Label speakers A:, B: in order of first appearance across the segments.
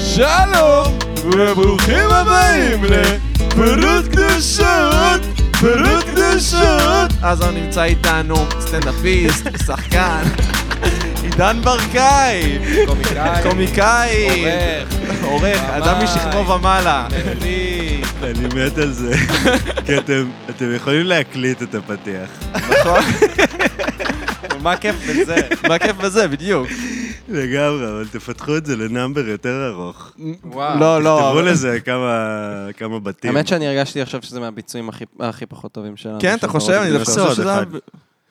A: שלום, וברוכים הבאים לפירוט קדושות, פירוט קדושות. אז
B: לא
A: אני נמצא איתנו סטנדאפיסט, שחקן, עידן ברקאי,
B: קומיקאי,
A: קומיקאי,
B: עורך,
A: עורך, אדם
B: במאי.
A: משכמו ומעלה.
B: אני...
C: אני מת על זה, כי אתם, אתם יכולים להקליט את הפתיח.
A: נכון?
B: מה כיף בזה?
A: מה כיף בזה, בדיוק.
C: לגמרי, אבל תפתחו את זה לנאמבר יותר ארוך.
B: וואו.
A: לא, לא.
C: תכתבו
A: אבל-
C: לזה כמה, כמה בתים.
B: האמת שאני הרגשתי עכשיו שזה מהביצועים הכי- הכי פחות טובים שלנו. לא
A: כן, אתה
B: של
A: חושב?
B: פרודקט.
A: אני דווקא
C: נעשה
A: חושב
C: עוד
A: שזה...
C: אחד.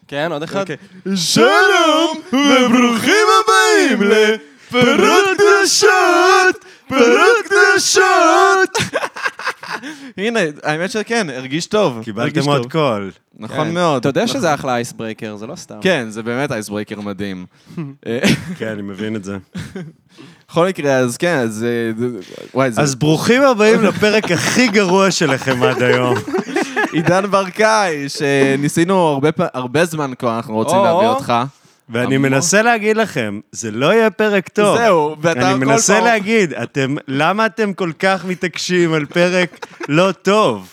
B: כן, עוד אחד?
A: אוקיי. שלום, וברוכים הבאים לפירוט קדושות, פירוט קדושות. הנה, האמת שכן, הרגיש טוב. הרגיש
C: קיבלתם
A: טוב.
C: עוד קול.
A: נכון
B: כן.
A: מאוד.
B: אתה יודע
A: נכון.
B: שזה אחלה אייסברייקר, זה לא סתם.
A: כן, זה באמת אייסברייקר מדהים. אה,
C: כן, אני מבין את זה.
A: בכל מקרה, אז כן, אז... אה, זה- וואי, זה
C: אז ברוכים הבאים לפרק הכי גרוע שלכם עד היום.
A: עידן ברקאי, שניסינו הרבה פ- הרבה זמן כבר, אנחנו רוצים
B: או.
A: להביא אותך.
C: ואני
A: אמור.
C: מנסה להגיד לכם, זה לא יהיה פרק טוב.
A: זהו, ואתה כל פעם...
C: אני מנסה להגיד, אתם, למה אתם כל כך מתעקשים על פרק לא טוב?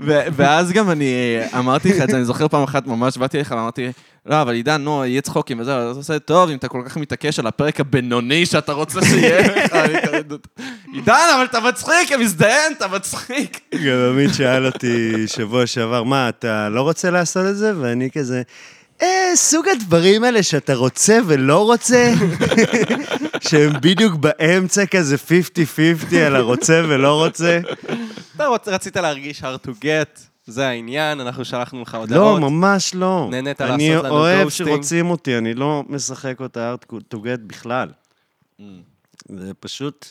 A: ו- ואז גם אני אה, אמרתי לך את זה, אני זוכר פעם אחת ממש, באתי אליך ואמרתי, לא, אבל עידן, נו, יהיה צחוקים וזהו, אז אתה עושה טוב, אם אתה כל כך מתעקש על הפרק הבינוני שאתה רוצה שיהיה לך, אני כזה, עידן, אבל אתה מצחיק, הם מזדיין, אתה מצחיק.
C: גם עמית שאל אותי שבוע שעבר, מה, אתה לא רוצה לעשות את זה? ואני כזה, אה, סוג הדברים האלה שאתה רוצה ולא רוצה, שהם בדיוק באמצע כזה 50-50 על הרוצה ולא רוצה.
B: אתה רוצ- רצית להרגיש hard to get, זה העניין, אנחנו שלחנו לך
C: לא,
B: הודעות.
C: ממש לא.
B: נהנית
C: אני
B: לעשות לנו
C: אוהב
B: גוסטינג?
C: שרוצים אותי, אני לא משחק אותה ארט טו גט בכלל. זה פשוט...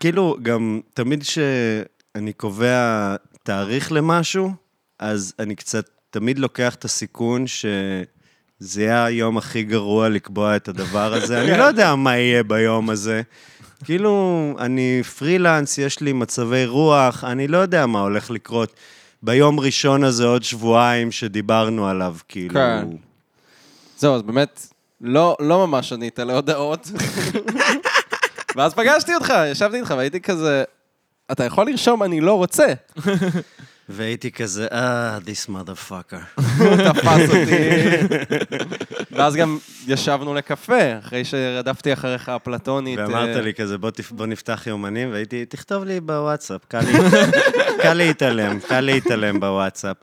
C: כאילו, גם תמיד כשאני קובע תאריך למשהו, אז אני קצת תמיד לוקח את הסיכון ש... זה יהיה היום הכי גרוע לקבוע את הדבר הזה. אני לא יודע מה יהיה ביום הזה. כאילו, אני פרילנס, יש לי מצבי רוח, אני לא יודע מה הולך לקרות ביום ראשון הזה עוד שבועיים שדיברנו עליו, כאילו.
B: כן. זהו, אז באמת, לא לא ממש ענית להודעות. ואז פגשתי אותך, ישבתי איתך והייתי כזה, אתה יכול לרשום אני לא רוצה.
C: והייתי כזה, אה, this motherfucker.
B: הוא תפס אותי. ואז גם ישבנו לקפה, אחרי שרדפתי אחריך הפלטונית.
C: ואמרת
B: אה,
C: לי כזה, "בוא תפ- בוא נפתח יומנים, והייתי, תכתוב לי בוואטסאפ, קל לי- קל להתעלם, קל להתעלם בוואטסאפ.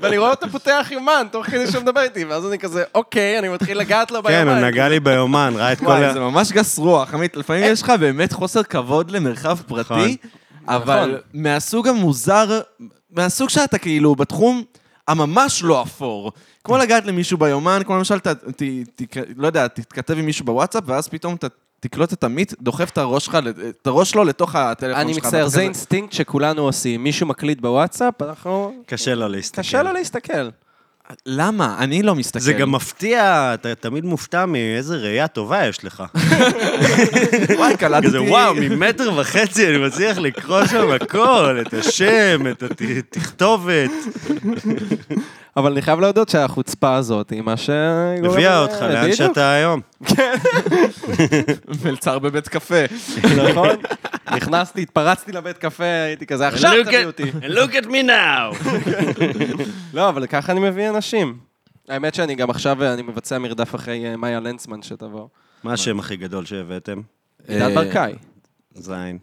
B: ואני רואה אותו פותח יומן, תוך כדי שהוא מדבר איתי, ואז אני כזה, אוקיי, אני מתחיל לגעת לו ביומן.
C: כן, הוא נגע לי ביומן, ראה את כל
A: וואי,
C: ה...
A: זה ממש גס רוח, עמית, לפעמים יש לך באמת חוסר כבוד למרחב פרטי, אבל
B: נכון.
A: מהסוג המוזר, מהסוג שאתה כאילו בתחום הממש לא אפור. כמו לגעת למישהו ביומן, כמו למשל, ת, ת, ת, לא יודע, תתכתב עם מישהו בוואטסאפ, ואז פתאום ת, תקלוט את עמית, דוחף את הראש, שלך, ל- את הראש שלו לתוך הטלפון
B: אני
A: שלך.
B: מצטער,
A: ואתה
B: זה
A: כזה-
B: אינסטינקט שכולנו עושים. מישהו מקליט בוואטסאפ, אנחנו...
C: קשה לו להסתכל.
B: קשה לו להסתכל.
A: למה? אני לא מסתכל.
C: זה גם מפתיע, אתה תמיד מופתע מאיזה ראייה טובה יש לך.
A: וואי, קלטתי.
C: כזה, וואו, ממטר וחצי אני מצליח לקרוא שם הכל, את השם, את התכתובת.
B: אבל אני חייב להודות שהחוצפה הזאת היא מה ש...
C: הביאה אותך לאן שאתה היום.
A: מלצר בבית קפה.
B: נכון. נכנסתי, התפרצתי לבית קפה, הייתי כזה, עכשיו תביאו אותי.
C: look at me now.
B: לא, אבל ככה אני מביא אנשים. האמת שאני גם עכשיו, אה, אני מבצע מרדף אחרי אה, מאיה לנצמן שתבוא.
C: מה השם הכי גדול שהבאתם?
B: עידן
A: אה,
B: ברקאי.
C: זין.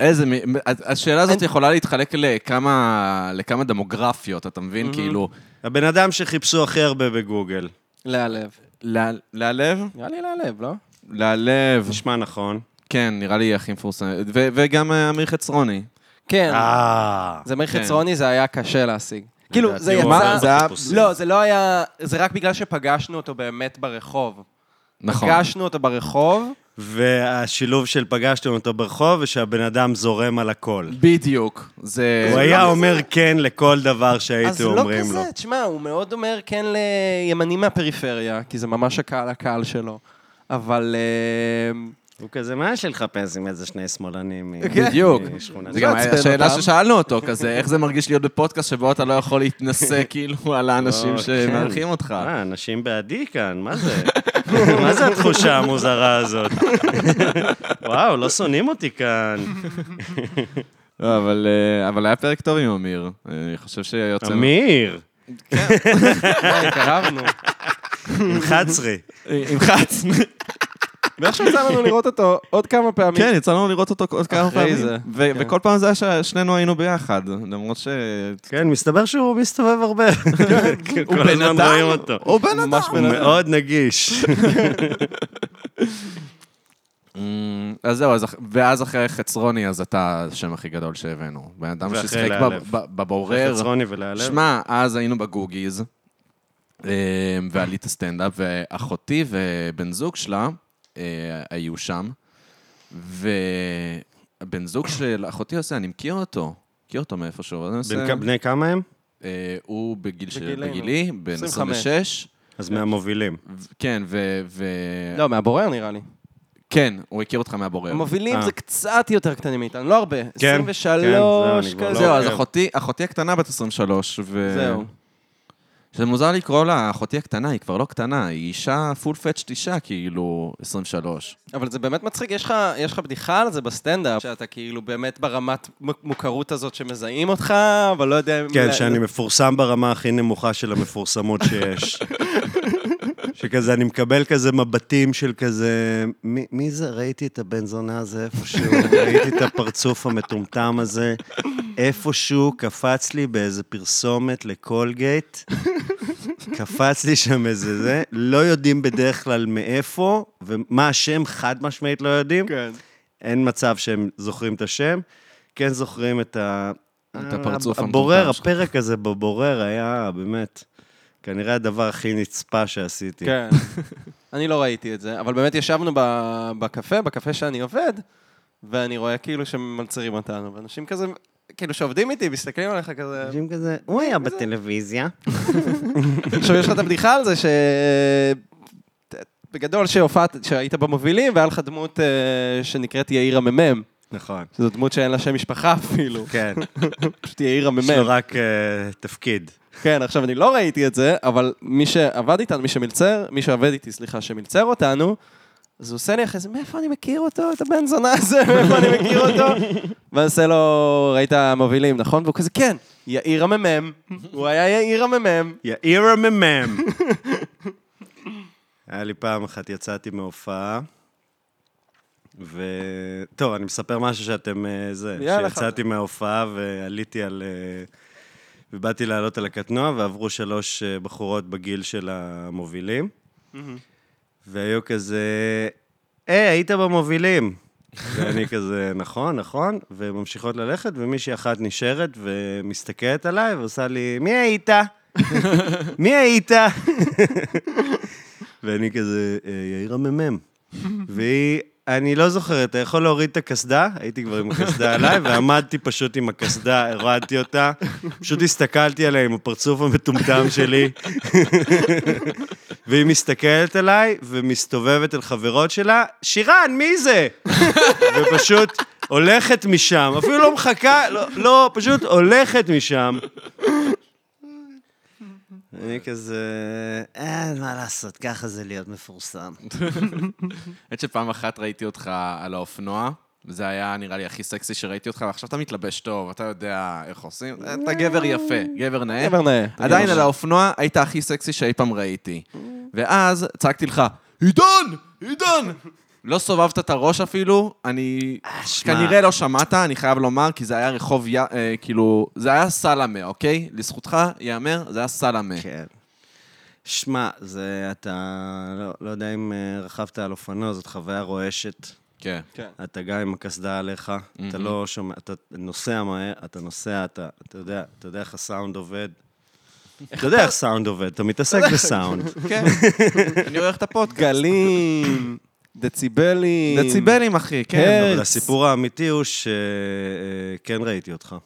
A: איזה, מ- אז- השאלה הזאת יכולה להתחלק לכמה, לכמה דמוגרפיות, אתה מבין? כאילו,
C: הבן אדם שחיפשו הכי הרבה בגוגל.
B: להלב.
A: ל- להלב?
B: נראה לי להלב, לא?
A: להלב,
C: נשמע נכון.
A: כן, נראה לי הכי מפורסם. ו- וגם אה, אמיר חצרוני.
B: כן.
C: אה.
B: זה מאיר
A: כן.
B: חצרוני, זה היה קשה להשיג. כאילו, זה
C: לדעתי הוא
B: יצא...
C: עבר
A: זה היה-
C: בחיפושים.
B: לא, זה לא היה... זה רק בגלל שפגשנו אותו באמת ברחוב.
A: נכון.
B: פגשנו אותו ברחוב,
C: והשילוב של פגשתם אותו ברחוב, ושהבן אדם זורם על הכל.
A: בדיוק. זה...
C: הוא היה אומר כן לכל דבר שהייתם אומרים
B: אה, אז
C: לו.
B: לא כזה, תשמע, הוא מאוד אומר כן לימנים מהפריפריה, כי זה ממש הקהל הקהל שלו. אבל... אה,
C: הוא כזה, מה יש לי לחפש עם איזה שני שמאלנים? מ-
B: כן.
A: בדיוק.
C: משכונת
A: זה גם
B: לא עצבן
A: השאלה
B: אותם.
A: ששאלנו אותו, כזה, איך זה מרגיש להיות בפודקאסט שבו אתה לא יכול להתנשא כאילו על האנשים
C: לא,
A: שמארחים אותך.
C: אה, אנשים בעדי כאן, מה זה? מה זה התחושה המוזרה הזאת? וואו, לא שונאים אותי כאן.
A: לא, אבל, אה, אבל היה פרק טוב עם אמיר. אני חושב שיוצא...
C: אמיר,
B: קרבנו.
C: עם חצרי.
A: עם חץ.
B: ואיך יצא לנו לראות אותו עוד כמה פעמים.
A: כן, יצא לנו לראות אותו עוד כמה
B: אחרי
A: פעמים.
B: זה,
A: ו-
B: כן.
A: וכל פעם זה היה ששנינו היינו ביחד, למרות ש...
C: כן, מסתבר שהוא מסתובב הרבה. כן,
A: הוא
C: כל הזמן רואים אותו.
A: הוא בן אדם.
B: ממש
C: הוא מאוד נגיש.
A: אמ, אז זהו, אז אח- ואז אחרי חצרוני, אז אתה השם הכי גדול שהבאנו. בן אדם
C: ואחרי
A: ששיחק ב-
C: להעלב.
A: ב- בבורר.
C: חצרוני ולהלב.
A: שמע, אז היינו בגוגיז, אמ, ועלית סטנדאפ, ואחותי ובן זוג שלה אה, היו שם, ובן זוג של אחותי עושה, אני מכיר אותו, מכיר אותו מאיפשהו. אני עושה-
C: בן כ- בני כמה הם?
A: אה, הוא בגיל ש-
B: בגילנו.
A: בגילי, בן
B: 25.
A: 26.
C: אז מהמובילים.
A: ו- כן, ו... ו-
B: לא, מהבורר נראה לי.
A: כן, הוא הכיר אותך מהבורר.
B: המובילים
C: אה. כן,
B: זה קצת יותר קטנים מאיתנו, לא הרבה. 23
C: זהו, אני כבר
B: כזה.
A: זהו,
C: לא,
A: אז
C: כן.
A: אחותי, אחותי הקטנה בת 23, ו...
B: זהו.
A: שזה מוזר לקרוא לה אחותי הקטנה, היא כבר לא קטנה, היא אישה פול פאצ'ט אישה, כאילו, 23.
B: אבל זה באמת מצחיק, יש לך, יש לך בדיחה על זה בסטנדאפ, שאתה כאילו באמת ברמת מ- מוכרות הזאת שמזהים אותך, אבל לא יודע... אם-
C: כן, שאני מפורסם ברמה הכי נמוכה של המפורסמות שיש. שכזה, אני מקבל כזה מבטים של כזה, מי, מי זה? ראיתי את הבן זונה הזה איפשהו, ראיתי את הפרצוף המטומטם הזה, איפשהו קפץ לי באיזה פרסומת לקולגייט, קפץ לי שם איזה זה, לא יודעים בדרך כלל מאיפה, ומה השם חד משמעית לא יודעים.
B: כן.
C: אין מצב שהם זוכרים את השם, כן זוכרים את ה...
A: את הפרצוף
C: הבורר,
A: המטומטם שלך.
C: הפרק הזה בבורר היה באמת כנראה הדבר הכי נצפה שעשיתי.
B: כן. אני לא ראיתי את זה, אבל באמת ישבנו ב- בקפה, בקפה שאני עובד, ואני רואה כאילו שמלצרים אותנו, ואנשים כזה, כאילו שעובדים איתי, מסתכלים עליך כזה...
C: אנשים כזה, הוא היה בטלוויזיה.
B: עכשיו, יש לך את הבדיחה על זה ש... בגדול שהופעת, שהיית במובילים, והיה לך דמות אה, שנקראת יאיר הממ"מ,
C: נכון.
B: שזו דמות שאין לה שם משפחה אפילו,
C: כן,
B: פשוט יאיר
C: יש לו
B: הממ"מ.
C: רק אה, תפקיד.
B: כן, עכשיו, אני לא ראיתי את זה, אבל מי שעבד איתנו, מי שמלצר, מי שעבד איתי, סליחה, שמלצר אותנו, אז הוא עושה לי אחרי זה, מאיפה אני מכיר אותו, את הבן זונה הזה, מאיפה אני מכיר אותו? ואני עושה לו, ראית מובילים, נכון? והוא כזה, כן, יאיר הממ"מ, הוא היה יאיר הממ"מ.
C: יאיר הממ"מ. היה לי פעם אחת, יצאתי מהופעה, ו... טוב, אני מספר משהו שאתם... אה, זה,
B: יאללה,
C: שיצאתי מההופעה ועליתי על... אה, ובאתי לעלות על הקטנוע, ועברו שלוש אה, בחורות בגיל של המובילים, והיו כזה, היי, היית במובילים. ואני כזה, נכון, נכון, וממשיכות ללכת, ומישהי אחת נשארת ומסתכלת עליי ועושה לי, מי היית? מי היית? ואני כזה, "אה, יאיר הממ"מ. והיא, אני לא זוכר, אתה יכול להוריד את הקסדה? הייתי כבר עם הקסדה עליי, ועמדתי פשוט עם הקסדה, הורדתי אותה, פשוט הסתכלתי עליה עם הפרצוף המטומטם שלי, והיא מסתכלת עליי ומסתובבת אל חברות שלה, שירן, מי זה? ופשוט הולכת משם, אפילו לא מחכה, לא, לא, פשוט הולכת משם. אני כזה, אין מה לעשות, ככה זה להיות מפורסם.
A: האמת שפעם אחת ראיתי אותך על האופנוע, זה היה נראה לי הכי סקסי שראיתי אותך, ועכשיו אתה מתלבש טוב, אתה יודע איך עושים, אתה גבר יפה, גבר נאה.
B: גבר נאה.
A: אה? עדיין על האופנוע היית הכי סקסי שאי פעם ראיתי. ואז צעקתי לך, עידן! עידן! לא סובבת את הראש אפילו, אני...
C: שמע.
A: כנראה לא שמעת, אני חייב לומר, כי זה היה רחוב, י- אה, כאילו, זה היה סלמה, אוקיי? לזכותך, ייאמר, זה היה סלמה.
C: כן. שמע, זה, אתה, לא, לא יודע אם אה, רכבת על אופנוע, זאת חוויה רועשת.
A: כן.
B: כן.
C: אתה גם עם הקסדה עליך, אתה לא שומע, אתה נוסע מהר, אתה נוסע, אתה, אתה יודע, אתה יודע איך הסאונד עובד. אתה יודע איך סאונד עובד, אתה מתעסק בסאורד.
A: כן. אני עורך את הפודקאסט.
B: גלים, דציבלים.
A: דציבלים, אחי, כן.
B: כן.
C: אבל הסיפור האמיתי הוא שכן כן ראיתי אותך.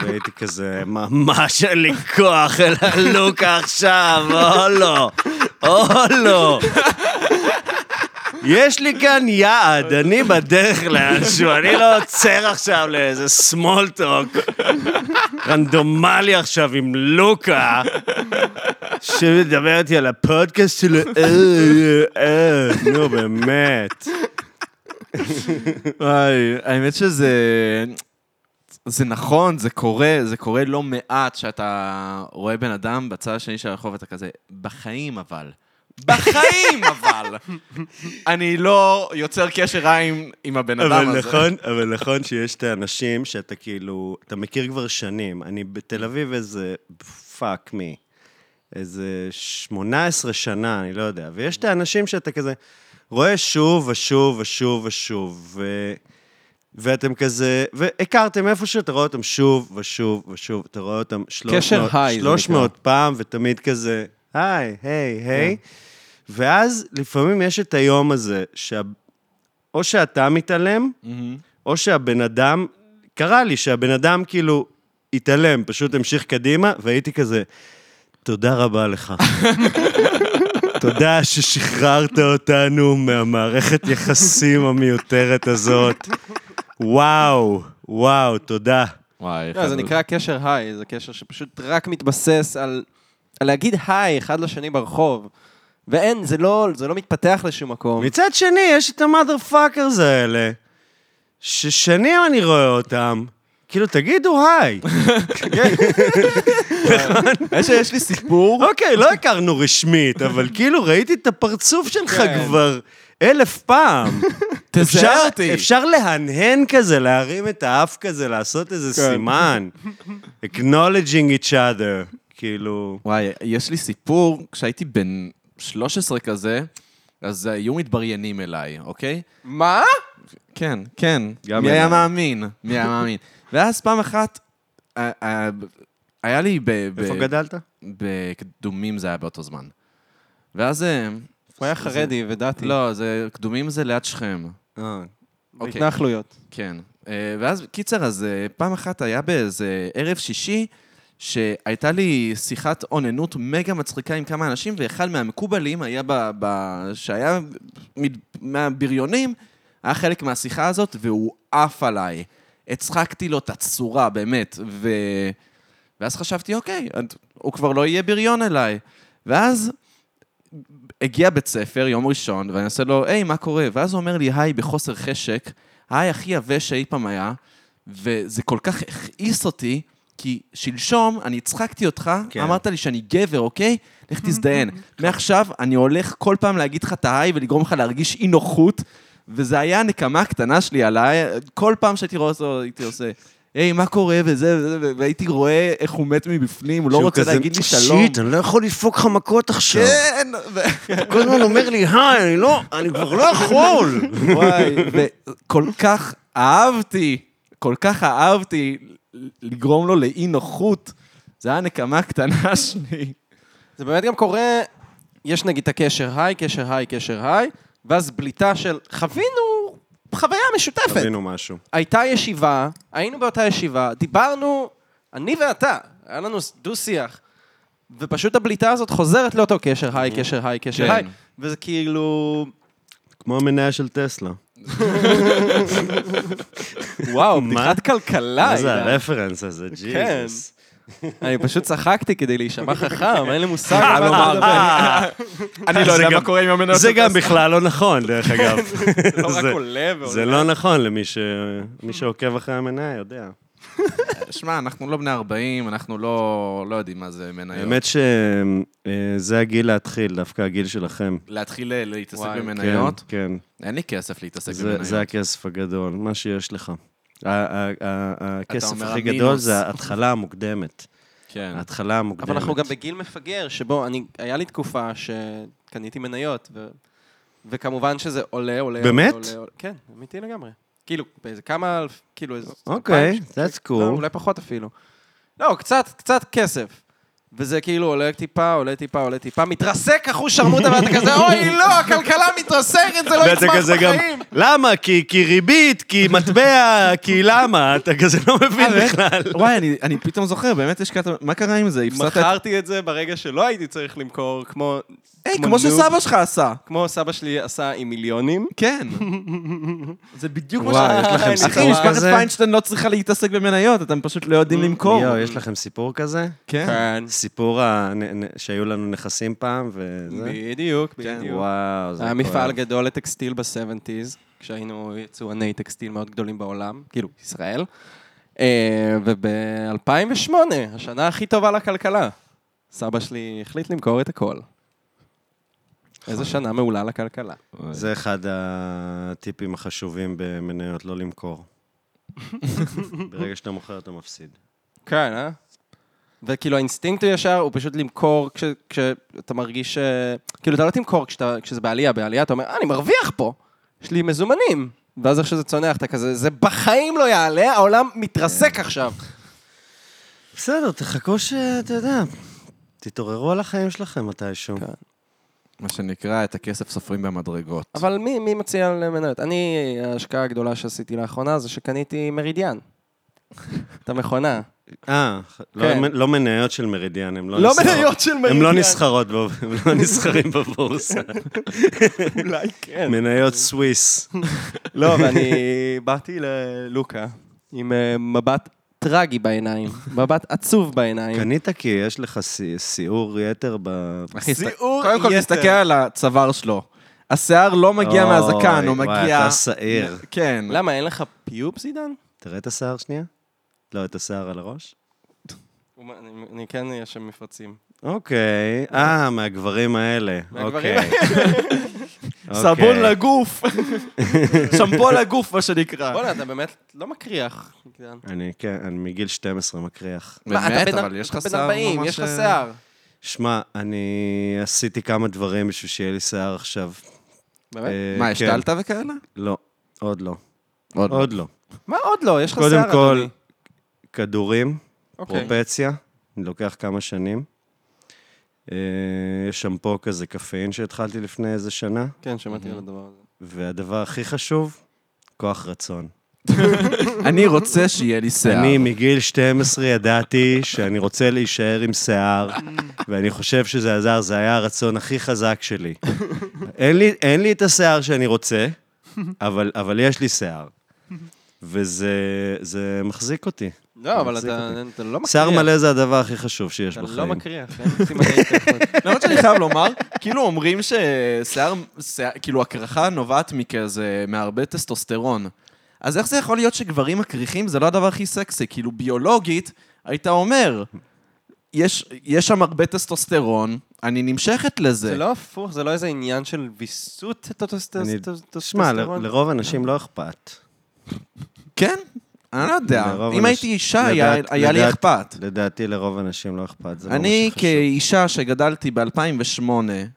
C: והייתי כזה, ממש אין לי כוח אל הלוק עכשיו, או לא, או לא. יש לי כאן יעד, אני בדרך לאנשהו, אני לא עוצר עכשיו לאיזה small talk רנדומלי עכשיו עם לוקה, שמדבר איתי על הפודקאסט שלו, אה, אה, אה, נו באמת.
A: וואי, האמת שזה... זה נכון, זה קורה, זה קורה לא מעט שאתה רואה בן אדם בצד השני של הרחוב, אתה כזה, בחיים אבל. בחיים אבל! אני לא יוצר קשר עין עם הבן אדם
C: אבל
A: הזה.
C: נכון, אבל נכון שיש את האנשים שאתה כאילו, אתה מכיר כבר שנים. אני בתל אביב איזה, פאק מי, איזה 18 שנה, אני לא יודע. ויש את האנשים שאתה כזה רואה שוב ושוב ושוב ושוב, ו... ואתם כזה, והכרתם איפשהו, אתה רואה אותם שוב ושוב ושוב, אתה רואה אותם 300,
B: קשר היי, זה נקרא.
C: 300 פעם, ותמיד כזה, היי, היי, היי.
B: כן.
C: ואז לפעמים יש את היום הזה, שה... או שאתה מתעלם,
A: מהמם.
C: או שהבן אדם, קרה לי שהבן אדם כאילו התעלם, פשוט המשיך קדימה, והייתי כזה, תודה רבה לך. תודה ששחררת אותנו מהמערכת יחסים המיותרת הזאת. וואו, וואו, תודה.
A: וואי,
B: לא, זה
A: חלול.
B: נקרא קשר היי, זה קשר שפשוט רק מתבסס על, על להגיד היי אחד לשני ברחוב. ואין, זה לא, זה לא מתפתח לשום מקום.
C: מצד שני, יש את המאדר פאקרס האלה, ששנים אני רואה אותם. כאילו, תגידו היי.
A: האמת שיש לי סיפור.
C: אוקיי, לא הכרנו רשמית, אבל כאילו ראיתי את הפרצוף שלך
B: כן.
C: כבר אלף פעם.
A: תזהה
C: אפשר-
A: אותי.
C: אפשר להנהן כזה, להרים את האף כזה, לעשות איזה
B: כן.
C: סימן. acknowledging each other, כאילו...
A: וואי, יש לי סיפור, כשהייתי בן 13 כזה, אז היו מתבריינים אליי, אוקיי?
B: מה?
A: כן, כן.
C: גם
A: מי
C: אליי.
A: היה מאמין? מי היה מאמין? ואז פעם אחת, אה, אה, היה לי ב... ב-
C: איפה גדלת?
A: בקדומים זה היה באותו זמן. ואז... אה,
B: הוא היה חרדי ודתי.
A: לא, זה... קדומים זה ליד שכם.
C: אה,
A: אוקיי.
B: התנחלויות.
A: כן. אה, ואז, קיצר, אז אה, פעם אחת היה באיזה ערב שישי, שהייתה לי שיחת אוננות מגה מצחיקה עם כמה אנשים, ואחד מהמקובלים היה ב... ב שהיה מד- מהבריונים, היה חלק מהשיחה הזאת, והוא עף עליי. הצחקתי לו את הצורה, באמת. ו... ואז חשבתי, אוקיי, את- הוא כבר לא יהיה בריון אליי. ואז הגיע בית ספר, יום ראשון, ואני עושה לו, היי, מה קורה? ואז הוא אומר לי, היי, בחוסר חשק, היי, הכי עבה שאי פעם היה, וזה כל כך הכעיס אותי, כי שלשום אני הצחקתי אותך,
C: כן.
A: כן. אמרת לי שאני גבר, אוקיי? לך תזדיין. מעכשיו אני הולך כל פעם להגיד לך את ההיי ולגרום לך להרגיש אי נוחות, וזה היה הנקמה הקטנה שלי עליי, כל פעם שהייתי רואה אותו, הייתי עושה... היי, מה קורה, וזה, וזה, ו- והייתי רואה איך הוא מת מבפנים, הוא לא
C: שהוא
A: רוצה
C: כזה,
A: להגיד לי שלום.
C: שיט, אני לא יכול לדפוק לך מכות עכשיו.
A: כן, ו-
C: הוא כל הזמן אומר לי, היי, אני לא, אני כבר לא יכול.
A: וואי, וכל כך אהבתי, כל כך אהבתי לגרום לו לאי נוחות. זה היה הנקמה הקטנה שלי.
B: זה באמת גם קורה, יש נגיד את הקשר היי, קשר היי, קשר היי, ואז בליטה של חווינו חוויה משותפת.
C: תבינו משהו.
B: הייתה ישיבה, היינו באותה ישיבה, דיברנו, אני ואתה, היה לנו דו-שיח, ופשוט הבליטה הזאת חוזרת לאותו קשר היי, קשר היי,
A: כן.
B: קשר היי, וזה כאילו,
C: כמו המניה של טסלה.
B: וואו,
C: מה?
B: בדיחת כלכלה.
C: מה זה
B: אילן.
C: הרפרנס הזה, ג'יזוס.
B: אני פשוט צחקתי כדי להישמע חכם, אין לי מושג על מה אתה מדבר.
C: אה,
A: אני
C: זה גם-
A: קורה עם המניות.
C: זה
A: של
C: גם
A: טסלה.
C: בכלל לא נכון, דרך אגב.
B: זה לא רק
C: זה-
B: עולה ועולה.
C: זה לא נכון למי ש- מי שעוקב אחרי המניה, יודע.
A: שמע, אנחנו לא בני 40, אנחנו לא לא יודעים מה זה מניות.
C: האמת שזה הגיל להתחיל, דווקא הגיל שלכם.
A: להתחיל ל- להתעסק
B: וואי,
A: במניות?
C: כן,
A: אין לי כסף להתעסק
C: זה- זה
A: במניות.
C: הכסף הגדול, מה שיש לך. ה- ה- ה- הכסף
A: אומר
C: הכי
A: המינוס.
C: גדול זה ההתחלה המוקדמת.
A: כן.
C: ההתחלה המוקדמת.
B: אבל אנחנו גם בגיל מפגר, שבו אני, היה לי תקופה שקניתי מניות, ו, וכמובן שזה עולה, עולה,
C: באמת?
B: עולה, עולה, כן, אמיתי לגמרי. כאילו, באיזה כמה אלף, כאילו איזה...
C: אוקיי,
B: אלפיים ש-
C: that's
B: לא,
C: cool.
B: אולי פחות אפילו. לא, קצת, קצת כסף. וזה כאילו עולה טיפה, עולה טיפה, עולה טיפה, מתרסק אחוז שרמוטה, ואתה כזה, אוי, לא, הכלכלה מתרסקת, זה לא
C: ואתה
B: יצמח
C: כזה גם,
B: בחיים.
C: למה? כי כי ריבית, כי מטבע, כי למה? אתה כזה לא מבין
A: באמת?
C: בכלל.
A: וואי, אני- אני פתאום זוכר, באמת השקעת... מה קרה עם זה? הפסדת את
B: מכרתי את זה ברגע שלא הייתי צריך למכור, כמו
A: היי,
B: כמו
A: כמו
B: נו.
A: שסבא שלך עשה.
B: כמו סבא שלי עשה עם מיליונים.
A: כן. זה בדיוק מה ש...
C: וואי, יש לכם
A: אחי,
C: סיפור
A: משפחת
C: כזה?
A: פיינשטיין לא צריכה להתעסק במניות, אתם פשוט לא
B: Mm.
A: יודעים למכור.
C: יואו, יש לכם סיפור כזה?
A: כן.
B: כן.
C: סיפור ה- נ- נ- שהיו לנו נכסים פעם, וזה?
B: בדיוק,
A: כן,
B: בדיוק.
C: וואו, זה
B: היה
C: כואב.
B: מפעל גדול לטקסטיל ב-70's, כשהיינו יצואני טקסטיל מאוד גדולים בעולם, כאילו, ישראל. וב-2008, השנה הכי טובה לכלכלה, סבא שלי החליט למכור את הכל. איזו שנה מעולה לכלכלה.
C: זה אחד הטיפים החשובים במניות, לא למכור. ברגע שאתה מוכר, אתה מפסיד.
B: כן, אה? וכאילו האינסטינקט הישר הוא פשוט למכור כש, כשאתה מרגיש ש... כאילו, אתה לא תמכור כשאתה, כשזה בעלייה, בעלייה אתה אומר, אה, אני מרוויח פה, יש לי מזומנים. ואז איך שזה צונח, אתה כזה, זה בחיים לא יעלה, העולם מתרסק עכשיו.
C: בסדר, תחכו שאתה יודע, תתעוררו על החיים שלכם מתישהו.
B: כן.
A: מה שנקרא, את הכסף סופרים במדרגות.
B: אבל מי, מי מציע למניות? אני, ההשקעה הגדולה שעשיתי לאחרונה זה שקניתי מרידיאן. את המכונה.
C: אה, לא-
B: כן.
C: לא מניות של מרידיאן, הם לא
B: לא
C: נסחרות.
B: מניות של מרידיאן.
C: הם לא נסחרות, בב- הם לא נסחרים בבורסה.
B: אולי כן.
C: מניות סוויס.
B: לא, ואני באתי ללוקה עם אה, מבט טרגי בעיניים, מבט עצוב בעיניים.
C: קנית כי יש לך סי- סיעור יתר ב...
A: אחי, הסת-
B: סיעור
A: קודם כל
B: יתר.
A: תסתכל על הצוואר שלו. השיער לא מגיע
C: אוי,
A: מהזקן, הוא מגיע...
C: וואי, אתה שעיר.
A: כן.
B: למה, אין לך פיופס, עידן?
C: תראה את השיער שנייה? לא, את השיער על הראש?
B: אני אני כן, יש שם מפרצים.
C: אוקיי. אה, מהגברים האלה.
B: מהגברים
C: אוקיי.
A: סבון
C: אוקיי.
A: לגוף. שמפו לגוף, מה שנקרא.
B: בוא'נה, אתה באמת לא מקריח. עידן.
C: אני, כן, אני מגיל 12 מקריח.
B: מה, אתה
A: באמת,
B: בן-
A: אבל יש לך
B: אתה בן
A: שיער
B: 40,
A: ממש... אה,
B: יש לך שיער.
C: שמע, אני עשיתי כמה דברים בשביל שיהיה לי שיער עכשיו.
B: באמת?
C: אה,
A: מה,
C: כן.
A: השתלת וכאלה?
C: לא, עוד לא.
A: עוד
C: עוד לא.
B: מה עוד לא? יש לך שיער,
C: קודם
B: אדוני.
C: כל, כדורים,
B: אוקיי.
C: פרופציה, אני לוקח כמה שנים. אה, יש שמפו כזה קפאין שהתחלתי לפני איזה שנה,
B: כן, שמעתי על הדבר הזה.
C: והדבר הכי חשוב, כוח רצון.
A: אני רוצה שיהיה לי שיער.
C: אני מגיל 12 ידעתי שאני רוצה להישאר עם שיער, ואני חושב שזה עזר, זה היה הרצון הכי חזק שלי. אין לי, אין לי את השיער שאני רוצה, אבל, אבל יש לי שיער. וזה זה מחזיק אותי.
B: לא, אבל
C: מצחיק
B: אתה אתה לא מקריח.
C: שיער מלא זה הדבר הכי חשוב שיש
B: אתה לא
C: בחיים.
B: מקריח. אין סימני התקרחות.
A: למרות שאני חייב לומר, כאילו אומרים ששיער, שיער- כאילו הקרחה נובעת מכזה, מהרבה טסטוסטרון. אז איך זה יכול להיות שגברים מקריחים זה לא הדבר הכי סקסי? כאילו ביולוגית, היית אומר, יש, יש שם הרבה טסטוסטרון, אני נמשכת לזה.
B: זה לא הפוך, זה לא איזה עניין של ויסות
C: אני-
B: טסטוסטרון.
C: שמע, ל- לרוב האנשים לא אכפת.
A: כן? אני לא יודע.
C: לרוב
A: אם
C: אנש-
A: הייתי אישה, היה,
C: לדעת-
A: היה לי
C: לדעת-
A: אכפת.
C: לדעתי לרוב האנשים לא אכפת, זה לא מה
A: אני
C: שחשוב.
A: כאישה שגדלתי ב-2008,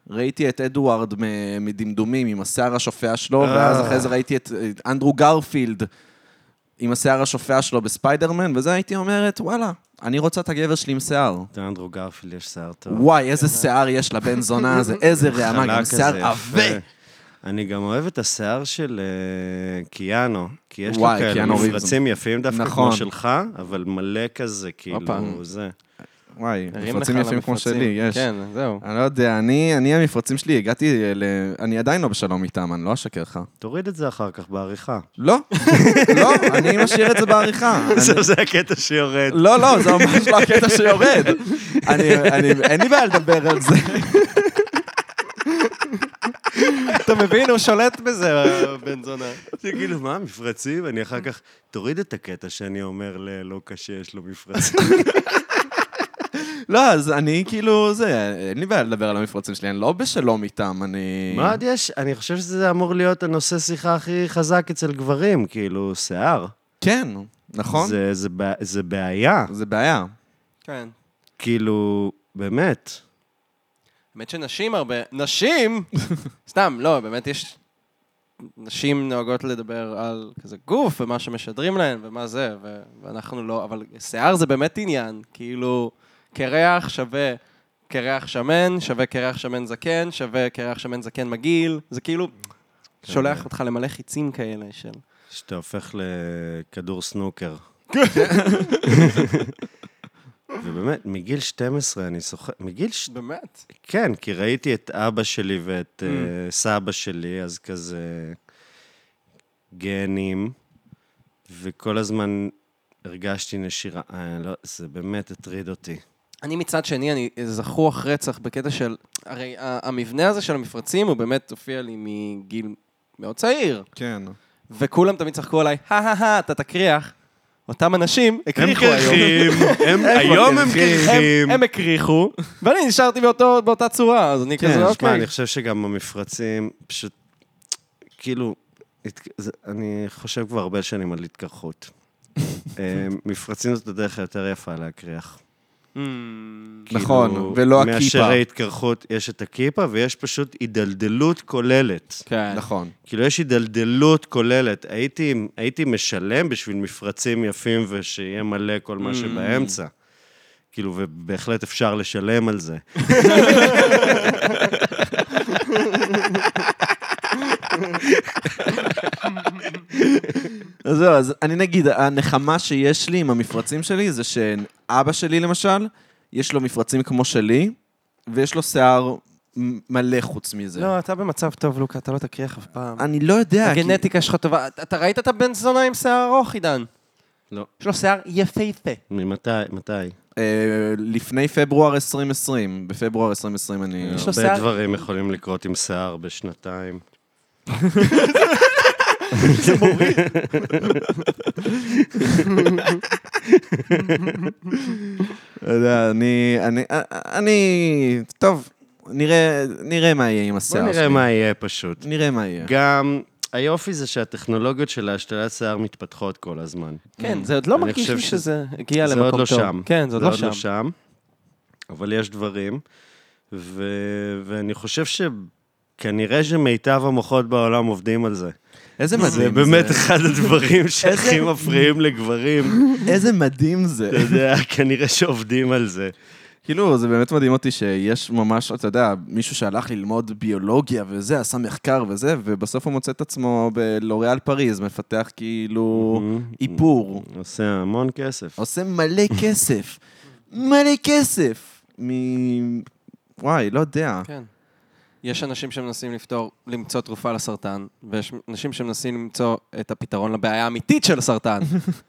A: ראיתי את אדוארד מ- מדמדומים עם השיער השופע שלו, ואז אחרי זה ראיתי את את אנדרו גרפילד עם השיער השופע שלו בספיידרמן, וזה הייתי אומרת, וואלה, אני רוצה את הגבר שלי עם שיער.
C: לאנדרו גרפילד יש שיער טוב.
A: וואי, איזה שיער יש לבן זונה הזה, איזה רעמה,
C: חלק
A: גם
C: כזה,
A: שיער
C: יפה.
A: עבה.
C: אני גם אוהב את השיער של אה, קיאנו, כי יש לו
A: וואי,
C: כאלה
A: קיאנו ריבס.
C: מפרצים יפים דווקא
A: נכון.
C: כמו שלך, אבל מלא כזה,
B: הופה.
C: כאילו, זה.
A: וואי,
B: הרים
A: מפרצים
B: לך על
A: יפים כמו
B: המפרצים.
A: שלי, יש.
B: כן, זהו.
A: אני לא יודע, אני, אני המפרצים שלי, הגעתי ל... אני עדיין לא בשלום איתם, אני לא אשקר לך.
C: תוריד את זה אחר כך בעריכה.
A: לא, לא, אני משאיר את זה בעריכה. אני-
C: זה הקטע שיורד.
A: לא, לא, זה ממש לא הקטע שיורד. אני, אני, אין לי בעיה לדבר על זה.
B: אתה מבין, הוא שולט בזה, הבן זונה.
C: זה כאילו, מה, מפרצים? אני אחר כך, תוריד את הקטע שאני אומר ללוקה שיש לו מפרצים.
A: לא, אז אני כאילו, זה, אין לי בעיה לדבר על המפרצים שלי, אני לא בשלום איתם, אני...
C: מה עוד יש? אני חושב שזה אמור להיות הנושא שיחה הכי חזק אצל גברים, כאילו, שיער.
A: כן, נכון? זה,
C: זה, זה, בע- זה בעיה.
A: זה בעיה.
B: כן.
C: כאילו, באמת.
B: האמת שנשים הרבה... נשים? סתם, לא, באמת יש... נשים נוהגות לדבר על כזה גוף, ומה שמשדרים להן, ומה זה, ו- ואנחנו לא, אבל שיער זה באמת עניין. כאילו, קרח שווה קרח שמן, שווה קרח שמן זקן, שווה קרח שמן זקן מגעיל, זה כאילו שולח אותך למלא חיצים כאלה של...
C: שאתה הופך לכדור סנוקר. ובאמת, מגיל 12 אני זוכר, מגיל... ש-
B: באמת?
C: כן, כי ראיתי את אבא שלי ואת אה, סבא שלי, אז כזה גנים, וכל הזמן הרגשתי נשירה. אה, לא, זה באמת הטריד אותי.
B: אני מצד שני, אני זחוח רצח בקטע של... הרי ה- המבנה הזה של המפרצים, הוא באמת הופיע לי מגיל מאוד צעיר.
A: כן.
B: וכולם תמיד צחקו עליי, הא-הא-הא, אתה תקריח. אותם אנשים הקריחו היום.
C: הם, היום הם
B: הם- הם הקריחו, ואני נשארתי באותו- באותה צורה, אז אני
C: כן,
B: כזה,
C: שמע,
B: אוקיי.
C: אני חושב שגם המפרצים, פשוט, כאילו, הת- זה- אני חושב כבר הרבה שנים על התקרחות. אה, מפרצים זאת הדרך היותר יפה להקריח.
B: Hmm.
A: נכון,
C: כאילו,
A: ולא הכיפה.
C: מאשר ההתקרחות, יש את הכיפה, ויש פשוט הידלדלות כוללת.
B: כן.
A: נכון.
C: כאילו, יש הידלדלות כוללת. הייתי, הייתי משלם בשביל מפרצים יפים ושיהיה מלא כל מה שבאמצע. כאילו, ובהחלט אפשר לשלם על זה.
A: אז זהו, אז אני נגיד, הנחמה שיש לי עם המפרצים שלי זה שאבא שלי, למשל, יש לו מפרצים כמו שלי, ויש לו שיער מ- מלא חוץ מזה.
B: לא, אתה במצב טוב, לוקה, אתה לא תקריח אף פעם.
A: אני לא יודע. כי-
B: הגנטיקה שלך טובה. אתה- אתה ראית את הבן זונה עם שיער ארוך, עידן?
C: לא.
B: יש לו שיער יפהפה.
C: ממתי? מתי?
A: אה, לפני פברואר 2020, בפברואר 2020 אני...
B: יש לו שיער.
C: הרבה דברים יכולים לקרות עם שיער בשנתיים.
A: לא יודע, אני... אני... אה, אני... טוב, נראה נראה מה יהיה עם
C: בוא
A: השיער שלי.
C: נראה מה יהיה פשוט.
A: נראה מה יהיה.
C: גם היופי זה שהטכנולוגיות של ההשתלת שיער מתפתחות כל הזמן.
B: כן, זה עוד לא
C: Mm. אני
B: מרגיש
C: חושב
B: לי
C: ש-
B: שזה הגיע
C: זה
B: למקום
C: עוד
B: טוב.
C: לא שם.
B: כן, זה עוד לא שם.
C: שם. אבל יש דברים, ו... ואני חושב שכנראה שמיטב המוחות בעולם עובדים על זה.
A: איזה
C: זה
A: מדהים
C: באמת אחד הדברים שהכי מפריעים לגברים.
A: איזה מדהים זה.
C: אתה יודע, כנראה שעובדים על זה.
A: כאילו, זה באמת מדהים אותי שיש ממש, אתה יודע, מישהו שהלך ללמוד ביולוגיה וזה, עשה מחקר וזה, ובסוף הוא מוצא את עצמו בלוריאל פריז, מפתח כאילו
C: Mm-hmm.
A: איפור.
C: עושה המון כסף.
A: עושה מלא כסף. מלא כסף. מ... וואי, לא יודע.
B: כן. יש אנשים שמנסים לפתור, למצוא תרופה לסרטן, ויש אנשים שמנסים למצוא את הפתרון לבעיה האמיתית של הסרטן,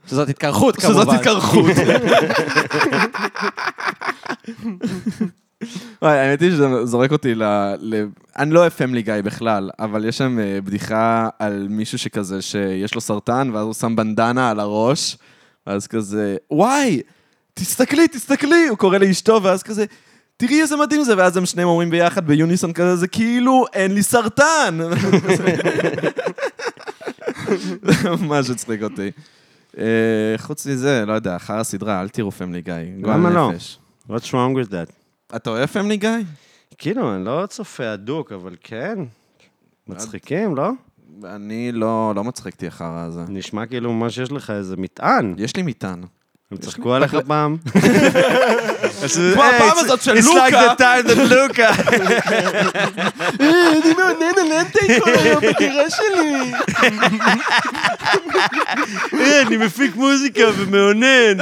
B: שזאת התקרחות כמובן.
A: שזאת התקרחות. וואי, האמת היא שזה זורק אותי ל... ל... אני לא FM ליגאי בכלל, אבל יש שם אה, בדיחה על מישהו שכזה, שיש לו סרטן, ואז הוא שם בנדנה על הראש, ואז כזה, וואי, תסתכלי, תסתכלי, הוא קורא לאשתו, ואז כזה, תראי איזה מדהים זה, ואז הם שניהם אומרים ביחד ביוניסון כזה, זה כאילו, אין לי סרטן. זה ממש הצחיק אותי. אה, חוץ מזה, לא יודע, אחר הסדרה, אל תראו פמלי גיא. גועל
C: למה לא?
A: נפש.
C: What's wrong with that?
A: אתה אוהב פמלי גיא?
C: כאילו, אני לא צופה הדוק, אבל כן. מצחיקים, לא?
A: אני לא, לא מצחיקתי אחר הזה.
C: נשמע כאילו ממש יש לך איזה מטען.
A: יש לי מטען.
C: הם צחקו עליך פעם.
A: כמו הפעם הזאת של לוקה.
C: It's like the time that לוקה.
A: אני מעונן על אנטי כל היום בדירה שלי.
C: אה, אני מפיק מוזיקה ומאונן.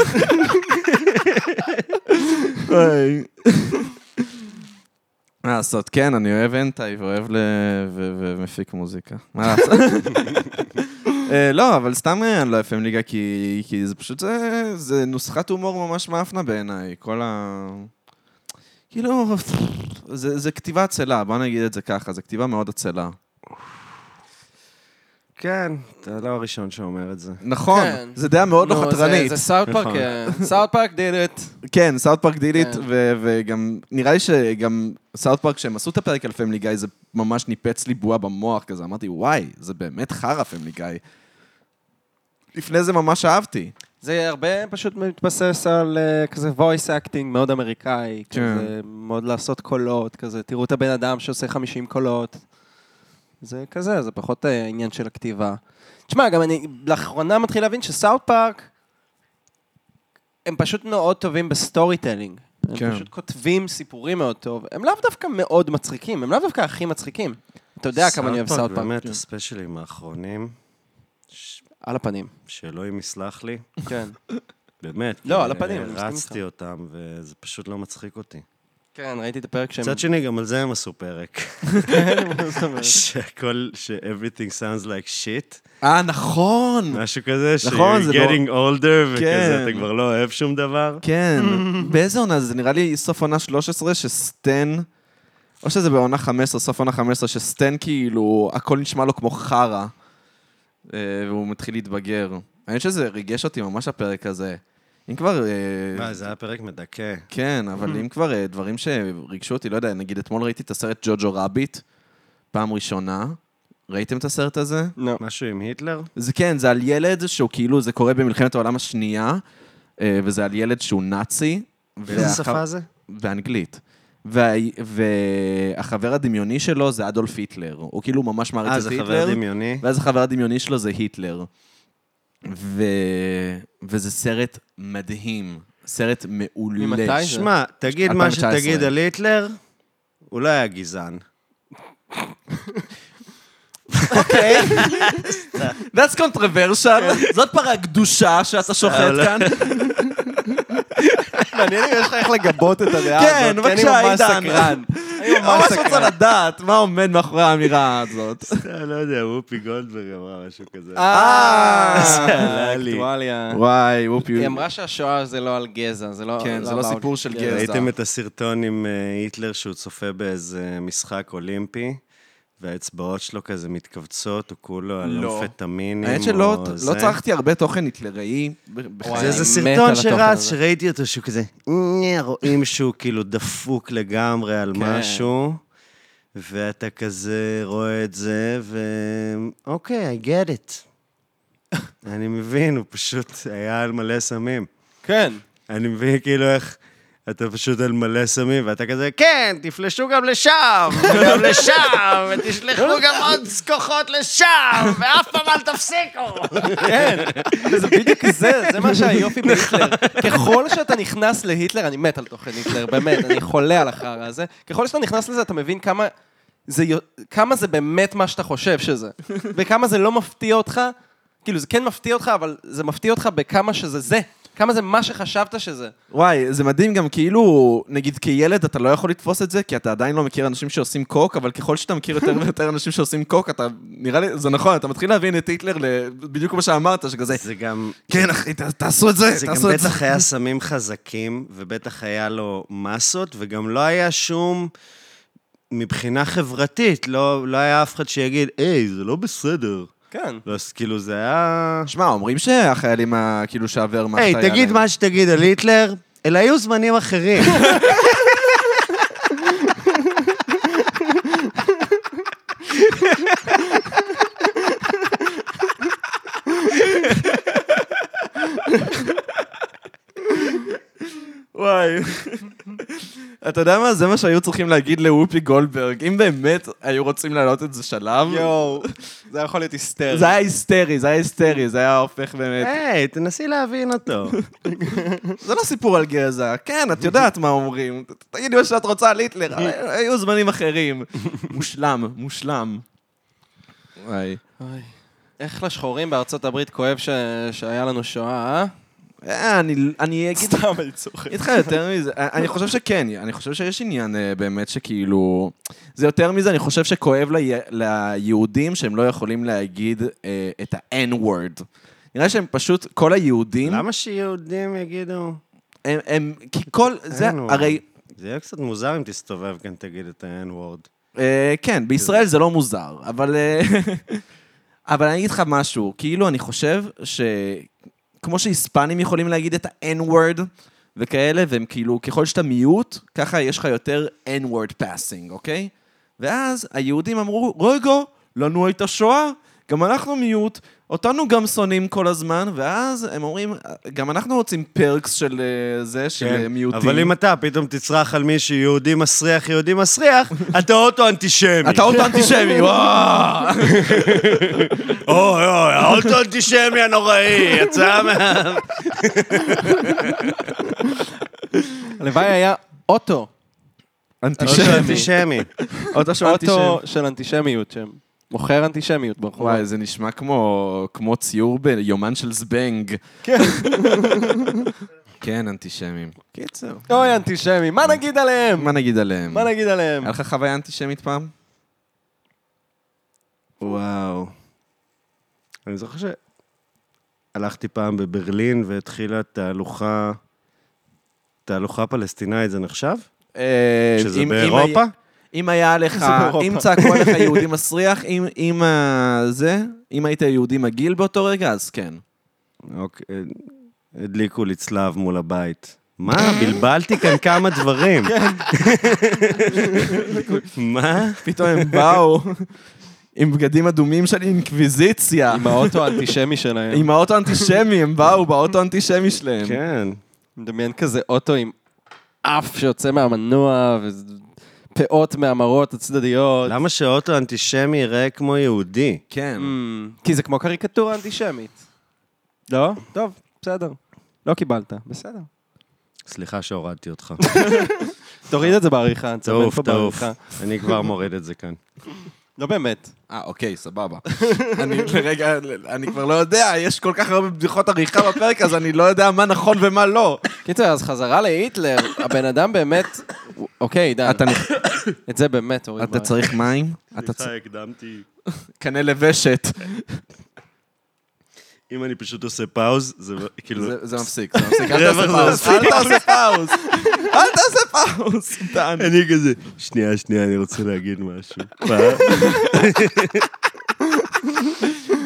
A: וואי. מה לעשות, כן, אני אוהב אנטי ואוהב ל... ו- ומפיק מוזיקה. מה לעשות? אה, לא, אבל סתם אה, אני לא אוהב ליגה, כי כי זה פשוט, זה- זה נוסחת הומור ממש מאפנה בעיניי, כל ה... כאילו, זה זה כתיבה עצלה, בוא נגיד את זה ככה, זה כתיבה מאוד עצלה.
C: כן, אתה לא הראשון שאומר את זה.
A: נכון,
B: כן.
A: זה דעה מאוד לא
B: נו, זה-
A: חתרנית.
B: זה סאוט פארק,
C: נכון.
B: סאוט פארק did it.
A: כן, סאוט פארק דילית,
B: כן.
A: ו- וגם, נראה לי שגם סאוט פארק, כשהם עשו את הפרק על פמילי גיא, זה ממש ניפץ לי בועה במוח כזה. אמרתי, וואי, זה באמת חרא פמילי גיא. לפני זה ממש אהבתי.
B: זה הרבה פשוט מתבסס על אה, כזה voice acting מאוד אמריקאי,
A: כן.
B: כזה מאוד לעשות קולות, כזה תראו את הבן אדם שעושה 50 קולות. זה כזה, זה פחות אה, עניין של הכתיבה. תשמע, גם אני לאחרונה מתחיל להבין שסאוט פארק, הם פשוט מאוד טובים בסטורי טלינג. הם
A: כן.
B: פשוט כותבים סיפורים מאוד טוב. הם לאו דווקא מאוד מצחיקים, הם לאו דווקא הכי מצחיקים. אתה יודע כמה אני אוהב כן. סאוט פארק.
C: באמת, הספיישלים האחרונים, ש-
B: על הפנים.
C: שאלוהים יסלח לי,
B: כן.
C: באמת.
B: לא,
C: כי
B: על הפנים, אני מסכים
C: הרצתי אותם, וזה פשוט לא מצחיק אותי.
B: כן, ראיתי את הפרק שהם...
C: מצד שני, גם על זה הם עשו פרק.
B: כן,
C: שהכל, ש-everything sounds like shit,
A: אה, נכון!
C: משהו כזה,
A: נכון, זה
C: ש-you're
A: נורא-
C: getting older,
A: כן.
C: וכזה, אתה כבר לא אוהב שום דבר.
A: כן. באיזה עונה זה? זה נראה לי סוף עונה 13, שסטן... או שזה בעונה 15, סוף עונה 15, שסטן כאילו, הכל נשמע לו כמו חרא. אה, והוא מתחיל להתבגר. אני חושב שזה ריגש אותי ממש הפרק הזה. אם כבר... אה,
C: מה, זה היה פרק מדכא.
A: כן,
C: Mm-hmm.
A: אבל אם כבר אה, דברים שריגשו אותי, לא יודע, נגיד אתמול ראיתי את הסרט ג'וג'ו רביט, פעם ראשונה. ראיתם את הסרט הזה?
B: לא.
C: משהו עם היטלר?
A: זה כן, זה על ילד שהוא כאילו, זה קורה במלחמת העולם השנייה, אה, וזה על ילד שהוא נאצי.
C: באיזה
A: ואחר-
C: שפה זה?
A: באנגלית. וה... והחבר הדמיוני שלו זה אדולף היטלר. הוא כאילו ממש מעריץ
C: אה,
A: את
C: זה
A: היטלר.
C: חבר דמיוני.
A: ואז החבר הדמיוני שלו זה היטלר. ו... וזה סרט מדהים. סרט מעולה.
B: ממתי?
C: שמע, תגיד מה
A: 2019.
C: שתגיד על היטלר, הוא לא היה גזען.
A: That's controversial. זאת פרה קדושה שאתה שוחט
C: כן. אבל- אה,
A: כאן.
B: מעניין אם יש לך איך לגבות את הדעה הזאת.
A: כן,
B: כי
A: בבקשה,
B: אני ממש
A: עידן.
B: סקרן.
A: אני ממש רוצה לדעת מה עומד מאחורי האמירה הזאת.
C: אה, לא יודע, וופי גולדברג אמרה משהו כזה.
B: אה,
C: עלה לי.
B: אקטואליה.
A: וואי, וופי.
B: היא אמרה שהשואה זה לא על גזע, זה לא...
A: כן, זה לא
B: about
A: סיפור של
B: גזע.
A: גזע.
C: ראיתם את הסרטון עם אה, היטלר שהוא צופה באיזה משחק אולימפי, והאצבעות שלו כזה מתכווצות, הוא כולו על
A: לא.
C: אמפטמינים.
A: האמת שלא
C: או
A: לא
C: זה.
A: צרכתי הרבה תוכן היטלראי. בכלל.
B: וואי,
C: זה איזה
B: אני מת על
C: סרטון
B: התוכן
C: שרץ,
B: הזה.
C: שראיתי אותו, שהוא כזה, "אה", רואים שהוא כאילו דפוק לגמרי על
B: כן.
C: משהו, ואתה כזה רואה את זה, ו... אוקיי, I get it. אני מבין, הוא פשוט היה על מלא סמים.
B: כן.
C: אני מבין כאילו איך אתה פשוט על מלא סמים, ואתה כזה, כן, תפלשו גם לשם, וגם לשם,
B: לא,
C: ותשלחו גם עוד כוחות לשם, ואף פעם אל תפסיקו.
B: כן, זה בדיוק זה, זה מה שהיופי בהיטלר. ככל שאתה נכנס להיטלר, אני מת על תוכן היטלר, באמת, אני חולה על החרא הזה. ככל שאתה נכנס לזה, אתה מבין כמה זה, יו- כמה זה באמת מה שאתה חושב שזה, וכמה זה לא מפתיע אותך. כאילו, זה כן מפתיע אותך, אבל זה מפתיע אותך בכמה שזה זה. כמה זה מה שחשבת שזה.
A: וואי, זה מדהים גם כאילו, נגיד כילד אתה לא יכול לתפוס את זה, כי אתה עדיין לא מכיר אנשים שעושים קוק, אבל ככל שאתה מכיר יותר ויותר אנשים שעושים קוק, אתה, נראה לי, זה נכון, אתה מתחיל להבין את היטלר ל- בדיוק כמו שאמרת, שכזה,
C: זה גם...
A: כן אחי, ת- תעשו את זה,
C: זה גם
A: תעשו את זה.
C: בטח היה סמים חזקים, ובטח היה לו מסות, וגם לא היה שום... מבחינה חברתית, לא, לא היה אף אחד שיגיד, היי, זה לא בסדר.
B: כן.
C: לא, אז כאילו, זה היה...
A: שמע, אומרים שהחיילים, ה- כאילו, שהוורמאכט
C: היי,
A: היה
C: תגיד
A: להם.
C: מה שתגיד על היטלר, אלא היו זמנים אחרים.
A: וואי. אתה יודע מה? זה מה שהיו צריכים להגיד לוופי גולדברג. אם באמת היו רוצים להעלות את זה שלב,
B: יואו, זה יכול להיות היסטרי.
A: זה היה היסטרי, זה היה היסטרי, זה היה הופך באמת.
C: היי, תנסי להבין אותו.
A: זה לא סיפור על גזע. כן, את יודעת מה אומרים. ת- תגידי מה שאת רוצה על היטלר. היו זמנים אחרים. מושלם, מושלם. וואי.
B: אוי. איך לשחורים בארצות הברית כואב ש... שהיה לנו שואה, אה?
A: אה, אני- אני אגיד
B: סתם אני צוחק.
A: איתך יותר מזה, אה, אני- אני חושב שכן, אני חושב שיש עניין אה, באמת שכאילו... זה יותר מזה, אני חושב שכואב לי- ליהודים שהם לא יכולים להגיד אה, את ה-N-word. נראה שהם פשוט, כל היהודים,
C: למה שיהודים יגידו?
A: הם, הם, כי כל, זה,
C: N-word.
A: הרי,
C: זה יהיה קצת מוזר אם תסתובב כאן, תגיד את ה-N-word.
A: אה, כן, בישראל זה לא מוזר, אבל... אה, אבל אני אגיד לך משהו, כאילו, אני חושב ש... כמו שהיספנים יכולים להגיד את ה-N-word וכאלה, והם כאילו, ככל שאתה מיעוט, ככה יש לך יותר N-word passing, אוקיי? ואז היהודים אמרו, רגע, לנו הייתה שואה, גם אנחנו מיעוט, אותנו גם שונאים כל הזמן, ואז הם אומרים, גם אנחנו רוצים פרקס של אה, זה, של אה, מיעוטים.
C: כן, אבל אם אתה פתאום תצרח על מישהו יהודי מסריח, יהודי מסריח, אתה אוטו אנטישמי.
A: אתה אוטו אנטישמי, וואו!
C: אוי אוי, האוטו אנטישמי הנוראי, יצא מה...
B: הלוואי היה אוטו.
C: אוטו
A: אנטישמי.
C: אנטישמי.
A: אוטו של אנטישמי.
B: אוטו של אנטישמיות שם. מוכר אנטישמיות ברחוב.
A: וואי, זה נשמע כמו, כמו ציור ביומן של זבנג.
B: כן.
A: כן, אנטישמים. קיצר.
B: אוי, אנטישמים, מה נגיד עליהם?
A: מה נגיד עליהם?
B: מה נגיד עליהם?
A: היה לך חוויה אנטישמית פעם?
C: וואו. אני זוכר שהלכתי פעם בברלין והתחילה תהלוכה, תהלוכה פלסטינאית, זה נחשב? שזה
A: אה, כן, אם- אם
C: באירופה?
A: היה- אם היה לך,
B: באירופה.
A: אם צעקו עליך יהודי מסריח, אם- אם ה- זה, אם היית יהודי מגעיל באותו רגע, אז כן.
C: אוקיי. הדליקו לי צלב מול הבית. מה, בלבלתי כאן כמה דברים.
A: כן.
C: מה?
A: פתאום הם באו עם בגדים אדומים של אינקוויזיציה.
B: עם האוטו האנטישמי שלהם.
A: עם האוטו האנטישמי, הם באו באוטו האנטישמי שלהם.
C: כן.
B: מדמיין כזה אוטו עם אף שיוצא מהמנוע, ופאות מהמרות הצדדיות.
C: למה שהאוטו האנטישמי ייראה כמו יהודי?
A: כן.
B: אמ, כי זה כמו קריקטורה אנטישמית. לא? טוב, בסדר. לא קיבלת, בסדר.
C: סליחה שהורדתי אותך.
B: תוריד את זה בעריכה, אני צומן
C: תעוף,
B: פה
C: תעוף.
B: בעריכה.
C: אני כבר מורד את זה כאן.
B: לא באמת.
A: אה, אוקיי, סבבה. אני לרגע, אני כבר לא יודע, יש כל כך הרבה בדיחות עריכה בפרק, אז אני לא יודע מה נכון ומה לא.
B: קיצר, אז חזרה להיטלר, הבן אדם באמת... אוקיי, עידן, את זה באמת, אורי.
A: אתה צריך מים? אתה צריך...
C: הקדמתי.
A: קנה לבשת.
C: אם אני פשוט עושה פאוז, זה לא כאילו...
A: זה זה מפסיק, זה מפסיק. אל
C: רווח
A: תעשה
C: זה
A: פאוז,
C: מפסיק.
A: אל תעשה פאוז. אל תעשה פאוז, דן.
C: אני כזה, שנייה, שנייה, אני רוצה להגיד משהו. מה?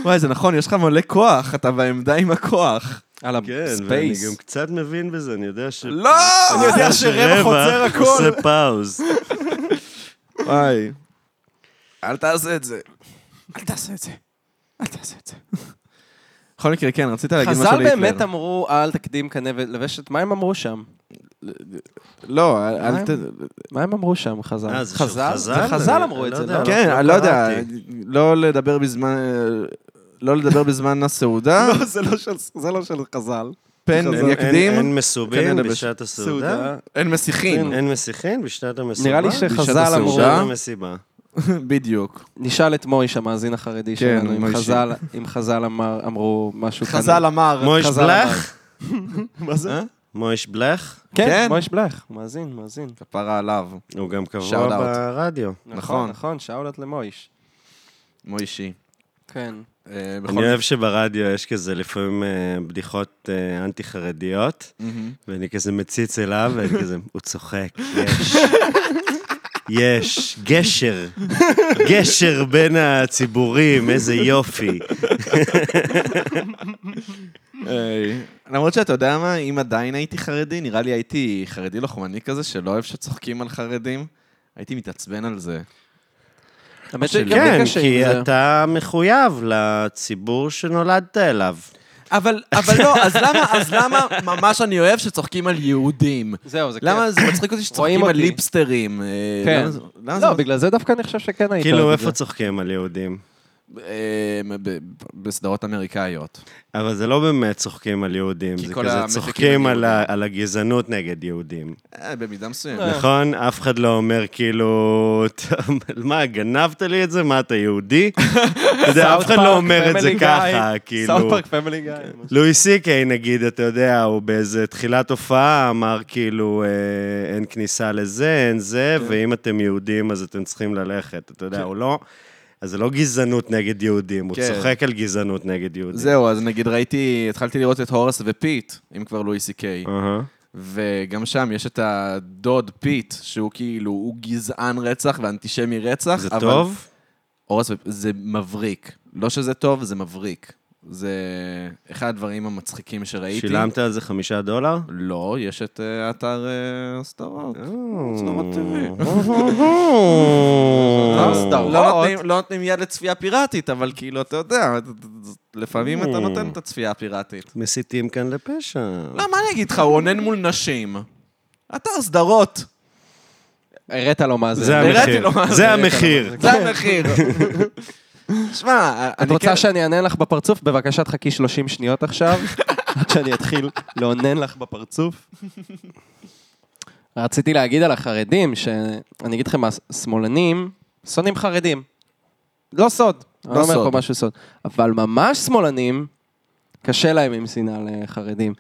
A: וואי, זה נכון, יש לך מלא כוח, אתה בעמדה עם הכוח.
B: על
C: כן, ואני
B: הספייס.
C: גם קצת מבין בזה, אני יודע ש...
A: לא!
C: אני יודע שרווח
B: עוצר הכל.
C: עושה פאוז.
A: וואי. אל תעשה את זה. אל תעשה את זה. אל תעשה את זה. בכל מקרה, כן, רצית להגיד משהו
B: חז"ל
A: להיטלר.
B: באמת אמרו, אל תקדים קנה ולבשת, מה הם אמרו שם?
A: לא, אל- אל
B: מה
A: ת...
B: מה הם אמרו שם, חז"ל?
C: אה, זה של חז"ל?
B: זה חז"ל
C: אני
B: אמרו את
C: לא
B: זה,
C: יודע,
B: לא?
C: לא.
A: כן, אני לא יודע.
C: קראתי.
A: לא לדבר בזמן... לא לדבר בזמן הסעודה.
B: זה לא של חז"ל.
A: פן
C: אין-
A: יקדים.
C: אין- אין מסובין
A: כנראה בש- כן.
C: בשעת הסעודה.
A: אין מסיכים.
C: אין מסיכין בשנת המסיבה.
B: נראה לי
A: בשעת
B: שחז"ל אמרו...
A: הסעודה?
C: בשעת המסיבה.
A: בדיוק.
B: נשאל את מויש, המאזין החרדי
A: כן,
B: שלנו, אם
A: מוישי.
B: חז"ל- אם חז"ל אמר- אמרו משהו כאן.
A: אמר.
C: מויש
B: חז"ל
C: בלך?
A: מה זה?
C: מויש בלך?
B: כן,
A: כן.
B: מויש בלך, הוא מאזין, מאזין.
A: כפרה עליו.
C: הוא גם קבוע
A: Shout out.
C: ברדיו.
A: נכון.
B: נכון, שאולת למויש.
A: מוישי.
B: כן.
A: אה, בכל-
C: אני אוהב שברדיו יש כזה לפעמים אה, בדיחות אה, אנטי-חרדיות,
A: מהמם.
C: ואני כזה מציץ אליו, ואני כזה, הוא צוחק, יש. יש, גשר, גשר בין הציבורים, איזה יופי.
A: היי. למרות שאתה יודע מה, אם עדיין הייתי חרדי, נראה לי הייתי חרדי לוחמני כזה, שלא אוהב שצוחקים על חרדים. הייתי מתעצבן על זה.
B: האמת שגם
C: כן,
B: לי לא קשה עם
C: כי
B: זה.
C: אתה מחויב לציבור שנולדת אליו.
A: אבל, אבל לא, אז למה, אז למה ממש אני אוהב שצוחקים על יהודים?
B: זהו, זה
A: למה זה מצחיק אותי
B: רואים
A: שצוחקים על
B: אותי.
A: ליפסטרים? אה,
B: כן.
A: למה זה- למה זה
B: לא, בגלל זה דווקא אני חושב שכן היית.
C: כאילו,
B: אוהב את
C: איפה
B: זה.
C: צוחקים על יהודים?
A: אה, ב- ב- בסדרות אמריקאיות.
C: אבל זה לא באמת צוחקים על יהודים,
A: כי
C: זה
A: כל
C: כזה
A: המפיקים
C: צוחקים
A: הם
C: על ה- על הגזענות נגד יהודים.
A: אה, במידה
B: אה.
A: מסוימת.
C: נכון? אף אחד לא אומר כאילו, "טוב, מה, גנבת לי את זה? מה, אתה יהודי? אתה יודע, אף אחד לא אומר את זה
B: Family Guy,
C: ככה, כאילו.
B: סאוט פארק פמילי גיא.
C: לואי סי קיי, נגיד, אתה יודע, הוא באיזה תחילת הופעה אמר כאילו, אה, אין כניסה לזה, אין זה,
B: כן.
C: ואם אתם יהודים אז אתם צריכים ללכת, אתה יודע, הוא לא... אז זה לא גזענות נגד יהודים, הוא
A: כן.
C: צוחק על גזענות נגד יהודים.
A: זהו, אז נגיד ראיתי, התחלתי לראות את הורס ופיט, אם כבר לואי סי קיי.
C: אהה.
A: וגם שם יש את הדוד פיט, שהוא כאילו, הוא גזען רצח ואנטישמי רצח.
C: זה
A: אבל-
C: טוב?
A: הורס ופ- זה מבריק. לא שזה טוב, זה מבריק. זה אחד הדברים המצחיקים שראיתי.
C: שילמת על זה חמישה דולר?
A: לא, יש את אה, אתר אה, סדרות.
B: לא
A: סדרות TV.
B: סדרות?
A: לא נותנים- לא נותנים יד לצפייה פיראטית, אבל כאילו, אתה יודע,
C: אה.
A: לפעמים אתה נותן את הצפייה הפיראטית.
C: מסיתים כאן לפשע.
A: לא, מה אני אגיד לך, הוא אונן מול נשים. אתר סדרות.
B: הראת לו מה זה.
C: זה
A: הראיתי
C: המחיר,
A: לו מה זה,
C: זה המחיר.
A: זה המחיר. שמע,
B: את
A: אני
B: רוצה
A: כן-
B: שאני אענה לך בפרצוף? בבקשה תחכי 30 שניות עכשיו, עד שאני אתחיל לאונן לך בפרצוף. רציתי להגיד על החרדים, שאני אגיד לכם, השמאלנים שונאים חרדים. לא סוד,
A: לא
B: לא אומר
A: סוד.
B: פה משהו סוד. אבל ממש שמאלנים, קשה להם עם שנאה לחרדים.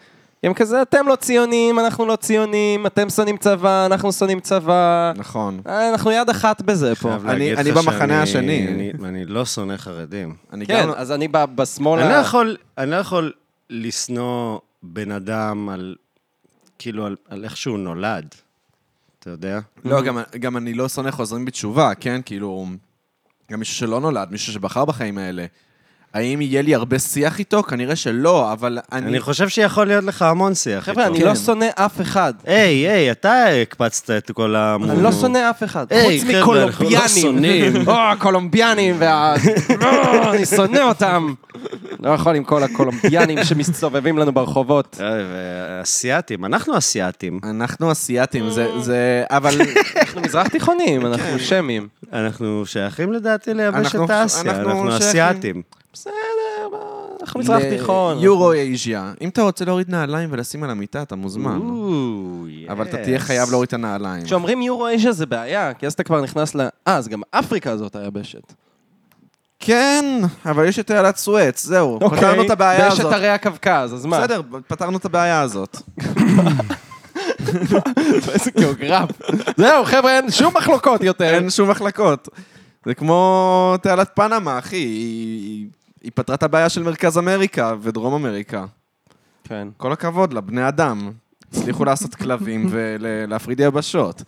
B: הם כזה, אתם לא ציונים, אנחנו לא ציונים, אתם שונאים צבא, אנחנו שונאים צבא.
A: נכון.
B: אה, אנחנו יד אחת בזה פה.
C: חייב
A: אני-
C: להגיד
A: אני
C: לך
A: במחנה
C: שאני-
A: השני.
C: אני- אני לא שונא חרדים.
A: אני
B: כן,
A: גם...
B: אז אני ב- בשמאל...
C: אני לא
B: ה-
C: יכול, אני לא יכול לשנוא בן אדם על, כאילו, על, על איך שהוא נולד, אתה יודע?
A: לא, גם- גם אני לא שונא חוזרים בתשובה, כן? כאילו, גם מישהו שלא נולד, מישהו שבחר בחיים האלה. האם יהיה לי הרבה שיח איתו? כנראה שלא, אבל
C: אני,
A: אני...
C: חושב שיכול להיות לך המון שיח.
B: חבר'ה,
C: איתו.
B: אני
A: כן.
B: לא שונא אף אחד.
C: היי, היי, אתה הקפצת את כל המון.
B: אני לא שונא אף אחד.
C: היי,
B: חוץ
C: חבר'ה, אנחנו לא
B: מקולומביאנים.
C: שונאים.
B: או, הקולומביאנים וה... או, אני שונא אותם. לא יכול עם כל הקולומביאנים שמסתובבים לנו ברחובות.
C: אה, ואסייתים, אנחנו אסייתים.
A: אנחנו אסייתים, זה- זה... אבל...
B: אנחנו מזרח תיכונים, אנחנו שמים.
C: אנחנו שייכים לדעתי לייבשת
A: אנחנו-
C: אסיה,
A: אנחנו
C: אנחנו
A: שייכים.
C: אסייתים.
B: בסדר, מה, אנחנו מזרח
A: ל-
B: תיכון.
A: יורו-אייזיה. אם אתה רוצה להוריד נעליים ולשים על המיטה, אתה מוזמן. אה.
C: Mm.
A: אבל אתה תהיה חייב להוריד את הנעליים.
B: כשאומרים יורו אייז'ה זה בעיה, כי אז אתה כבר נכנס ל... אה, אז גם אפריקה זאת היבשת.
A: כן, אבל יש את תעלת סואץ, זהו. פתרנו את הבעיה
B: אוקיי. ויש את
A: הזאת.
B: ערי הקווקז, אז מה? כן.
A: בסדר, פתרנו את הבעיה הזאת.
B: איזה גיאוגרף. זהו, חבר'ה, אין שום מחלוקות יותר.
A: אין שום מחלקות. זה כמו תעלת פנמה, אחי. היא- היא- היא פתרה את הבעיה של מרכז אמריקה ודרום אמריקה.
B: כן.
A: כל הכבוד לה, בני אדם. הצליחו לעשות כלבים ולהפריד יבשות.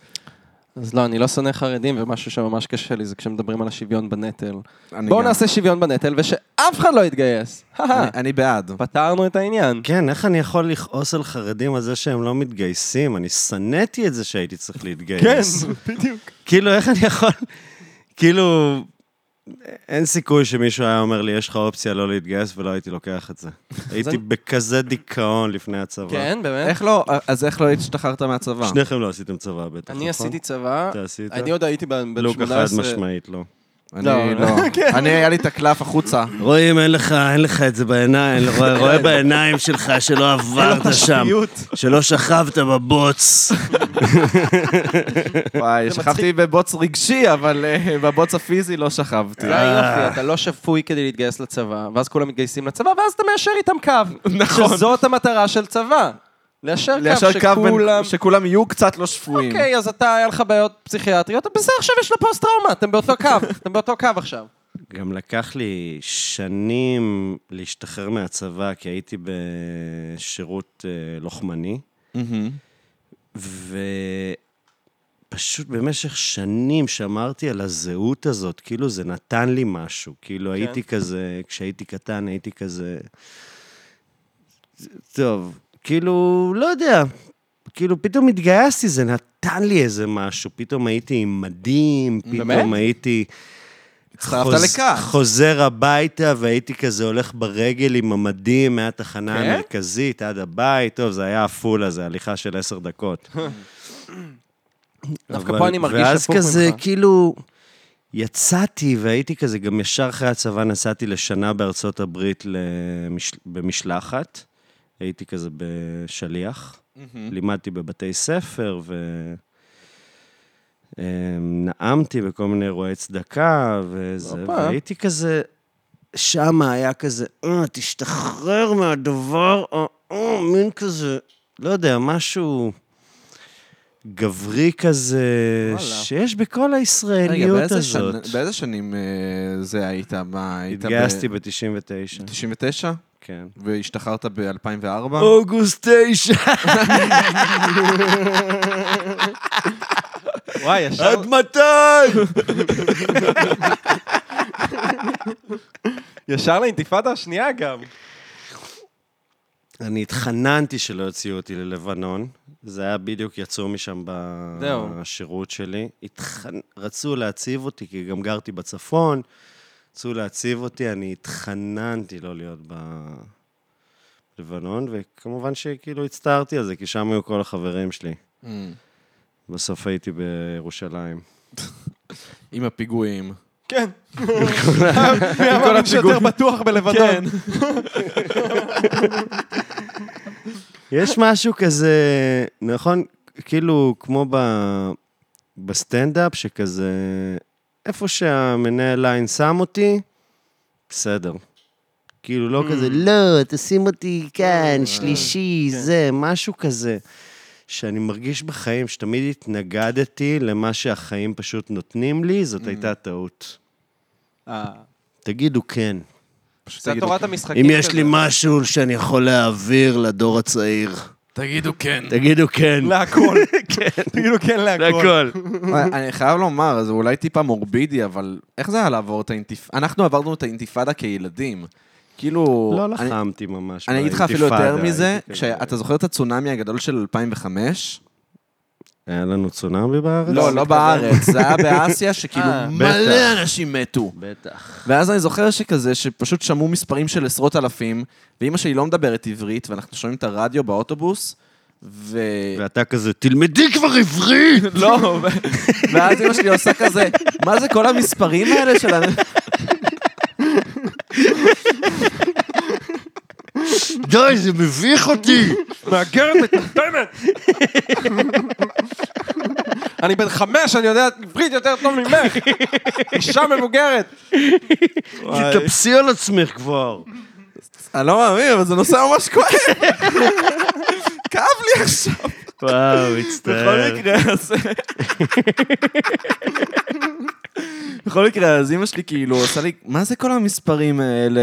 B: אז לא, אני לא שונא חרדים, ומשהו שממש קשה לי זה כשמדברים על השוויון בנטל.
A: אני
B: בואו
A: גם-
B: נעשה שוויון בנטל ושאף אחד לא יתגייס.
A: אני- אני בעד.
B: פתרנו את העניין.
C: כן, איך אני יכול לכעוס על חרדים על זה שהם לא מתגייסים? אני שנאתי את זה שהייתי צריך להתגייס.
B: בדיוק.
C: כאילו, איך אני יכול... כאילו, אין סיכוי שמישהו היה אומר לי, יש לך אופציה לא להתגייס, ולא הייתי לוקח את זה. הייתי
B: אני-
C: בכזה דיכאון לפני הצבא.
B: כן, באמת.
A: איך לא, אז איך לא השתחררת מהצבא?
C: שניכם לא עשיתם צבא בטח, נכון?
B: אני עשיתי צבא,
C: אתה עשית?
B: אני עוד הייתי בן בן
C: לא,
B: 18.
C: חד משמעית, לא.
A: אני
B: לא.
A: לא. אני, היה לי את הקלף החוצה.
C: רואים, אין לך, אין לך את זה בעיניים, רואה, רואה בעיניים שלך שלא
A: לא
C: עברת שם, שלא שכבת בבוץ.
A: וואי,
B: זה
A: שכבתי בבוץ רגשי, אבל אה, בבוץ הפיזי לא שכבתי.
B: זה
A: אה.
B: היופי, אה, אתה לא שפוי כדי להתגייס לצבא, ואז כולם מתגייסים לצבא, ואז אתה מיישר איתם קו.
A: נכון.
B: שזאת המטרה של צבא. ליישר קו
A: ליישר קו בין-
B: שכולם...
A: שכולם יהיו קצת לא שפויים.
B: אוקיי, אז אתה, היה לך בעיות פסיכיאטריות, בסדר, עכשיו יש לו פוסט-טראומה, אתם באותו קו, אתם באותו קו עכשיו.
C: גם לקח לי שנים להשתחרר מהצבא, כי הייתי בשירות אה, לוחמני,
A: מהמם.
C: ופשוט במשך שנים שמרתי על הזהות הזאת, כאילו זה נתן לי משהו. כאילו הייתי כזה, כשהייתי קטן הייתי כזה... טוב, כאילו, לא יודע, כאילו פתאום התגייסתי, זה נתן לי איזה משהו, פתאום הייתי עם מדים, פתאום
B: באמת?
C: הייתי...
A: הצטרפת לכך.
C: חוזר הביתה, והייתי כזה הולך ברגל עם המדים מהתחנה
B: כן?
C: המרכזית עד הבית. טוב, זה היה עפולה, זה הליכה של עשר דקות.
B: דווקא
C: אבל-
B: פה אני מרגיש
C: ואז
B: הפוך
C: כזה,
B: ממך.
C: כאילו, יצאתי והייתי כזה, גם ישר אחרי הצבא נסעתי לשנה בארצות הברית למש... במשלחת. הייתי כזה בשליח. לימדתי בבתי ספר ו... אמ, נאמתי בכל מיני אירועי צדקה וזה,
B: הופה.
C: והייתי כזה, שמה היה כזה, אה, תשתחרר מהדבר, אה, אה, מין כזה, לא יודע, משהו גברי כזה,
B: וואלה.
C: שיש בכל
A: רגע,
C: הישראליות
A: באיזה שנה-
C: הזאת.
A: באיזה שנים אה, זה היית? מה, היית ב-
C: התגייסתי ב-99,
A: 99?
C: כן.
A: והשתחררת ב-2004?
C: אוגוסט 9,
B: וואי,
A: אה.
B: ישר...
C: מתי?
B: ישר לאינתיפאדה השנייה גם.
C: אני התחננתי שלא יוציאו אותי ללבנון. זה היה בדיוק, יצאו משם
B: זהו.
C: בשירות שלי. התח... רצו להציב אותי, כי גם גרתי בצפון. רצו להציב אותי, אני התחננתי לא להיות בלבנון, וכמובן שכאילו הצטערתי על זה, כי שם היו כל החברים שלי.
A: אמ,
C: בסוף הייתי בירושלים.
A: עם הפיגועים.
B: כן. אני כל שיותר בטוח בלבנון.
C: יש משהו כזה, נכון? כאילו, כמו ב... בסטנדאפ, שכזה... איפה שהמנהל ליין שם אותי, בסדר. כאילו, לא כזה, לא, תשים אותי כאן, שלישי, זה, משהו כזה. שאני מרגיש בחיים, שתמיד התנגדתי למה שהחיים פשוט נותנים לי, זאת הייתה טעות. תגידו כן.
B: זה תורת המשחקים.
C: אם יש
B: כאילו כזה.
C: לי משהו שאני יכול להעביר לדור הצעיר,
A: תגידו כן.
C: תגידו כן.
B: להכל. תגידו כן להכל.
C: לכל.
A: אני חייב לומר, זה אולי טיפה מורבידי, אבל איך זה היה לעבור את האינתיפאדה? אנחנו עברנו את האינתיפאדה כילדים. כאילו...
C: לא
A: אני-
C: לחמתי ממש.
A: אני אגיד לך אפילו יותר
C: באינתיפאדה,
A: מזה,
C: הייתי כזה.
A: כשאתה זוכר את הצונאמי הגדול של 2005?
C: היה לנו צונאמי בארץ?
A: לא, לא בארץ, זה היה באסיה, שכאילו
B: אה,
A: מלא
C: בטח.
A: אנשים מתו.
C: בטח.
A: ואז אני זוכר שכזה, שפשוט שמעו מספרים של עשרות אלפים, ואימא שלי לא מדברת עברית, ואנחנו שומעים את הרדיו באוטובוס, ו...
C: ואתה כזה, תלמדי כבר עברית!
A: לא, ו- ואז אמא שלי עושה כזה, מה זה כל המספרים האלה של... ה-
C: די, זה מביך אותי!
B: מהגרת מטומטמת. אני בן חמש, אני יודע עברית יותר טוב ממך. אישה מבוגרת.
C: תתאפסי על עצמך כבר.
A: אני לא מאמין, אבל זה נושא ממש כואב. כאב לי עכשיו.
C: וואו, מצטער.
A: בכל מקרה, אז... בכל מקרה, אז אימא שלי כאילו עושה לי, מה זה כל המספרים האלה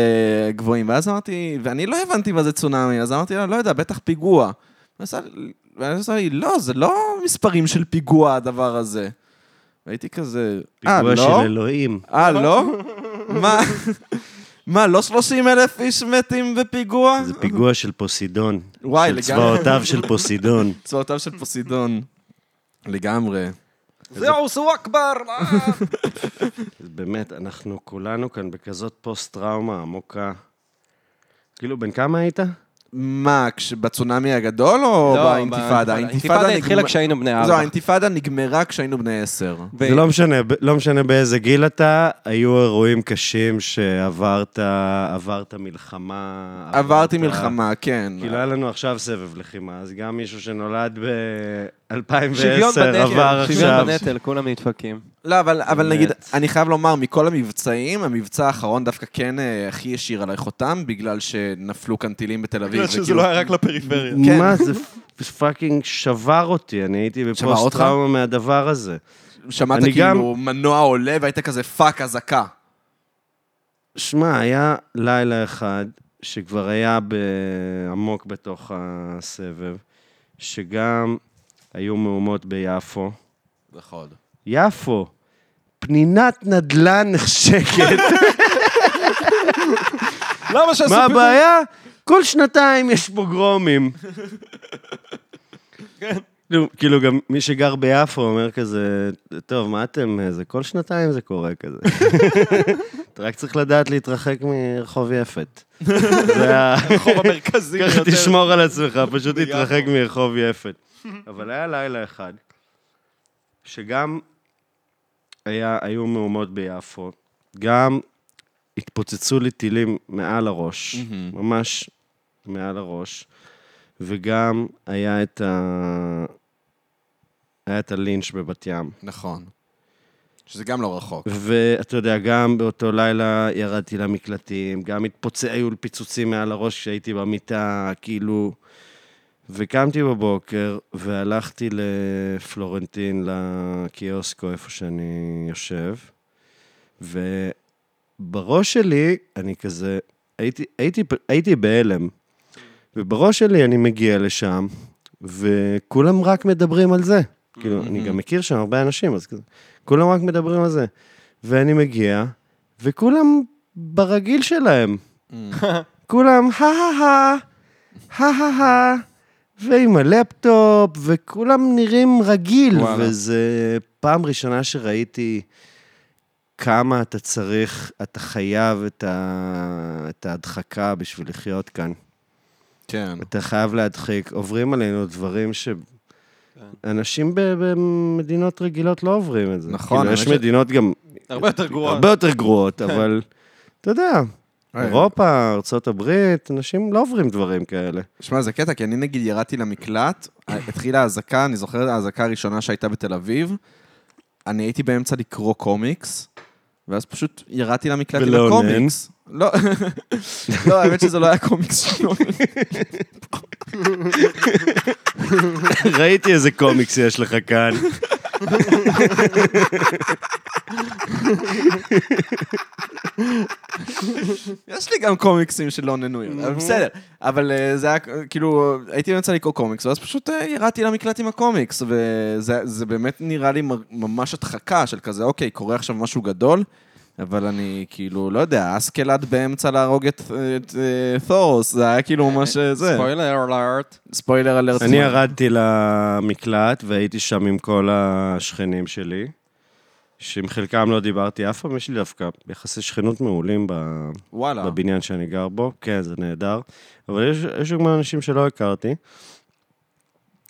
A: גבוהים? ואז אמרתי, ואני לא הבנתי מה זה צונאמי, אז אמרתי לה, לא יודע, בטח פיגוע. ואז עשה לי- ואז עשה לי, לא, זה לא מספרים של פיגוע הדבר הזה. והייתי כזה, אה,
C: פיגוע
A: לא?
C: של אלוהים.
A: אה, לא? מה? מה, לא 30 אלף איש מתים בפיגוע?
C: זה פיגוע של פוסידון.
A: וואי,
C: של
A: לגמרי.
C: צבאותיו של פוסידון.
A: צבאותיו של פוסידון. לגמרי.
B: זהו, סו אכבר.
C: אז באמת, אנחנו כולנו כאן בכזאת פוסט-טראומה עמוקה. כאילו, בן כמה היית?
A: מה, כש- בצונאמי הגדול
B: אה.
A: או לא, באינתיפאדה?
B: האינתיפאדה לא, התחילה
A: נגמ-
B: כשהיינו בני
A: זו,
B: ארבע.
A: האינתיפאדה נגמרה כשהיינו בני עשר.
B: ו-
C: זה לא משנה, ב- לא משנה באיזה גיל אתה, היו אירועים קשים שעברת, עברת מלחמה.
A: עברתי
C: עברת-
A: מלחמה, כן.
C: אה, כאילו, היה לנו עכשיו סבב לחימה, אז גם מישהו שנולד
B: שוויון
C: ב-2010 לא עבר
B: בנטל,
C: עכשיו.
B: שוויון בנטל, כולם נדפקים.
A: לא, אבל- אבל
C: באמת.
A: נגיד, אני חייב לומר, מכל המבצעים, המבצע האחרון דווקא כן אה, הכי השאיר עליי חותם, בגלל שנפלו כאן טילים בתל אביב. וכאילו-
D: היה רק לפריפריה.
A: כן.
C: מה, זה פ- פאקינג שבר אותי, אני הייתי
A: שבר אותך?
C: בפוסט-טראומה מהדבר הזה.
A: שמעת
C: אני
A: כאילו מנוע עולה והיית כזה פאק אזעקה.
C: שמע, היה לילה אחד שכבר היה ב- עמוק בתוך הסבב, שגם היו מהומות ביפו.
A: נכון.
C: יפו, פנינת נדל"ן נחשקת.
B: למה שעשו
C: מה
B: פיגוע?
C: הבעיה? כל שנתיים יש פוגרומים. כאילו- כאילו, גם מי שגר ביפו אומר כזה, טוב, מה אתם, אה, זה כל שנתיים זה קורה כזה. אתה רק צריך לדעת להתרחק מרחוב יפת. זה ה...
D: הרחוב המרכזי
C: ככה
D: ביותר.
C: תשמור על עצמך, פשוט תתרחק מרחוב יפת. אבל היה לילה אחד, שגם היה, היו מהומות ביפו, גם התפוצצו לי טילים מעל הראש, ממש מעל הראש, וגם היה את ה... היה את הלינץ' בבת ים.
A: נכון. שזה גם לא רחוק.
C: ואתה יודע, גם באותו לילה ירדתי למקלטים, גם התפוצ... היו לי פיצוצים מעל הראש כשהייתי במיטה, כאילו... וקמתי בבוקר והלכתי לפלורנטין, לקיוסקו, איפה שאני יושב, ובראש שלי, אני כזה... הייתי, הייתי, פ- הייתי בהלם, ובראש שלי אני מגיע לשם, וכולם רק מדברים על זה. כאילו, אני גם מכיר שם הרבה אנשים, אז כזה... כולם רק מדברים על זה. ואני מגיע, וכולם ברגיל שלהם.
A: Mm.
C: כולם, הא-הא-הא, הא-הא-הא, ועם הלפטופ, וכולם נראים רגיל,
B: וואלה.
C: וזה פעם ראשונה שראיתי כמה אתה צריך, אתה חייב את, ה... את ההדחקה בשביל לחיות כאן.
A: כן.
C: אתה חייב להדחיק. עוברים עלינו דברים ש...
A: כן.
C: אנשים ב- במדינות רגילות לא עוברים את זה.
A: נכון,
C: כאילו, יש
A: האמת ש-
C: מדינות גם
B: הרבה יותר גרוע.
C: הרבה יותר גרועות, אבל אתה יודע, אירופה, ארצות הברית, אנשים לא עוברים דברים כאלה.
A: שמע, זה קטע, כי אני נגיד ירדתי למקלט, התחילה האזעקה, אני זוכר האזעקה הראשונה שהייתה בתל אביב, אני הייתי באמצע לקרוא קומיקס, ואז פשוט ירדתי למקלט עם
C: ולאונן.
A: הקומיקס. לא, לא, האמת שזה לא היה קומיקס שלו.
C: ראיתי איזה קומיקס יש לך כאן.
A: יש לי גם קומיקסים של לא ננויים, אבל בסדר. אבל אה, זה היה, אה, כאילו, הייתי באמצע לקרוא קומיקס, ואז פשוט אה, ירדתי למקלט עם הקומיקס, וזה זה באמת נראה לי מ- ממש הדחקה של כזה, אוקיי, קורה עכשיו משהו גדול, אבל אני כאילו, לא יודע, אסקלד באמצע להרוג את את, אה, תורוס, זה היה כאילו ממש אה, זה.
B: ספוילר אלארט.
A: ספוילר אלרט.
C: אני ירדתי למקלט והייתי שם עם כל השכנים שלי, שעם חלקם לא דיברתי אף פעם, יש לי דווקא יחסי שכנות מעולים ב-
A: וואלה.
C: בבניין שאני גר בו, כן, זה נהדר, אבל יש, יש גם אנשים שלא הכרתי.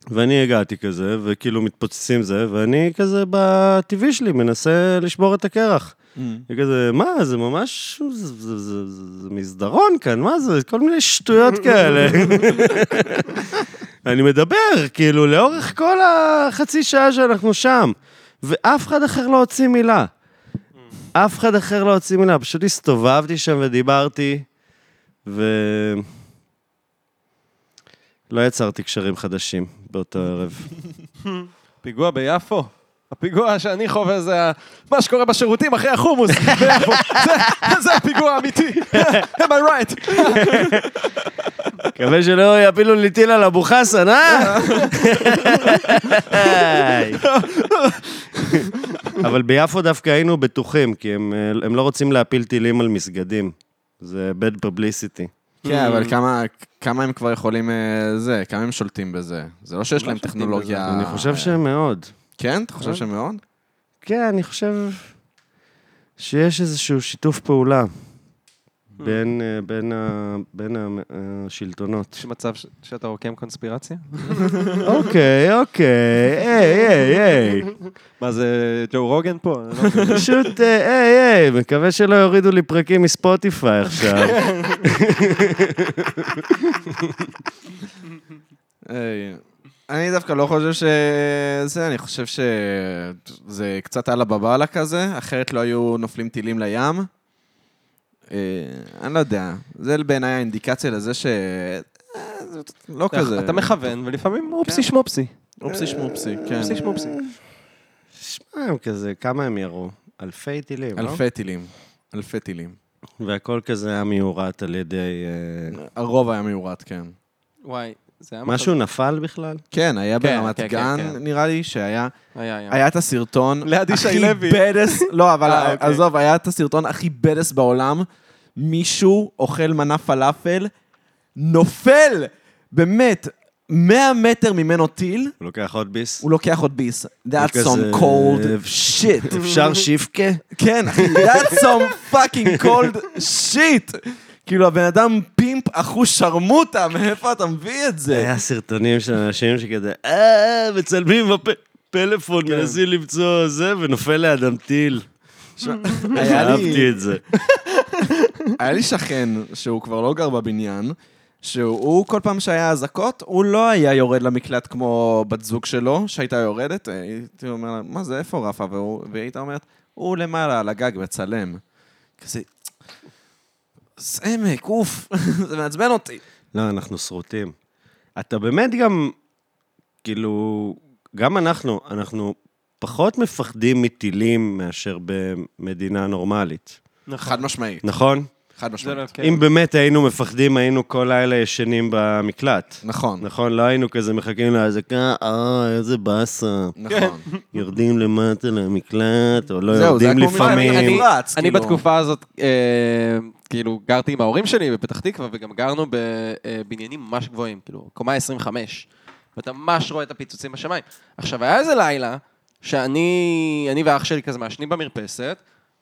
C: ואני הגעתי כזה, וכאילו מתפוצצים זה, ואני כזה בטבעי שלי מנסה לשבור את הקרח. היא כזה, מה, זה ממש, זה, זה, זה, זה, זה מסדרון כאן, מה זה, כל מיני שטויות כאלה. אני מדבר, כאילו, לאורך כל החצי שעה שאנחנו שם, ואף אחד אחר לא הוציא מילה. אף אחד אחר לא הוציא מילה, פשוט הסתובבתי שם ודיברתי, ו... לא יצרתי קשרים חדשים באותו ערב.
B: פיגוע ביפו. הפיגוע שאני חווה זה ה- מה שקורה בשירותים אחרי החומוס ביפו. זה- זה הפיגוע האמיתי. am I right?
C: מקווה שלא יפילו לי טיל על אבו חסן, אה? אבל ביפו דווקא היינו בטוחים, כי הם, אה, הם לא רוצים להפיל טילים על מסגדים. זה bad publicity.
A: כן, אבל כמה- כמה הם כבר יכולים, אה, זה, כמה הם שולטים בזה? זה לא שיש להם טכנולוגיה...
C: אני חושב אה? שמאוד.
A: כן? אתה חושב שמאוד?
C: כן, אני חושב שיש איזשהו שיתוף פעולה בין, אה, בין, ה- בין ה- אה, השלטונות.
B: יש מצב ש- שאתה רוקם קונספירציה?
C: אוקיי, אוקיי, היי, היי, היי.
B: מה זה אה, ג'ו רוגן פה? אני לא יודע.
C: פשוט, אה, היי, היי, מקווה שלא יורידו לי פרקים מספוטיפיי עכשיו.
A: היי, אני דווקא לא חושב ש... זה, אני חושב שזה קצת עלה בבעלה כזה, אחרת לא היו נופלים טילים לים. אה, אני לא יודע, זה בעיניי האינדיקציה לזה ש... אה, זה לא כזה.
B: אתה מכוון, ולפעמים אופסי שמופסי.
A: אופסי שמופסי, כן.
B: אופסי שמופסי.
C: שמע, אה, הם כזה, כמה הם ירו? אלפי טילים, לא?
A: אלפי טילים. אלפי טילים.
C: והכל כזה היה מיורט על ידי... אה,
A: הרוב היה מיורט, כן.
B: וואי, זה היה
C: משהו נפל בכלל?
A: כן, היה
B: כן,
A: ברמת
B: כן, כן,
A: גן,
B: כן.
A: נראה לי, שהיה...
B: היה, היה.
A: היה את הסרטון
B: ליד ישי לוי.
A: הכי בדס, לא, אבל
B: אה, אוקיי.
A: עזוב, היה את הסרטון הכי בדס בעולם. מישהו אוכל מנה פלאפל, נופל, באמת, 100 מטר ממנו טיל,
C: הוא לוקח עוד ביס?
A: הוא לוקח עוד ביס. That's
C: כזה-
A: some cold shit.
C: אפשר שיפקה?
A: כן, אחי, that's some fucking cold shit. כאילו, הבן אדם פימפ אחוז שרמוטה, מאיפה אתה מביא את זה?
C: היה סרטונים של אנשים שכזה, אה, מצלמים בפלאפון, מנסים למצוא זה, ונופל לידם טיל.
A: היה לי...
C: אהבתי את זה.
A: היה לי שכן, שהוא כבר לא גר בבניין, שהוא כל פעם שהיה אזעקות, הוא לא היה יורד למקלט כמו בת זוג שלו, שהייתה יורדת, אה, הייתי אומר לה, מה זה, איפה רפה? והוא- והיא הייתה אומרת, הוא למעלה על הגג מצלם. כזה, סמק, אוף, זה מעצבן אותי.
C: לא, אנחנו שרוטים. אתה באמת גם, כאילו, גם אנחנו, אנחנו פחות מפחדים מטילים מאשר במדינה נורמלית.
A: חד משמעית,
C: נכון?
A: חד
B: לא-
A: משמעית.
B: כן.
C: אם באמת היינו מפחדים, היינו כל לילה ישנים במקלט.
A: נכון,
C: נכון, לא היינו כזה מחכים לאזעקה, אה, איזה באסה.
A: נכון.
C: יורדים למטה למקלט, או לא
A: זהו, זה
C: יורדים
A: היה כמו מלחמת
C: לפעמים.
A: אני- רץ,
B: אני
A: כאילו.
B: בתקופה הזאת, אה, כאילו, גרתי עם ההורים שלי בפתח תקווה, וגם גרנו בבניינים ממש גבוהים, כאילו, קומה 25. ואתה ממש רואה את הפיצוצים בשמיים. עכשיו, היה איזה לילה, שאני אני ואח שלי כזה מעשנים במרפסת,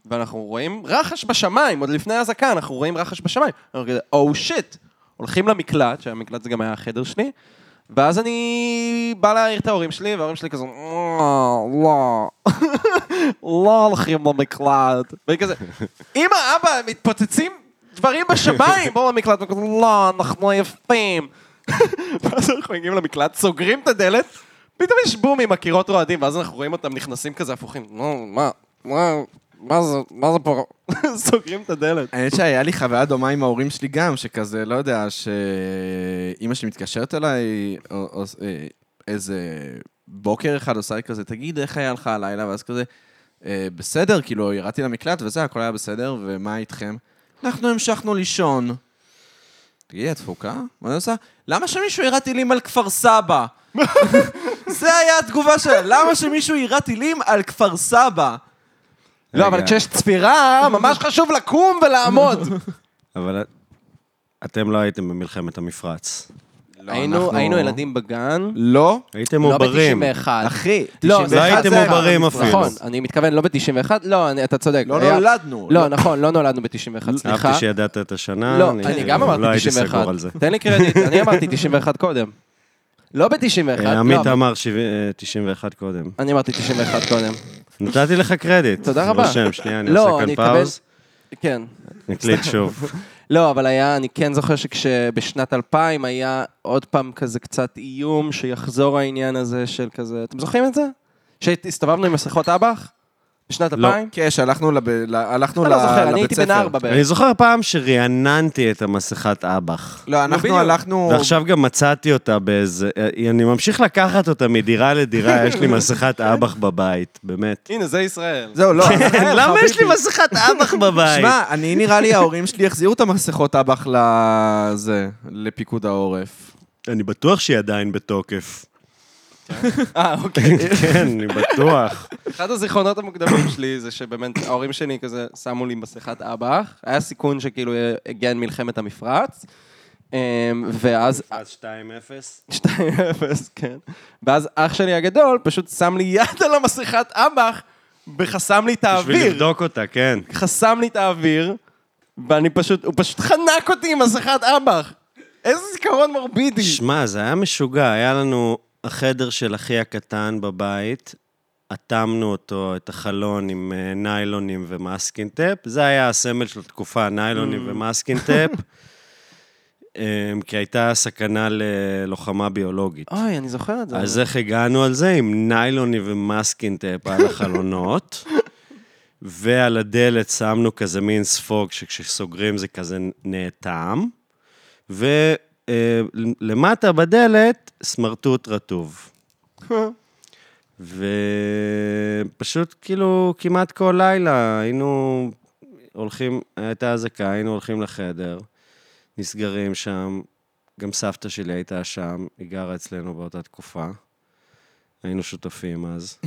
B: ואנחנו רואים רחש בשמיים, עוד לפני האזעקה, אנחנו רואים רחש בשמיים. אנחנו כזה, או שיט. הולכים למקלט, שהמקלט זה גם היה החדר שלי, ואז אני בא להעיר את ההורים שלי, וההורים שלי כזה, לא, לא, לא הולכים למקלט. ואני כזה, אמא, אבא, מתפוצצים דברים בשמיים, בואו למקלט. וכזה, לא, אנחנו יפים. ואז אנחנו מגיעים למקלט, סוגרים את הדלת, פתאום יש בום עם הקירות רועדים, ואז אנחנו רואים אותם נכנסים כזה הפוכים. נו, מה? מה? מה זה, מה זה פה? סוגרים את הדלת.
A: האמת שהיה לי חוויה דומה עם ההורים שלי גם, שכזה, לא יודע, שאימא שלי מתקשרת אליי, או, או אה, איזה בוקר אחד עושה לי כזה, תגיד, איך היה לך הלילה? ואז כזה, "אה, בסדר, כאילו, ירדתי למקלט וזה, הכל היה בסדר, ומה איתכם? אנחנו המשכנו לישון. תגידי, את דפוקה? מה אני עושה? למה שמישהו יירה טילים על כפר סבא? זה היה התגובה שלה, למה שמישהו יירה טילים על כפר סבא?
B: לא, אבל
C: רגע.
B: כשיש צפירה, ממש חשוב לקום ולעמוד.
C: אבל אתם לא הייתם במלחמת המפרץ.
A: אנחנו-
B: בגן,
A: לא,
C: הייתם עוברים.
A: אחי,
B: לא,
A: 91
B: זה
C: לא
B: אחד
C: הייתם
B: זה-
C: עוברים אפילו.
B: נכון, אני מתכוון, לא ב-91, לא, אני- אתה צודק.
A: לא
B: היה-
A: נולדנו.
B: לא, נכון, לא נולדנו ב-91, סליחה.
C: אהבתי שידעת את השנה.
B: לא, אני גם
C: לא
B: אמרתי
C: הייתי
B: 91.
C: סגור על זה.
B: תן לי קרדיט, אני אמרתי 91 קודם. לא ב-91,
C: אה,
B: לא.
C: עמית אמר שבעים- אה, 91 קודם.
B: אני אמרתי 91 קודם.
C: נתתי לך קרדיט.
B: תודה רבה.
C: רושם, שנייה, אני
B: לא,
C: עושה
B: אני
C: כאן
B: אקבל-
C: פאוז.
B: כן.
C: נקליט שוב.
B: לא, אבל היה, אני כן זוכר שכשבשנת 2000 היה עוד פעם כזה קצת איום שיחזור העניין הזה של כזה, אתם זוכרים את זה? שהסתובבנו עם מסכות אב"ח? בשנת
C: לא.
B: 2000?
A: כן, שהלכנו לב- ל- הלכנו
B: אתה
A: ל-
B: לא זוכר, אני
A: לבית
B: הייתי בן
A: ספר.
B: ארבע
C: אני
B: בערך.
C: זוכר פעם שרעננתי את המסכת אב"ח.
A: לא,
B: בדיוק.
A: אנחנו הלכנו...
C: ועכשיו גם מצאתי אותה באיזה... אה, אני ממשיך לקחת אותה מדירה לדירה, יש לי מסכת אב"ח בבית, באמת.
B: הנה, זה ישראל.
A: זהו, לא.
C: למה יש לי מסכת אב"ח בבית?
A: שמע, אני נראה לי ההורים שלי החזירו את המסכות אב"ח לזה, לפיקוד העורף.
C: אני בטוח שהיא עדיין בתוקף.
B: אה, אוקיי.
C: כן, אני בטוח.
B: אחד הזיכרונות המוקדמים שלי זה שבאמת ההורים שלי כזה שמו לי מסכת אב"ח. היה סיכון שכאילו הגיעה מלחמת המפרץ. אמ, ואז
C: אז 2-0.
B: 2-0, כן. ואז אח שלי הגדול פשוט שם לי יד על המסכת אב"ח וחסם לי את
C: בשביל
B: האוויר.
C: לבדוק אותה, כן.
B: חסם לי את האוויר, ואני פשוט, הוא פשוט חנק אותי עם מסכת אב"ח. איזה זיכרון מורבידי.
C: שמע, זה היה משוגע, היה לנו החדר של אחי הקטן בבית, אטמנו אותו, את החלון עם אה, ניילונים ומאסקינטפ, זה היה הסמל של התקופה, ניילונים ומאסקינטפ, אמ, כי הייתה סכנה ללוחמה ביולוגית.
B: אוי, אני זוכר את זה.
C: אז איך הגענו על זה? עם ניילוני ומאסקינטפ על החלונות, ועל הדלת שמנו כזה מין ספוג שכשסוגרים זה כזה נאטם, ולמטה בדלת סמרטוט רטוב. ופשוט כאילו כמעט כל לילה היינו הולכים, הייתה אזעקה, היינו הולכים לחדר, נסגרים שם, גם סבתא שלי הייתה שם, היא גרה אצלנו באותה תקופה. היינו שותפים אז.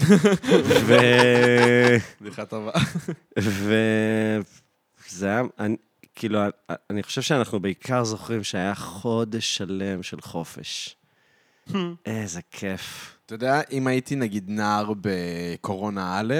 C: ו...
A: בדיחה טובה.
C: ו... זה היה... אני, כאילו, אני חושב שאנחנו בעיקר זוכרים שהיה חודש שלם של חופש. איזה כיף.
A: אתה יודע, אם הייתי נגיד נער בקורונה א',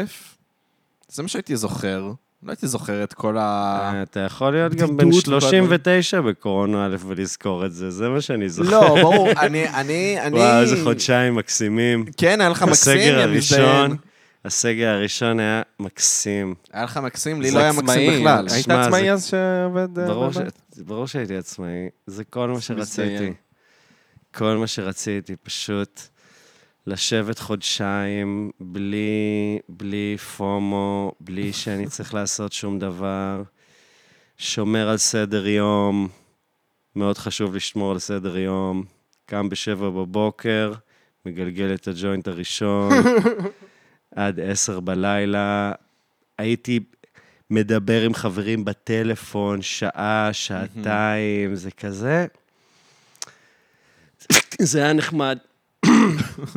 A: זה מה שהייתי זוכר. לא הייתי זוכר את כל ה...
C: אה, אתה יכול להיות גם בן
A: אה, בדידות
C: 39 בקורונה א' ולזכור את זה, זה מה שאני זוכר.
A: לא, ברור, אני... אני... אני...
C: וואו, איזה חודשיים מקסימים.
A: כן, היה לך מקסים,
C: הסגר
A: יא מזדיין.
C: הראשון, הסגר הראשון היה מקסים.
A: היה לך מקסים, לי
B: זה
A: לא היה מקסים
B: עצמאי.
A: בכלל.
B: היית
C: שמע,
B: עצמאי
C: זה-
B: אז שעובד... אה,
C: ברור, ש...
B: בבית?
C: ברור שהייתי עצמאי, זה כל מה שרציתי.
B: מצטיין.
C: כל מה שרציתי, פשוט לשבת חודשיים בלי, בלי פומו, בלי שאני צריך לעשות שום דבר. שומר על סדר יום, מאוד חשוב לשמור על סדר יום. קם בשבע בבוקר, מגלגל את הג'וינט הראשון, עד עשר בלילה. הייתי מדבר עם חברים בטלפון שעה, שעתיים, זה כזה. זה היה נחמד.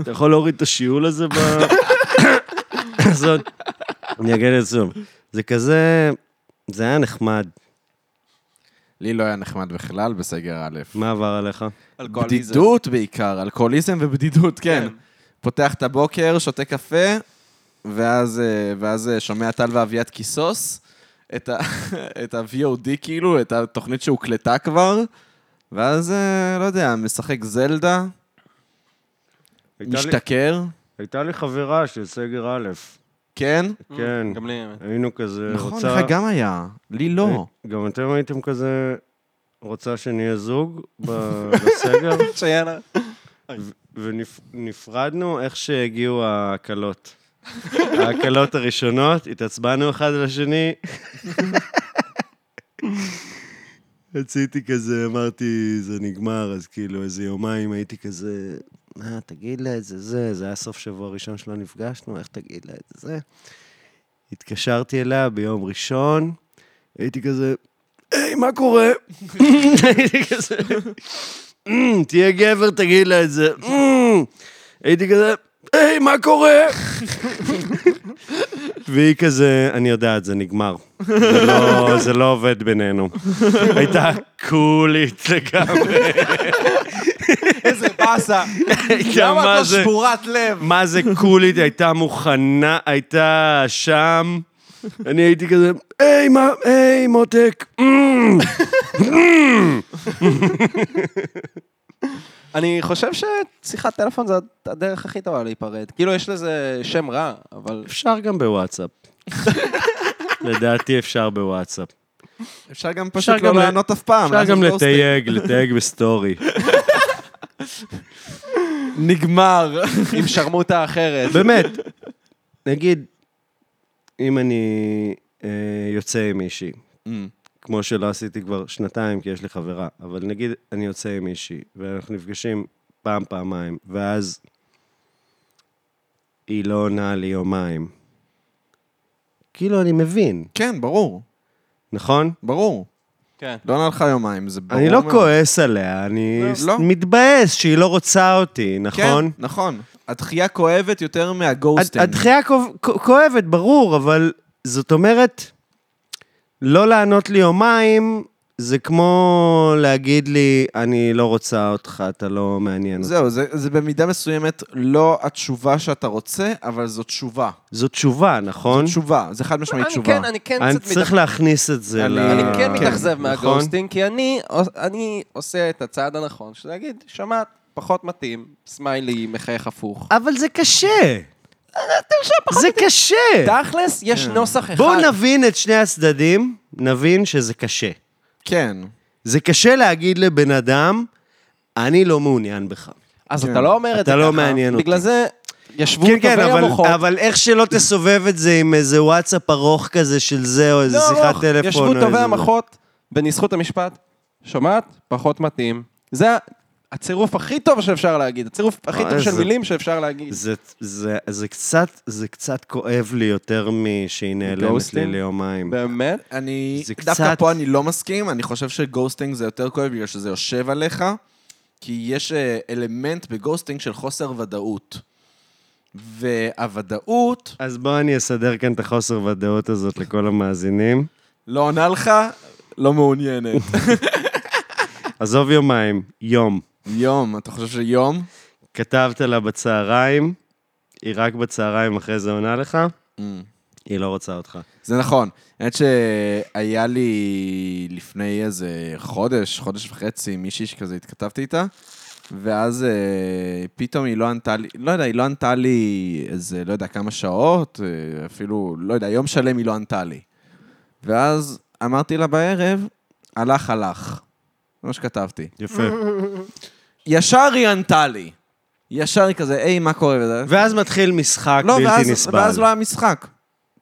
C: אתה יכול להוריד את השיעול הזה ב... זאת, אני אגיד את זה. שוב. זה כזה, זה היה נחמד.
A: לי לא היה נחמד בכלל בסגר א'.
C: מה עבר עליך?
B: אלכוהוליזם.
A: בדידות בעיקר, אלכוהוליזם ובדידות, כן.
B: כן.
A: פותח את הבוקר, שותה קפה, ואז, אה, ואז אה, שומע טל ואביעד כיסוס, את ה- את ה-VOD כאילו, את התוכנית שהוקלטה כבר, ואז, אה, לא יודע, משחק זלדה, משתכר,
C: הייתה לי חברה של סגר א',
A: כן?
C: כן.
B: גם לי.
C: היינו כזה,
A: נכון, לך גם היה, לי לא.
C: גם אתם הייתם כזה, רוצה שנהיה זוג בסגר?
B: שהיה לה.
C: ונפרדנו איך שהגיעו ההקלות. ההקלות הראשונות, התעצבנו אחד על השני. רציתי כזה, אמרתי, זה נגמר, אז כאילו איזה יומיים הייתי כזה, מה, תגיד לה את זה, זה, זה היה סוף שבוע ראשון שלא נפגשנו, איך תגיד לה את זה, זה. התקשרתי אליה ביום ראשון, הייתי כזה, היי, מה קורה? הייתי כזה, "אמ, תהיה גבר, תגיד לה את זה. אמ. הייתי כזה, היי, מה קורה? והיא כזה, אני יודעת, זה נגמר. זה לא- זה לא עובד בינינו. הייתה קולית לגמרי.
B: איזה באסה.
C: הייתה
B: למה את
C: מה
B: לא
C: זה,
B: שבורת לב?
C: מה זה קולית, הייתה מוכנה, הייתה שם. אני הייתי כזה, היי, מה, היי, מותק. אמ.
B: אני חושב ששיחת טלפון זה הדרך הכי טובה להיפרד. כאילו, יש לזה שם רע, אבל...
C: אפשר גם בוואטסאפ. לדעתי אפשר בוואטסאפ.
A: אפשר גם
C: אפשר
A: פשוט לא
C: גם ל-
A: לענות אף פעם. לא לעשות
C: אפשר גם
A: גוסטינג.
C: לתייג, לתייג בסטורי.
A: נגמר.
B: עם שרמוטה אחרת.
C: באמת, נגיד, אם אני אה, יוצא עם מישהי, כמו שלא עשיתי כבר שנתיים, כי יש לי חברה, אבל נגיד אני יוצא עם מישהי, ואנחנו נפגשים פעם, פעמיים, ואז היא לא עונה לי יומיים. כאילו, אני מבין,
A: כן, ברור.
C: נכון?
A: ברור.
B: כן.
A: לא ענה לך יומיים, זה ברור.
C: אני לא
A: מאוד.
C: כועס עליה, אני
A: לא.
C: ס-
A: לא.
C: מתבאס שהיא לא רוצה אותי, נכון?
A: כן, נכון. הדחייה כואבת יותר
C: הד-
A: מהגוסטינג.
C: הדחייה כואב- כ- כואבת, ברור, אבל זאת אומרת, לא לענות לי יומיים, זה כמו להגיד לי, אני לא רוצה אותך, אתה לא מעניין אותי.
A: זהו, זה, זה במידה מסוימת לא התשובה שאתה רוצה, אבל זו תשובה.
C: זו תשובה, נכון?
A: תשובה, זה חד משמעית
B: אני
A: תשובה.
B: כן, אני כן
C: אני
B: קצת
C: צריך להכניס את זה
A: אני-
C: ל...
B: אני כן
A: כן,
B: מתאכזב
C: נכון?
B: מהגוסטינג, כי אני, אני עושה את הצעד הנכון, שזה להגיד, שמעת, פחות מתאים, סמיילי, מחייך הפוך.
C: אבל זה
A: אה,
C: קשה. זה קשה.
B: תכלס, יש
C: כן.
B: נוסח אחד.
C: בואו נבין את שני הצדדים, נבין שזה קשה.
A: כן.
C: זה קשה להגיד לבן אדם, אני לא מעוניין בך.
B: אז
A: כן.
B: אתה לא אומר את זה
C: אתה
B: ככה.
C: לא מעניין אותי.
B: בגלל זה ישבו
C: כן, כן,
B: טובי
C: אבל,
B: המוחות.
C: אבל איך שלא תסובב את זה עם איזה וואטסאפ ארוך כזה של זה, או איזה
B: לא,
C: שיחת
B: לא,
C: טלפון. או
B: ישבו
C: איזה-
B: טובי המוחות בניסחות המשפט, שומעת? פחות מתאים. זה הצירוף הכי טוב שאפשר להגיד, הצירוף הכי
C: אה,
B: טוב של
C: זה-
B: מילים שאפשר להגיד.
C: זה, זה, זה, קצת, זה קצת כואב לי יותר משהיא נעלמת לי
B: גוסטינג?
C: ליומיים.
B: באמת?
A: אני,
C: זה
A: דווקא
C: קצת-
A: פה אני לא מסכים, אני חושב שגוסטינג זה יותר כואב בגלל שזה יושב עליך, כי יש אה, אלמנט בגוסטינג של חוסר ודאות. והוודאות
C: אז בואו אני אסדר כאן את החוסר ודאות הזאת לכל המאזינים.
A: לא עונה לך, לא מעוניינת.
C: עזוב יומיים, יום.
A: יום, אתה חושב שיום?
C: כתבת לה בצהריים, היא רק בצהריים אחרי זה עונה לך,
B: Mm.
C: היא לא רוצה אותך.
A: זה נכון. האמת שהיה לי לפני איזה חודש, חודש וחצי, מישהי שכזה התכתבתי איתה, ואז אה, פתאום היא לא ענתה לי, לא יודע, היא לא ענתה לי איזה, לא יודע, כמה שעות, אה, אפילו, לא יודע, יום שלם היא לא ענתה לי. ואז אמרתי לה בערב, הלך, הלך. זה מה שכתבתי.
C: יפה.
A: ישר היא ענתה לי. ישר היא כזה, היי, מה קורה? וזה-
C: ואז מתחיל משחק
A: לא,
C: בלתי
A: ואז,
C: נסבל.
A: ואז לא היה משחק.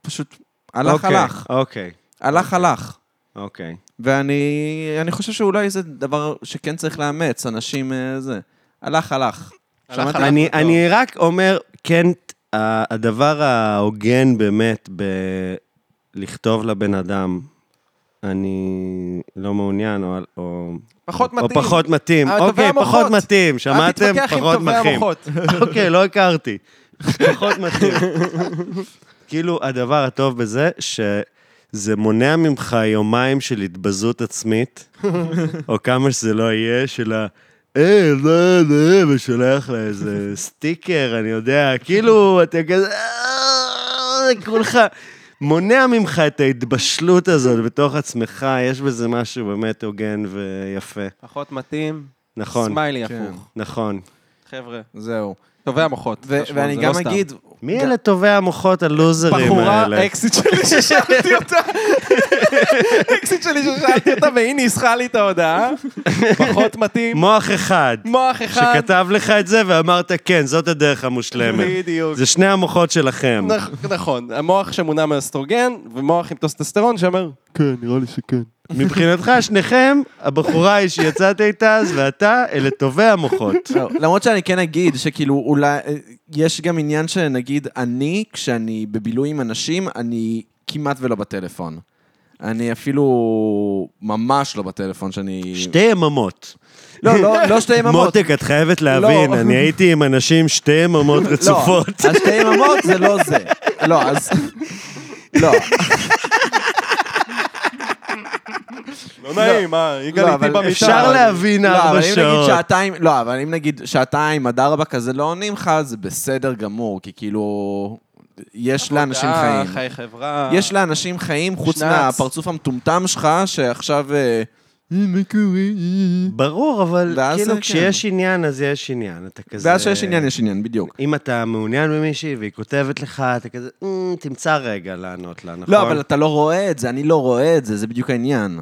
A: פשוט הלך,
C: אוקיי,
A: הלך.
C: אוקיי,
A: הלך, הלך.
C: אוקיי.
A: ואני אני חושב שאולי זה דבר שכן צריך לאמץ, אנשים אה, זה. הלך, הלך. שמעת?
C: אני, אני רק אומר, כן, ה- הדבר ההוגן באמת בלכתוב לבן אדם, אני לא מעוניין, או, או,
B: פחות
C: או
B: מתאים.
C: פחות מתאים.
B: אה,
C: אוקיי,
B: טובי
C: פחות
B: המוחות.
C: מתאים,
B: אל
C: שמעתם?
B: תתווכח עם
C: פחות
B: טובי
C: מתאים.
B: המוחות.
C: אוקיי, לא הכרתי. פחות מתאים. כאילו, הדבר הטוב בזה, שזה מונע ממך יומיים של התבזות עצמית, או כמה שזה לא יהיה, של ה... אה, לא, לא, ושולח לה איזה סטיקר, אני יודע, כאילו, אתה כזה... "אה", כולך... מונע ממך את ההתבשלות הזאת בתוך עצמך, יש בזה משהו באמת הוגן ויפה.
B: פחות מתאים.
C: נכון,
B: סמיילי
A: כן.
B: הפוך.
C: נכון.
B: חבר'ה.
A: זהו.
B: טובי המוחות.
A: ו-
B: חשבון,
A: ואני
B: זה
A: גם
B: לא סתם.
A: אגיד,
C: מי אלה טובי המוחות הלוזרים
B: בחורה,
C: האלה?
B: אקסיט שלי ששאלתי אותה, אקסיט שלי ששאלתי אותה, והיא ניסחה לי את ההודעה. פחות מתאים,
C: מוח אחד,
B: מוח אחד.
C: שכתב לך את זה ואמרת, כן, זאת הדרך המושלמת.
B: בדיוק.
C: זה שני המוחות שלכם.
B: נכ- נכון, המוח שמונע מאסטרוגן, ומוח עם טוסטסטרון שאומר,
C: כן, מבחינתך, שניכם, הבחורה היא שיצאת איתה אז, ואתה, אלה טובי המוחות.
A: לא, למרות שאני כן אגיד שכאילו אולי, אה, יש גם עניין שנגיד אני, כשאני בבילוי עם אנשים, אני כמעט ולא בטלפון. אני אפילו ממש לא בטלפון, שאני...
C: שתי יממות.
A: לא, לא, לא שתי יממות.
C: מותק, את חייבת להבין,
A: לא.
C: אני הייתי עם אנשים שתי יממות רצופות.
A: לא, אז שתי יממות זה לא זה. לא, אז... לא,
B: לא נעים, אה, יגאל
A: לא,
B: איתי
A: אבל
B: במיטה.
C: אפשר להבין
A: לא, אבל
C: ארבע
A: אם נגיד
C: שעות.
A: שעתיים, לא, אבל אם נגיד שעתיים עד ארבע כזה לא עונים לך, זה בסדר גמור, כי כאילו, יש לאנשים
B: אה,
A: חיים.
B: חיי חברה.
A: יש לאנשים חיים חוץ
B: שנץ.
A: מהפרצוף המטומטם שלך, שעכשיו... אה, "אה, מה קורה? אה, אה."
C: ברור, אבל
A: ואז זה
C: כאילו,
A: כן.
C: כשיש עניין, אז יש עניין. אתה כזה...
A: ואז שיש עניין, יש עניין, בדיוק.
C: אם אתה מעוניין במישהי והיא כותבת לך, אתה כזה, "אמ, תמצא רגע לענות לה, נכון?
A: לא, אבל אתה לא רואה את זה, אני לא רואה את זה, זה בדיוק העניין.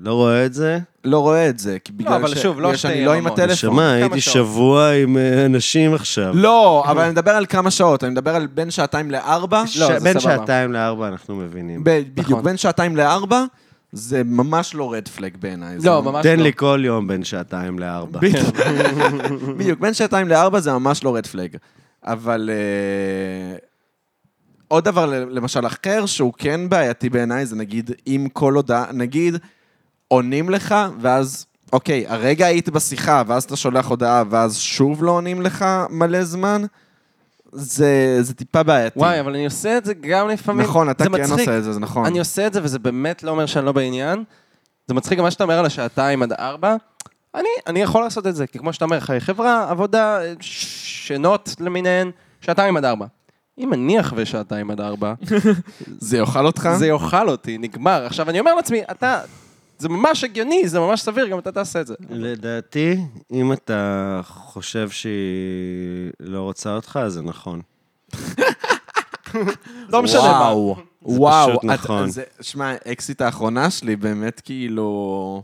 C: לא רואה את זה?
A: לא רואה את זה, כי בגלל
B: אבל
A: ש-
B: שוב, לא
A: בגלל
B: שתי
A: שאני לא עם
B: יממות.
A: הטלפון.
C: שמע, הייתי
B: שעות?
C: שבוע עם אה, אנשים עכשיו.
A: לא, אבל אני מדבר על כמה שעות, אני מדבר על בין שעתיים לארבע.
C: ש-
A: לא, זה
C: בין
A: סבבה.
C: שעתיים לארבע אנחנו מבינים.
A: ב- בדיוק,
B: נכון.
A: בין שעתיים לארבע, זה ממש לא רד פלג בעיניי. זה
B: לא, ממש
C: תן
B: לא.
C: לי כל יום בין שעתיים לארבע.
A: בדיוק, בין שעתיים לארבע זה ממש לא רד פלג. אבל אה, עוד דבר, ל- למשל, אחר שהוא כן בעייתי בעיניי, זה נגיד, אם כל הודעה, נגיד, עונים לך, ואז, אוקיי, הרגע היית בשיחה, ואז אתה שולח הודעה, ואז שוב לא עונים לך מלא זמן, זה, זה טיפה בעייתי.
B: וואי, אבל אני עושה את זה גם לפעמים.
A: נכון, אתה
B: זה
A: כן
B: מצחיק.
A: עושה את זה, זה נכון.
B: אני עושה את זה, וזה באמת לא אומר שאני לא בעניין. זה מצחיק גם מה שאתה אומר על השעתיים עד ארבע. אני, אני יכול לעשות את זה, כי כמו שאתה אומר, חיי חברה, עבודה, ש- שנות למיניהן, שעתיים עד ארבע. אם אני אחווה שעתיים עד ארבע,
A: זה יאכל אותך?
B: זה יאכל אותי, נגמר. עכשיו, אני אומר לעצמי, אתה, זה ממש הגיוני, זה ממש סביר, גם אתה תעשה את זה.
C: לדעתי, אם אתה חושב שהיא לא רוצה אותך, אז זה נכון.
B: לא משנה מה.
A: וואו, וואו.
C: פשוט
A: את-
C: נכון.
A: זה- שמע, האקסיט האחרונה שלי באמת כאילו...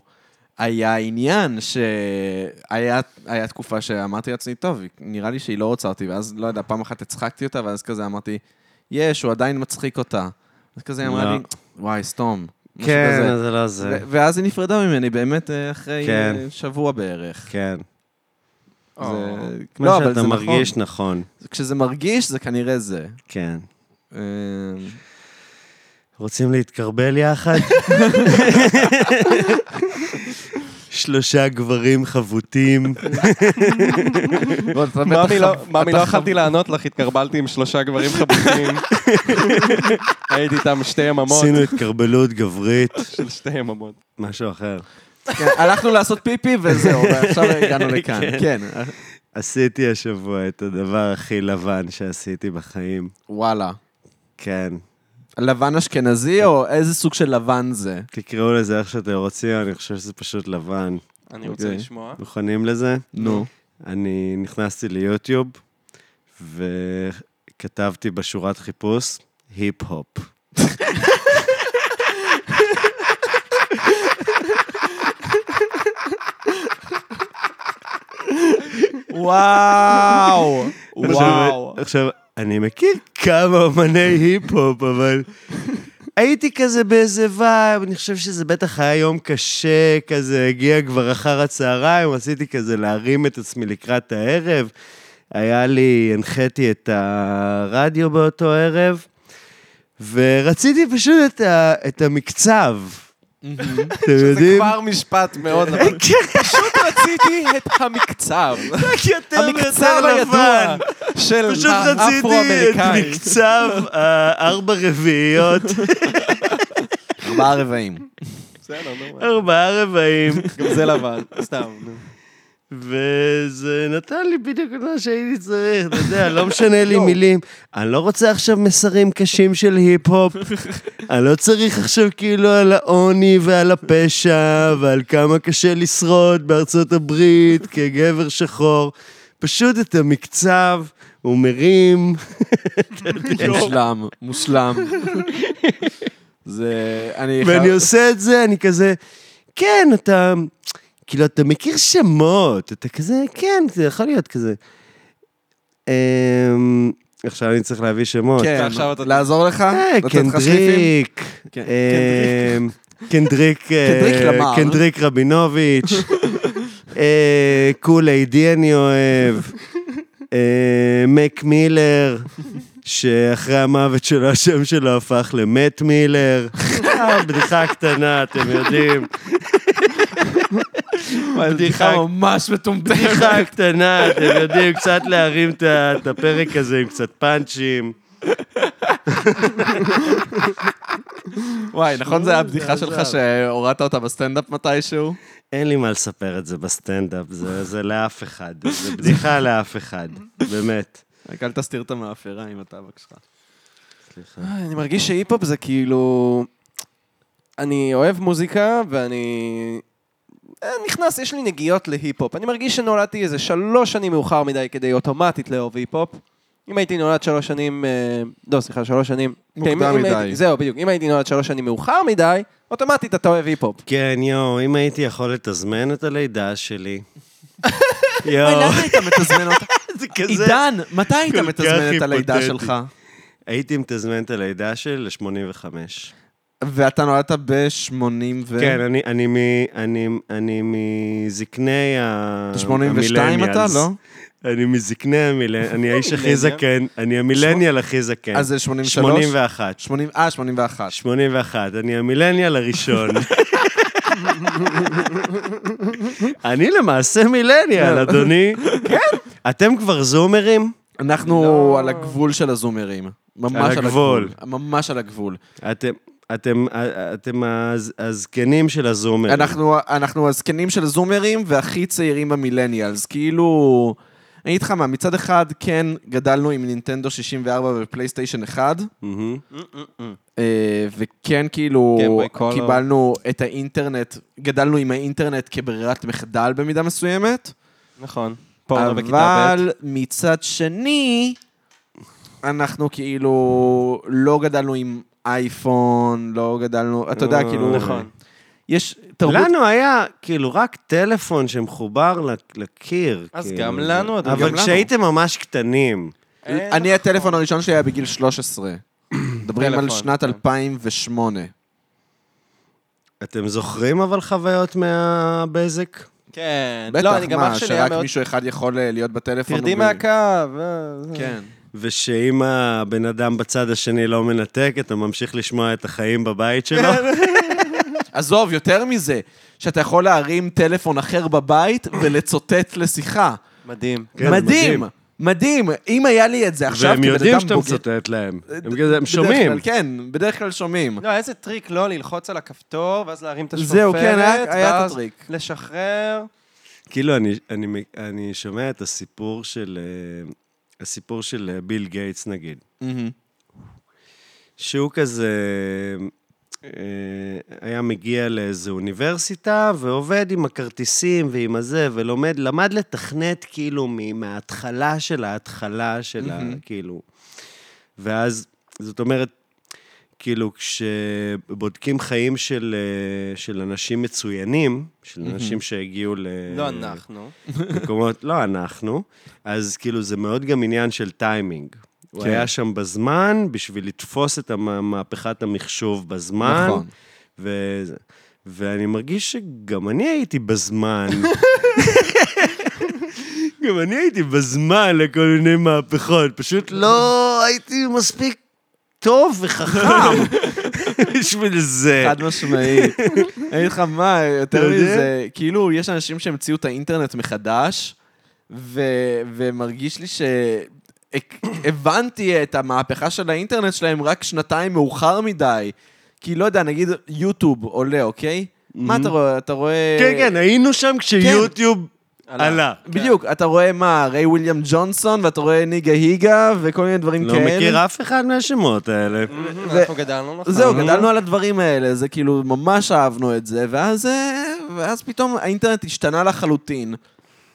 A: היה עניין שהיה היה תקופה שאמרתי לעצמי, טוב, נראה לי שהיא לא רוצה אותי, ואז, לא יודע, פעם אחת הצחקתי אותה, ואז כזה אמרתי, יש, הוא עדיין מצחיק אותה. אז כזה היא אמרה
C: לא.
A: לי, וואי, סתום. משהו
C: כן,
A: כזה.
C: אז זה לא
A: ו-
C: זה.
A: ואז היא נפרדה ממני באמת אה, אחרי
C: כן.
A: אה, שבוע בערך.
C: כן.
A: זה-
B: אה.
C: מה
A: לא, אבל
C: שאתה
A: זה
C: מרגיש
A: נכון.
C: נכון.
A: כשזה מרגיש, זה כנראה זה.
C: כן.
A: אה,
C: רוצים להתקרבל יחד? שלושה גברים חבוטים.
A: בוא, אתה בטח
B: מאמי, לא-
A: חב-
B: מאמי,
A: אתה
B: לא
A: חב-
B: יכלתי לענות לך, התקרבלתי עם שלושה גברים חבוקים. הייתי איתם שתי יממות,
C: עשינו התקרבלות גברית.
B: של שתי יממות.
C: משהו אחר.
A: כן, הלכנו לעשות פיפי וזהו, ועכשיו הגענו לכאן. כן.
C: עשיתי השבוע את הדבר הכי לבן שעשיתי בחיים.
A: וואלה.
C: כן.
A: לבן אשכנזי או איזה סוג של לבן זה?
C: תקראו לזה איך שאתם רוצים, אני חושב שזה פשוט לבן.
B: אני רוצה
A: אוקיי.
B: לשמוע.
C: מוכנים לזה?
A: נו.
C: אני נכנסתי ליוטיוב וכתבתי בשורת חיפוש היפ-הופ.
A: וואו. וואו.
C: עכשיו, עכשיו, אני מכיר כמה אמני היפ-הופ, אבל הייתי כזה באיזה וייב, אני חושב שזה בטח היה יום קשה, כזה הגיע כבר אחר הצהריים, רציתי כזה להרים את עצמי לקראת הערב. היה לי, הנחיתי את הרדיו באותו ערב, ורציתי פשוט את, ה, את המקצב. אתם
B: זה
C: יודעים?
B: כבר משפט מאוד לבן. פשוט רציתי את המקצב.
C: רק יותר
B: המקצב הידוע של
C: פשוט רציתי את
B: האפרו-אמריקאי.
C: מקצב הארבע רביעיות,
A: ארבעה רבעים.
B: בסדר, נו,
C: ארבעה רבעים,
B: גם זה לבן, סתם. נו.
C: וזה נתן לי בדיוק את מה שהייתי צריך, אתה יודע, לא משנה לי מילים. אני לא רוצה עכשיו מסרים קשים של היפ-הופ, אני לא צריך עכשיו כאילו על העוני ועל הפשע ועל כמה קשה לשרוד בארצות הברית כגבר שחור. פשוט את המקצב, הוא מרים,
A: מושלם, מושלם. זה... אני...
C: ואני
A: חייב-
C: עושה את זה, אני כזה, כן, אתה, כאילו, אתה מכיר שמות, אתה כזה, כן, זה יכול להיות כזה. אמ, עכשיו אני צריך להביא שמות.
A: כן,
B: עכשיו אתה-
A: לעזור לך?
C: אה,
A: לתת לך שריפים?
C: קנדריק,
A: כן,
C: אמ, קנדריק, אה,
A: קנדריק למר.
C: קנדריק רבינוביץ', אה, קול איי-די אני אוהב, אה, מק מילר, שאחרי המוות שלו השם שלו הפך למט מילר, אה, בדיחה קטנה, אתם יודעים,
A: בדיחה ממש מטומטמת.
C: בדיחה קטנה, אתם יודעים, קצת להרים את ה- את הפרק הזה עם קצת פאנצ'ים.
A: וואי, נכון זה היה הבדיחה שלך שהורדת אותה בסטנדאפ מתישהו?
C: אין לי מה לספר את זה בסטנדאפ, זה, זה לאף אחד, זה בדיחה לאף אחד, באמת.
A: רק אל תסתיר את המאפרה עם הטבק שלך.
B: אה, אני מרגיש שהיפ-הופ זה כאילו... אני אוהב מוזיקה, ואני... אה, נכנס, יש לי נגיעות להיפ-הופ. אני מרגיש שנולדתי איזה שלוש שנים מאוחר מדי כדי אוטומטית לאהוב היפ-הופ. אם הייתי נולד שלוש שנים... אה, לא, סליחה, שלוש שנים...
A: מוקדם
B: כן, אם- אם
A: מדי.
B: הייתי- זהו, בדיוק. אם הייתי נולד שלוש שנים מאוחר מדי, אוטומטית אתה אוהב היפ-הופ.
C: כן, יואו, אם הייתי יכול לתזמן את הלידה שלי. יואו,
A: היית מתזמן אותה?
C: זה כזה...
A: עידן, מתי היית
C: כל כך
A: מתזמן את הלידה
C: היפותטי.
A: שלך?
C: הייתי מתזמן את הלידה שלי ל-85.
A: ואתה נולדת ב-80 ו...
C: כן, אני, אני, מ, אני, אני מזקני ה...
A: 82 אתה,
C: המילניאלס.
A: לא?
C: אני מזקני המילניאל, אני האיש הכי זקן, אני המילניאל הכי זקן.
A: אז זה 83?
C: 81.
A: 80, אה, 81.
C: 81, אני המילניאל הראשון. אני למעשה מילניאל,
B: לא.
C: אדוני. כן. אתם כבר זומרים?
A: אנחנו על הגבול של הזומרים. ממש על
C: הגבול.
A: הגבול. ממש על הגבול.
C: אתם... אתם, אתם הז- הזקנים של הזומרים.
A: אנחנו, אנחנו הזקנים של זומרים והכי צעירים במילניאלס. כאילו, אני אגיד לך מה, מצד אחד כן גדלנו עם נינטנדו 64 ופלייסטיישן 1,
C: מהמם.
A: אה, וכן כאילו
B: Game Boy Color.
A: קיבלנו את האינטרנט, גדלנו עם האינטרנט כברירת מחדל במידה מסוימת,
B: נכון. פורנו בכיתה ב'.
A: אבל מצד שני, אנחנו כאילו לא גדלנו עם אייפון, לא גדלנו, אתה יודע,
C: אה,
A: כאילו...
B: נכון.
A: יש תרבות
C: לנו היה כאילו רק טלפון שמחובר לק- לקיר.
B: אז
C: כאילו.
B: גם לנו, אדוני. גם
C: אבל
B: לנו.
C: כשהייתם ממש קטנים,
B: אין נכון.
A: אני, הטלפון הראשון שלי היה בגיל 13. מדברים על
B: טלפון, לא,
A: שנת
B: כן.
A: 2008.
C: אתם זוכרים אבל חוויות מהבזק?
B: כן.
A: בטח,
B: לא, אני גם
A: מה,
B: אח שלי היה
A: שרק
B: מאוד...
A: מישהו אחד יכול אה, להיות בטלפון.
B: תרדי
A: וב-
B: מהקו. אה, זה-
A: כן.
C: ושאם הבן אדם בצד השני לא מנתק, אתה ממשיך לשמוע את החיים בבית שלו.
A: עזוב, יותר מזה, שאתה יכול להרים טלפון אחר בבית ולצוטט לשיחה.
B: מדהים.
C: כן,
A: מדהים. מדהים. אם היה לי את זה עכשיו,
C: והם
A: כבן
C: יודעים
A: אדם
C: שאתה
A: בוגר-
C: מצטט להם. הם כזה, הם
A: בדרך
C: שומעים.
A: כלל, כן, בדרך כלל שומעים.
B: לא, איזה טריק לא ללחוץ על הכפתור, ואז להרים את השופרת,
A: זהו, כן, היה- היה את
B: ואז
A: הטריק.
B: לשחרר.
C: כאילו, אני- אני- אני שומע את הסיפור של... אה, הסיפור של אה, ביל גייטס, נגיד.
A: מהמם.
C: שהוא כזה... אה, היה מגיע לאיזו אוניברסיטה ועובד עם הכרטיסים ועם הזה ולומד, למד לתכנת כאילו מ- מההתחלה של ההתחלה של ה... כאילו. ואז, זאת אומרת, כאילו כשבודקים חיים של, אה, של אנשים מצוינים, של אנשים שהגיעו ל...
B: לא אנחנו.
A: אה,
C: מקומות, לא אנחנו, אז כאילו זה מאוד גם עניין של טיימינג. הוא
A: כן.
C: היה שם בזמן בשביל לתפוס את המ- מהפכת המחשוב בזמן.
A: נכון.
C: וזה- ואני מרגיש שגם אני הייתי בזמן. גם אני הייתי בזמן לכל מיני מהפכות, פשוט לא הייתי מספיק טוב וחכם בשביל זה.
A: חד משמעית. אני אגיד לך מה, יותר
C: אתה יודע?
A: מזה, כאילו, יש אנשים שהמציאו את האינטרנט מחדש, ו- ומרגיש לי ש... הק- הבנתי את המהפכה של האינטרנט שלהם רק שנתיים מאוחר מדי. כי לא יודע, נגיד יוטיוב עולה, אוקיי? מה אתה רואה? אתה רואה...
C: כן, כן, היינו שם כשיוטיוב
A: כן.
C: עלה.
A: בדיוק, אתה רואה מה, ריי וויליאם ג'ונסון, ואתה רואה ניגה היגה, וכל מיני דברים
C: לא
B: כן.
A: כאלה.
C: מכיר אף אחד מהשמות האלה.
B: אנחנו גדלנו נכון.
A: זהו, גדלנו על הדברים האלה, זה כאילו, ממש אהבנו את זה, ואז, אה, ואז פתאום האינטרנט השתנה לחלוטין,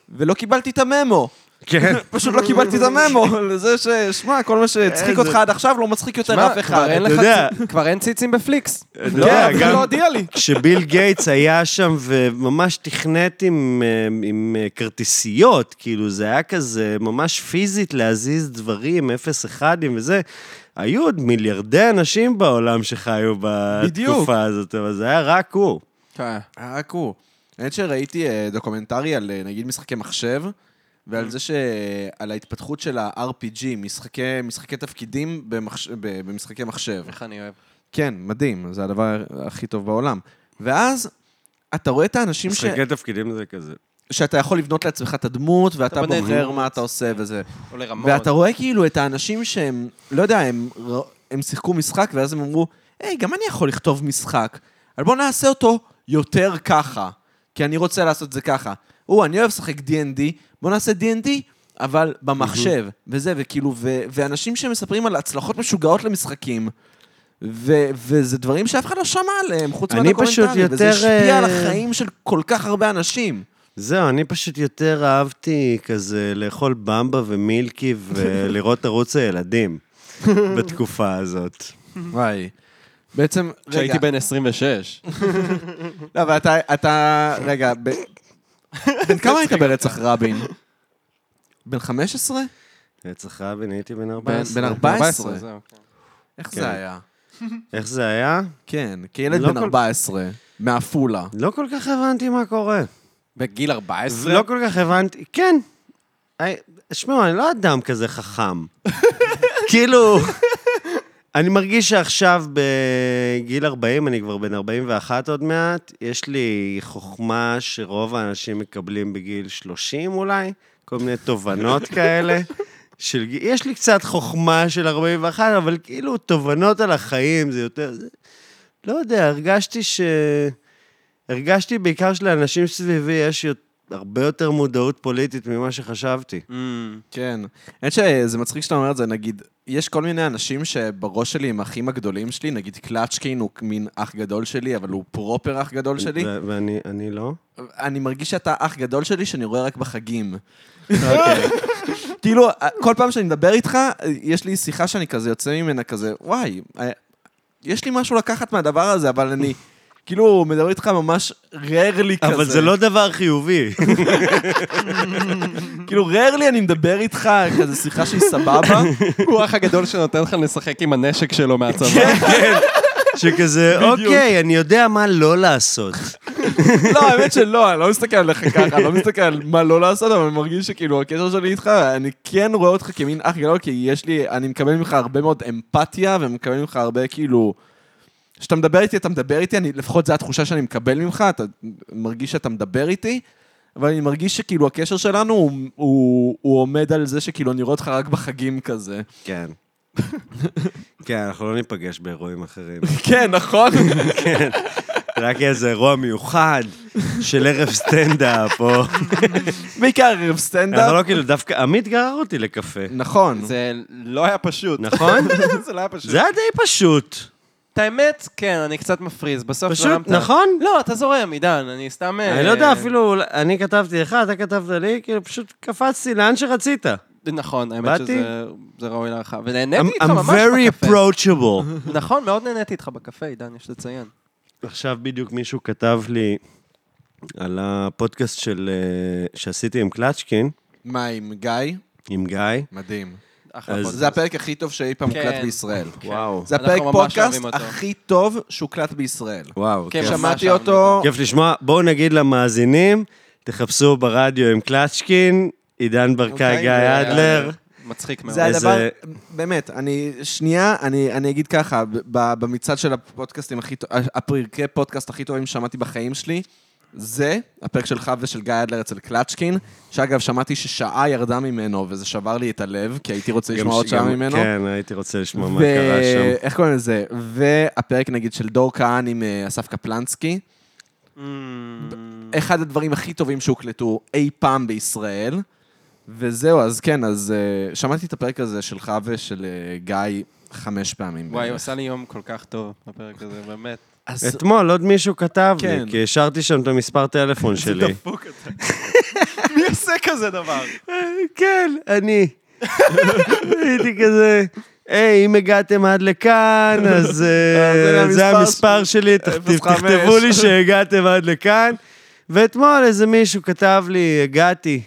A: ולא קיבלתי את הממו.
C: כן.
A: פשוט לא קיבלתי את הממו, לזה ש... שמע, כל מה שהצחיק
C: איזה-
A: אותך עד עכשיו לא מצחיק יותר
B: שמע,
A: אף אחד.
B: כבר אין
C: אתה
B: לך
C: יודע.
B: צ- כבר אין ציצים בפליקס.
A: כן.
C: אתה
B: לא,
C: יודע,
B: אף אחד
C: גם-
B: לא הודיע לי.
C: כשביל גייטס היה שם וממש תכנת עם, אה, עם אה, כרטיסיות, כאילו זה היה כזה ממש פיזית להזיז דברים, אפס אחדים וזה. היו עוד מיליארדי אנשים בעולם שחיו
B: בדיוק.
C: בתקופה הזאת, אבל זה היה רק הוא.
A: כן. רק הוא. אה, האמת שראיתי אה, דוקומנטרי על אה, נגיד משחקי מחשב,
B: Mm.
A: ועל זה ש... על ההתפתחות של ה-RPG, משחקי, משחקי תפקידים במחש... ב- במשחקי מחשב.
B: איך אני אוהב.
A: כן, מדהים, זה הדבר הכי טוב בעולם. ואז אתה רואה את האנשים ש...
C: משחקי תפקידים זה כזה.
A: שאתה יכול לבנות לעצמך את הדמות, ואתה
B: בונה
A: בוחר
B: דמות.
A: מה אתה עושה וזה.
B: או לרמות.
A: ואתה רואה כאילו את האנשים שהם, לא יודע, הם, ר- הם שיחקו משחק, ואז הם אמרו, היי, גם אני יכול לכתוב משחק, אבל בואו נעשה אותו יותר ככה, כי אני רוצה לעשות את זה ככה. או, אני אוהב לשחק D&D, בואו נעשה D&D, אבל במחשב, וזה, וכאילו, ו- ואנשים שמספרים על הצלחות משוגעות למשחקים. ו- וזה דברים שאף אחד לא שמע עליהם, חוץ
C: אני
A: מהדוקומנטרי,
C: פשוט
A: וזה
C: יותר,
A: השפיע על
C: אה,
A: החיים של כל כך הרבה אנשים.
C: זהו, אני פשוט יותר אהבתי כזה לאכול במבה ומילקי ולראות ערוץ הילדים בתקופה הזאת.
A: וואי. בעצם, רגע,
B: כשהייתי בן 26.
A: לא, אבל אתה, אתה, רגע, ב... בן כמה היית ברצח רבין? בן 15?
C: רצח רבין, הייתי בן
A: בן
C: 14.
A: 14.
B: זהו.
A: איך
C: כן.
A: זה היה?
C: איך זה היה?
A: כן, כילד
C: לא
A: בן
C: כל-
A: 14, מעפולה.
C: לא כל כך הבנתי מה קורה.
B: בגיל 14?
C: לא כל כך הבנתי, כן. היי, שמעו, אני לא אדם כזה חכם. כאילו, אני מרגיש שעכשיו בגיל 40, אני כבר בן 41 עוד מעט, יש לי חוכמה שרוב האנשים מקבלים בגיל 30 אולי, כל מיני תובנות כאלה. של... גיל- יש לי קצת חוכמה של 41, אבל כאילו תובנות על החיים זה יותר... זה- לא יודע, הרגשתי ש... הרגשתי בעיקר שלאנשים סביבי יש יות- הרבה יותר מודעות פוליטית ממה שחשבתי.
B: Mm.
A: כן. האמת שזה מצחיק שאתה אומר את זה, נגיד, יש כל מיני אנשים שבראש שלי הם האחים הגדולים שלי, נגיד קלצ'קין הוא מין אח גדול שלי, אבל הוא פרופר אח גדול שלי.
C: ו- ואני אני לא?
A: אני מרגיש שאתה אח גדול שלי שאני רואה רק בחגים.
C: אוקיי.
A: כאילו, כל פעם שאני מדבר איתך, יש לי שיחה שאני כזה יוצא ממנה כזה, וואי, אה, יש לי משהו לקחת מהדבר הזה, אבל אני, כאילו, מדבר איתך ממש ררלי כזה.
C: אבל זה לא דבר חיובי.
A: כאילו, ררלי אני מדבר איתך, כזה שיחה שהיא סבבה.
B: הוא האח הגדול שנותן לך לשחק עם הנשק שלו מהצבא.
C: שכזה, אוקיי, אני יודע מה לא לעשות.
A: לא, האמת שלא, אני לא מסתכל עליך ככה, אני לא מסתכל על מה לא לעשות, אבל אני מרגיש שכאילו, הקשר שלי איתך, אני כן רואה אותך כמין אח גדול, כי יש לי, אני מקבל ממך הרבה מאוד אמפתיה, ומקבל ממך הרבה, כאילו... כשאתה מדבר איתי, אתה מדבר איתי, אני, לפחות זו התחושה שאני מקבל ממך, אתה מרגיש שאתה מדבר איתי, אבל אני מרגיש שכאילו הקשר שלנו, הוא, הוא, הוא עומד על זה שכאילו אני רואה אותך רק בחגים כזה.
C: כן. כן, אנחנו לא ניפגש באירועים אחרים. כן.
A: כן, נכון?
C: רק איזה אירוע מיוחד של ערב סטנדאפ, או...
A: בעיקר ערב
C: אנחנו
A: סטנדאפ.
C: לא כאילו, דווקא עמית גרר אותי לקפה,
A: נכון.
B: זה לא היה פשוט.
C: נכון?
B: זה לא היה פשוט.
C: זה היה די פשוט.
B: את האמת, כן, אני קצת מפריז. בסוף
C: פשוט,
B: זרמת.
C: נכון?
B: לא, אתה זורם, עידן, אני סתם... אה,
C: אני לא יודע אפילו, אולי- אני כתבתי לך, אתה כתבת לי, כאילו פשוט קפצתי לאן שרצית.
B: נכון, האמת
C: באתי.
B: שזה זה ראוי להערכה.
C: I'm
B: ונהניתי איתך
C: I'm
B: ממש
C: very
B: בקפה.
C: approachable.
B: נכון, מאוד נהניתי איתך בקפה, עידן, יש לציין.
C: עכשיו בדיוק מישהו כתב לי על הפודקאסט של, אה, שעשיתי עם קלצ'קין,
A: מה עם גיא?
C: עם גיא.
A: מדהים.
B: אחלה
C: אז-
B: פודקאסט.
A: זה הפרק הכי טוב שאי פעם הוקלט
B: כן.
A: בישראל.
C: וואו.
A: זה
B: אנחנו
A: הפרק
B: ממש
A: פודקאסט
B: אוהבים אותו.
A: הכי טוב שהוקלט בישראל.
C: וואו,
B: כן,
C: כיף.
B: ממש
A: שמעתי
B: אהבנו
A: אותו,
C: כיף לשמוע. בואו נגיד למאזינים, תחפשו ברדיו עם קלצ'קין, עידן ברקאי,
A: אוקיי,
C: גיא
A: זה-
C: אדלר.
B: אה, מצחיק מאוד.
A: זה הדבר,
C: כן, איזה-
A: באמת, אני, שנייה, אני אני אגיד ככה, ב- ב- במצעד של הפודקאסטים הכי טוב, הפרקי פודקאסט הכי טובים ששמעתי בחיים שלי, זה הפרק שלך ושל גיא אדלר אצל קלצ'קין, שאגב, שמעתי ששעה ירדה ממנו, וזה שבר לי את הלב, כי הייתי רוצה
C: גם
A: לשמוע עוד
C: ש-
A: שעה
C: גם-
A: ממנו.
C: כן, הייתי רוצה לשמוע מה קרה שם.
A: ואיך קוראים לזה? והפרק, נגיד, של דור כהן עם אה, אסף קפלנסקי.
B: Mm,
A: אחד הדברים הכי טובים שהוקלטו אי פעם בישראל. וזהו, אז כן, אז uh, שמעתי את הפרק הזה שלך ושל uh, גיא חמש פעמים.
B: וואי, הוא
A: בערך.
B: עשה לי יום כל כך טוב בפרק הזה, באמת.
A: אז
C: אתמול עוד מישהו כתב
A: כן.
C: לי, כי השארתי שם את המספר טלפון שלי.
B: מי עושה עושה כזה דבר?
C: כן, אני. הייתי כזה, היי, אם הגעתם עד לכאן, אז אה,
A: הנה
C: זה
A: המספר
C: המספר שלי, תכתיב-
A: 05.
C: תכתבו לי שהגעתם עד לכאן. ואתמול איזה מישהו כתב לי, הגעתי.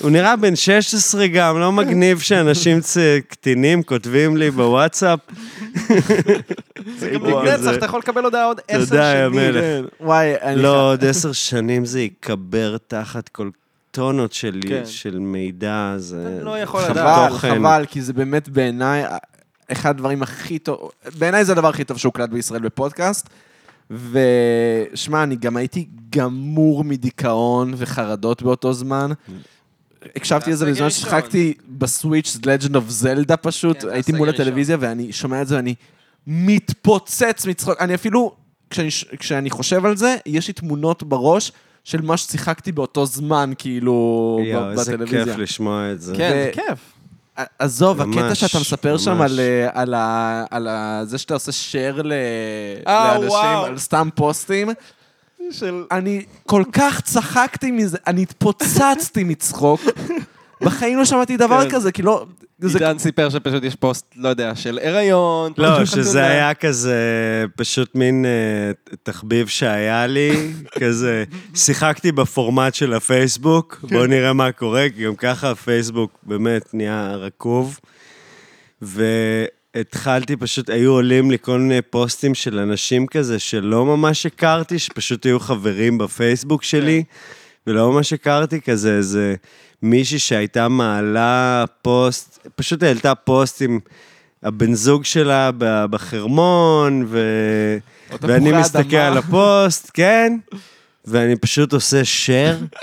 C: הוא נראה בן 16 גם, לא מגניב שאנשים צ- קטינים כותבים לי בוואטסאפ.
B: זה
C: הייתי
B: גם נצח,
C: כזה,
B: אתה יכול לקבל הודעה עוד עשר שנים.
C: תודה, יא מלך.
A: וואי, אני...
C: לא, עוד עשר שנים זה ייקבר תחת כל טונות של,
B: כן.
C: של מידע, זה...
B: לא יכול לדעת.
A: חבל,
C: תוכן.
A: חבל, כי זה באמת בעיניי אחד הדברים הכי טוב, בעיניי זה הדבר הכי טוב שהוקלט בישראל בפודקאסט. ושמע, אני גם הייתי גמור מדיכאון וחרדות באותו זמן. הקשבתי לזה
B: הסגר
A: בזמן
B: ראשון.
A: ששחקתי בסוויץ' Legend of Zelda פשוט,
B: כן, זה
A: הייתי מול
B: הסגר
A: הטלוויזיה ואני שומע את זה ואני מתפוצץ מצחוק. אני אפילו, כשאני, ש- כשאני חושב על זה, יש לי תמונות בראש של מה ששיחקתי באותו זמן, כאילו, ב-
C: יואו, איזה
A: בטלוויזיה.
C: כיף לשמוע את זה.
B: כן,
A: ו-
B: זה כיף.
A: עזוב,
C: ממש,
A: הקטע שאתה מספר שם
C: ממש.
A: על, אה, על, ה- על ה- זה שאתה עושה share ל-
B: אה,
A: לאנשים,
B: וואו.
A: על סתם פוסטים,
B: של...
A: אני כל כך צחקתי מזה, אני התפוצצתי מצחוק. בחיים לא שמעתי דבר
B: כן.
A: כזה, כי לא... זה-
B: עידן סיפר שפשוט יש פוסט, לא יודע, של הריון.
C: לא, שזה היה כזה פשוט מין אה, תחביב שהיה לי, כזה שיחקתי בפורמט של הפייסבוק,
B: כן.
C: בואו נראה מה קורה, כי גם ככה הפייסבוק באמת נהיה רקוב. והתחלתי פשוט, היו עולים לי כל מיני פוסטים של אנשים כזה שלא ממש הכרתי, שפשוט היו חברים בפייסבוק שלי, ולא ממש הכרתי כזה איזה מישהי שהייתה מעלה פוסט, פשוט העלתה פוסט עם הבן זוג שלה ב- בחרמון, ו...
A: תפוחי
C: ואני
A: אדמה.
C: מסתכל על הפוסט, כן, ואני פשוט עושה share,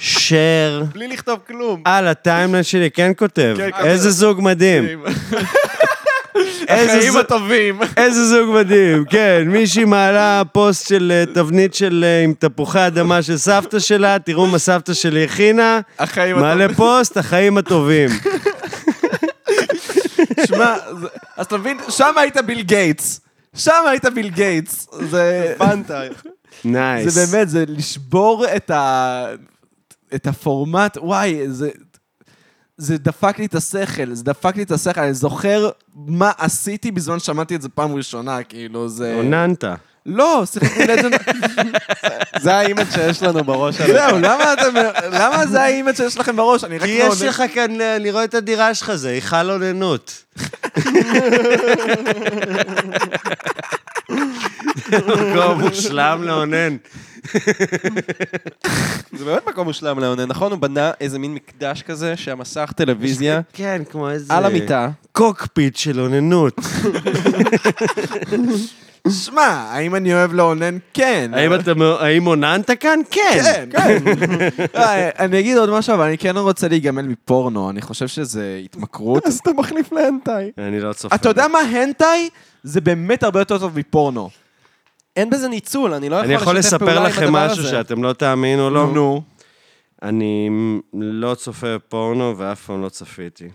C: share.
B: בלי לכתוב כלום.
C: על הטיימליין שלי כן כותב,
A: כן, כן.
C: איזה זוג מדהים. איזה
A: החיים
C: זו-
A: הטובים.
C: איזה זוג מדהים, כן. מישהי מעלה פוסט של אה, תבנית של אה, עם תפוחי אדמה של סבתא שלה, תראו מה סבתא שלי הכינה.
A: החיים הטובים.
C: מעלה פוסט, החיים הטובים.
A: שמע, זה- אז אתה מבין, שם היית ביל גייטס. שם היית ביל גייטס. זה...
C: נייס.
A: זה באמת, זה לשבור את, ה... את הפורמט, וואי, זה... זה דפק לי את השכל, זה דפק לי את השכל, אני זוכר מה עשיתי בזמן ששמעתי את זה פעם ראשונה, כאילו, זה...
C: עוננת.
A: לא, שיחקתי לג'נד...
B: זה האימג' שיש לנו בראש עליך.
A: זהו, למה אתם... למה זה האימג' שיש לכם בראש? אני רק
C: כי
A: לא
C: יש
A: עונה.
C: לך כאן, אה, אני רואה את הדירה שלך, זה היכל אוננות. מקום מושלם לאונן.
B: זה באמת מקום מושלם לאונן, נכון? הוא בנה איזה מין מקדש כזה, שהמסך טלוויזיה
C: כן, כמו איזה...
B: על המיטה.
C: קוקפיט של אוננות.
A: שמע, האם אני אוהב לאונן? כן.
C: האם אתה מ- האם אוננת כאן? כן.
A: כן, כן. אה, אני אגיד עוד משהו, אבל אני כן רוצה להיגמל מפורנו, אני חושב שזה התמכרות.
B: אז אתה מחליף לאנטאי.
C: אני לא צופה.
A: אתה יודע מה, הנטאי זה באמת הרבה יותר טוב מפורנו.
B: אין בזה ניצול, אני לא יכול
C: אני
B: לשתף
C: יכול
B: פעולה עם הדבר הזה.
C: לספר לכם משהו שאתם לא תאמינו לו?
A: נו.
C: אני לא צופה פורנו ואף פעם לא צפיתי.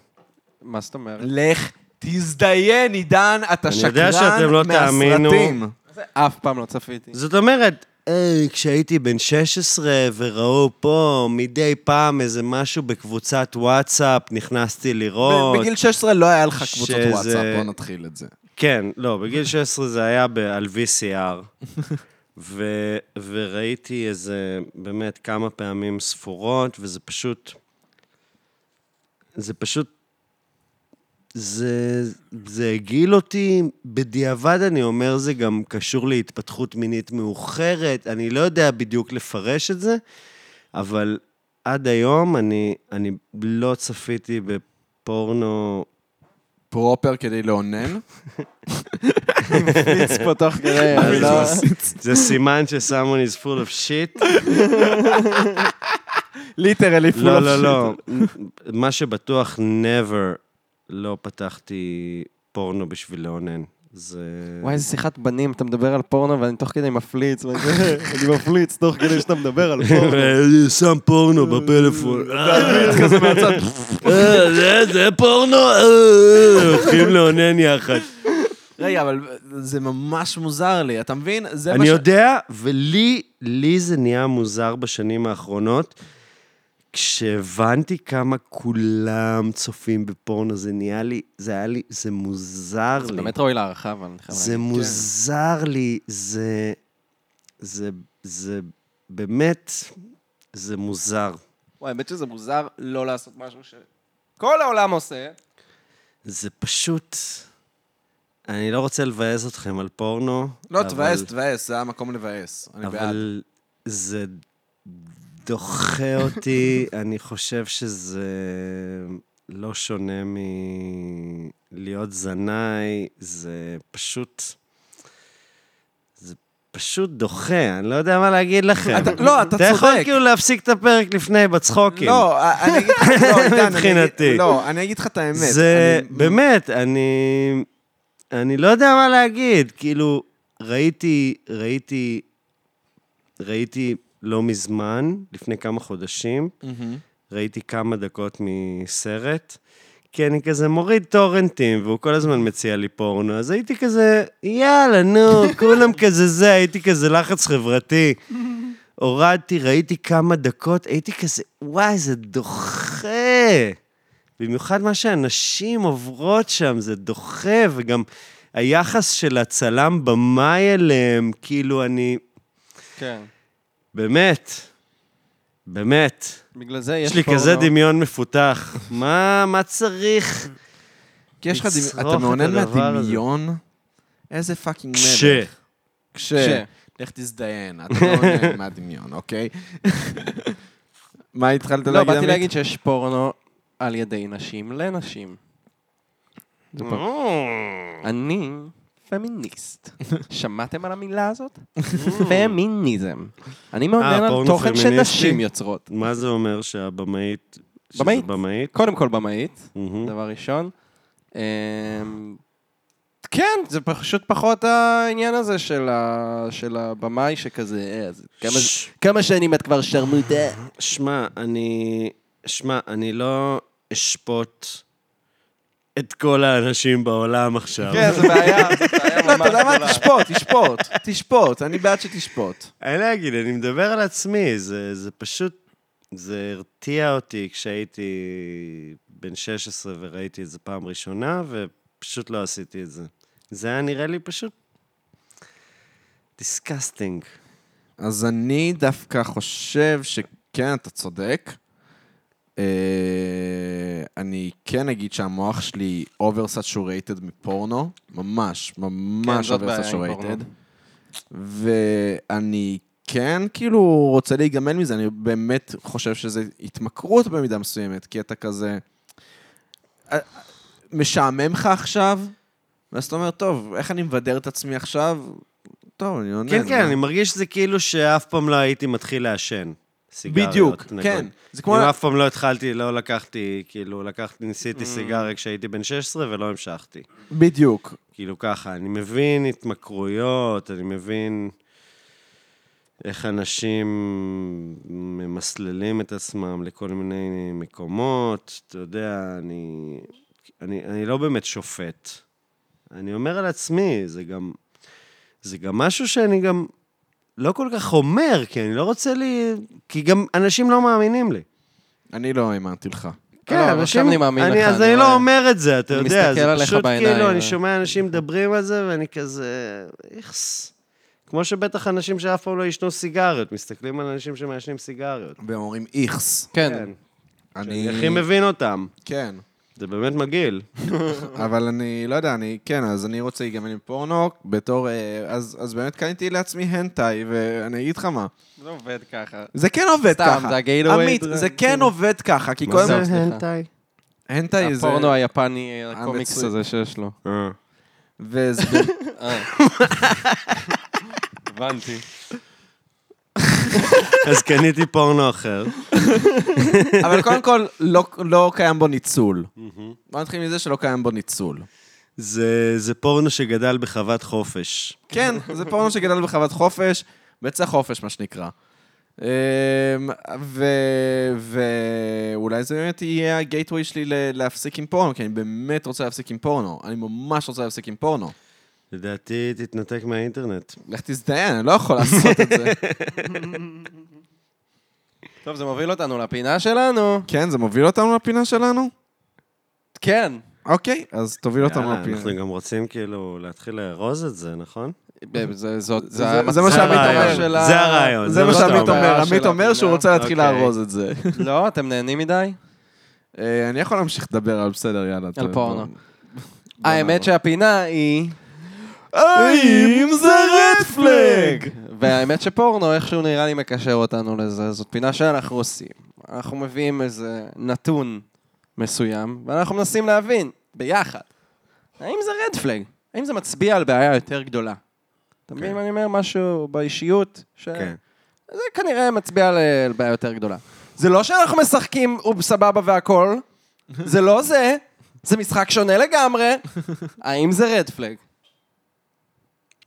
B: מה זאת אומרת?
A: לך תזדיין, עידן, אתה
C: אני
A: שקרן
C: יודע שאתם לא תאמינו.
A: מהסרטים.
B: אף פעם לא צפיתי.
C: זאת אומרת, אה, כשהייתי בן 16 וראו פה מדי פעם איזה משהו בקבוצת וואטסאפ, נכנסתי לראות.
A: בגיל 16 לא היה לך קבוצות
C: שזה-
A: וואטסאפ, בוא נתחיל את זה.
C: כן, לא, בגיל 16 זה היה ב- על VCR, ו, וראיתי איזה, באמת, כמה פעמים ספורות, וזה פשוט... זה פשוט... זה, זה הגעיל אותי, בדיעבד אני אומר, זה גם קשור להתפתחות מינית מאוחרת, אני לא יודע בדיוק לפרש את זה, אבל עד היום אני, אני לא צפיתי בפורנו
A: פרופר כדי
C: לא,
A: לאונן?
B: פיץ פה תוך כדי, אני לא...
C: זה סימן שסמון is full of shit.
A: ליטרלי פול
C: לא, לא, לא. מה שבטוח, never לא פתחתי פורנו בשביל לאונן. זה...
B: וואי, איזה שיחת בנים, אתה מדבר על פורנו ואני תוך כדי מפליץ, ואני כזה, אני מפליץ תוך כדי שאתה מדבר על פורנו.
C: אני שם פורנו בפלאפון.
A: כזה מהצד.
C: אה, זה- זה פורנו? אה, הולכים לאונן אה. יחד.
A: רגע, אבל זה ממש מוזר לי, אתה מבין? זה מה
C: אני
A: ש-
C: יודע, ולי לי זה נהיה מוזר בשנים האחרונות. כשהבנתי כמה כולם צופים בפורנו, זה נהיה לי, זה היה לי, זה מוזר לי.
B: זה באמת ראוי להערכה, אבל אני חייב
A: כן.
C: זה מוזר לי, זה... זה... זה באמת... זה מוזר.
B: וואי, האמת שזה מוזר לא לעשות משהו שכל העולם עושה.
C: זה פשוט... אני לא רוצה לבאס אתכם על פורנו.
A: לא,
C: אבל-
A: תבאס, תבאס, זה המקום לבאס. אני בעד.
C: אבל זה דוחה אותי, אני חושב שזה לא שונה מלהיות זנאי, זה פשוט... זה פשוט דוחה, אני לא יודע מה להגיד לכם.
A: אתה- לא, אתה
C: אתה יכול
A: צודק.
C: כאילו להפסיק את הפרק לפני בצחוקים.
A: לא, אני אגיד לך, לא, עידן, אני אגיד-
C: מבחינתי.
A: לא, אני אגיד לך את האמת.
C: זה
A: אני-
C: באמת, אני... אני לא יודע מה להגיד, כאילו, ראיתי, ראיתי, ראיתי לא מזמן, לפני כמה חודשים,
A: מהמם.
C: ראיתי כמה דקות מסרט, כי אני כזה מוריד טורנטים, והוא כל הזמן מציע לי פורנו, אז הייתי כזה, יאללה, נו, כולם כזה זה, הייתי כזה לחץ חברתי. הורדתי, ראיתי כמה דקות, הייתי כזה, וואי, זה דוחה. במיוחד מה שהנשים עוברות שם, זה דוחה, וגם היחס של הצלם במאי אליהם, כאילו, אני...
B: כן.
C: באמת, באמת.
B: בגלל זה
C: יש לא?
B: יש
C: לי
B: פורנו.
C: כזה דמיון מפותח. מה, מה צריך?
A: כי יש לך
C: לצרוך
A: דמיון, אתה
C: את
A: מעונן
C: הדבר הזה.
A: מהדמיון? איזה פאקינג
C: כש.
A: מלך. כש.
B: כש.
A: לך תזדיין, אתה לא מעונן מהדמיון, אוקיי? מה התחלת
B: לא,
A: להגיד?
B: באתי
A: עמית?
B: להגיד שיש פורנו על ידי נשים לנשים. זה פורנו. אני פמיניסט. שמעתם על המילה הזאת? פמיניזם. אני מעונן
C: אה,
B: על
C: פורנו
B: תוכן
C: פמיניסטי?
B: שנשים יוצרות.
C: מה זה אומר שהבמאית... שזה
B: במאית.
C: במאית?
B: קודם כל במאית,
C: מהמם.
B: דבר ראשון. אמ, כן, זה פשוט פחות העניין הזה של ה- של הבמאי שכזה, אה, אז כמה-
C: ש-
B: כמה שנים את כבר שרמוטה?
C: שמע, אני... שמע, אני לא אשפוט את כל האנשים בעולם עכשיו.
B: כן, זה בעיה, זה בעיה
A: לא, אתה יודע
B: ממש
A: מה? תשפוט, תשפוט, תשפוט, אני בעד שתשפוט.
C: אני לא אגיד, אני מדבר על עצמי, זה, זה פשוט... זה הרתיע אותי כשהייתי בן 16 וראיתי את זה פעם ראשונה, ופשוט לא עשיתי את זה. זה היה נראה לי פשוט... דיסקסטינג.
A: אז אני דווקא חושב שכן, אתה צודק. אה, אני כן אגיד שהמוח שלי oversaturated מפורנו, ממש, ממש
B: כן, זאת בעיה עם פורנו.
A: oversaturated. ואני כן כאילו רוצה להיגמל מזה, אני באמת חושב שזה התמכרות במידה מסוימת, כי אתה כזה... אה, משעמם לך עכשיו, ואז אתה אומר, טוב, איך אני מבדר את עצמי עכשיו? טוב, אני עונה.
C: כן, כן, אני מרגיש שזה כאילו שאף פעם לא הייתי מתחיל לעשן. סיגריות,
A: בדיוק,
C: נגון.
A: כן. זה כמו...
C: אם אף פעם לא התחלתי, לא לקחתי, כאילו, לקחתי,
A: Mm.
C: ניסיתי סיגריה כשהייתי בן 16 ולא המשכתי.
A: בדיוק.
C: כאילו ככה, אני מבין התמכרויות, אני מבין איך אנשים ממסללים את עצמם לכל מיני מקומות, אתה יודע, אני, אני, אני לא באמת שופט. אני אומר על עצמי, זה גם, זה גם משהו שאני גם לא כל כך אומר, כי אני לא רוצה לי... כי גם אנשים לא מאמינים לי.
A: אני לא האמנתי לך.
C: כן,
B: לא, אבל
C: אנשים...
B: עכשיו אני מאמין לך,
C: אז
B: אני
C: אני
B: רואה.
C: לא אומר את זה, אתה
B: אני
C: יודע.
B: מסתכל
C: זה
B: עליך
C: פשוט
B: בעיניים,
C: כאילו,
B: אה.
C: אני שומע אנשים מדברים על זה, ואני כזה... איכס. כמו שבטח אנשים שאף פעם לא ישנו סיגריות, מסתכלים על אנשים שמעשנים סיגריות.
A: והם אומרים איכס.
B: כן,
C: כן.
A: אני...
C: אני הכי מבין אותם.
A: כן.
C: זה באמת מגעיל.
A: אבל אני לא יודע, אני... כן, אז אני רוצה להיגמל עם פורנו בתור... אה, אז אז באמת קניתי לעצמי הנטאי, ואני אגיד לך מה.
B: זה עובד ככה.
A: זה כן עובד
B: סתם,
A: ככה.
B: זה ה-gateway
A: עמית,
B: drug,
A: זה כן
B: כאילו.
A: עובד ככה, כי
C: מה
A: קודם...
C: זה
B: אה, סליחה.
C: הנטאי?
A: הנטאי זה...
B: הפורנו היפני, אה, הקומיקס
A: המצוי.
B: הזה שיש לו.
C: אה.
A: וזה...
B: הבנתי.
C: אז קניתי פורנו אחר.
A: אבל קודם כל, לא- לא קיים בו ניצול. בוא נתחיל מזה שלא קיים בו ניצול.
C: זה זה פורנו שגדל בחוות חופש.
A: כן, זה פורנו שגדל בחוות חופש, בצע חופש, מה שנקרא. אמ, ו- ואולי זה באמת יהיה הגייטווי שלי ל- להפסיק עם פורנו, כי אני באמת רוצה להפסיק עם פורנו. אני ממש רוצה להפסיק עם פורנו.
C: לדעתי תתנתק מהאינטרנט.
A: לך תזדיין, אני לא יכול לעשות את זה.
B: טוב, זה מוביל אותנו לפינה שלנו.
A: כן, זה מוביל אותנו לפינה שלנו?
B: כן.
A: אוקיי, אז תוביל אותנו
C: יאללה,
A: לפינה.
C: אנחנו גם רוצים כאילו להתחיל לארוז את זה, נכון?
B: ב- זה זאת-
A: זה-
B: המצב-
A: זה מה
C: זה
A: שעמית
C: הרעיון,
A: אומר
B: של ה-
C: זה הרעיון.
A: זה מה
B: זאת
A: שעמית
B: הבעיה
A: אומר,
B: של
A: עמית אומר שהוא
B: הפינה.
A: רוצה להתחיל
C: אוקיי.
A: לארוז את זה.
B: לא, אתם נהנים מדי?
A: אה, אני יכול להמשיך לדבר, אבל בסדר, יאללה. אתה-
B: על פורנו.
A: בוא- בוא
B: האמת
A: נעבור.
B: שהפינה היא...
A: האם זה רד פלג?
B: והאמת שפורנו איכשהו נראה לי מקשר אותנו לזה, זאת פינה שאנחנו עושים. אנחנו מביאים איזה נתון מסוים, ואנחנו מנסים להבין, ביחד, האם זה רד פלג? האם זה מצביע על בעיה יותר גדולה? אתה מבין
C: כן.
B: מה אני אומר? משהו באישיות, ש...
C: כן.
B: זה כנראה מצביע על על בעיה יותר גדולה. זה לא שאנחנו משחקים ובסבבה והכל, זה לא זה, זה משחק שונה לגמרי. האם זה רד פלג?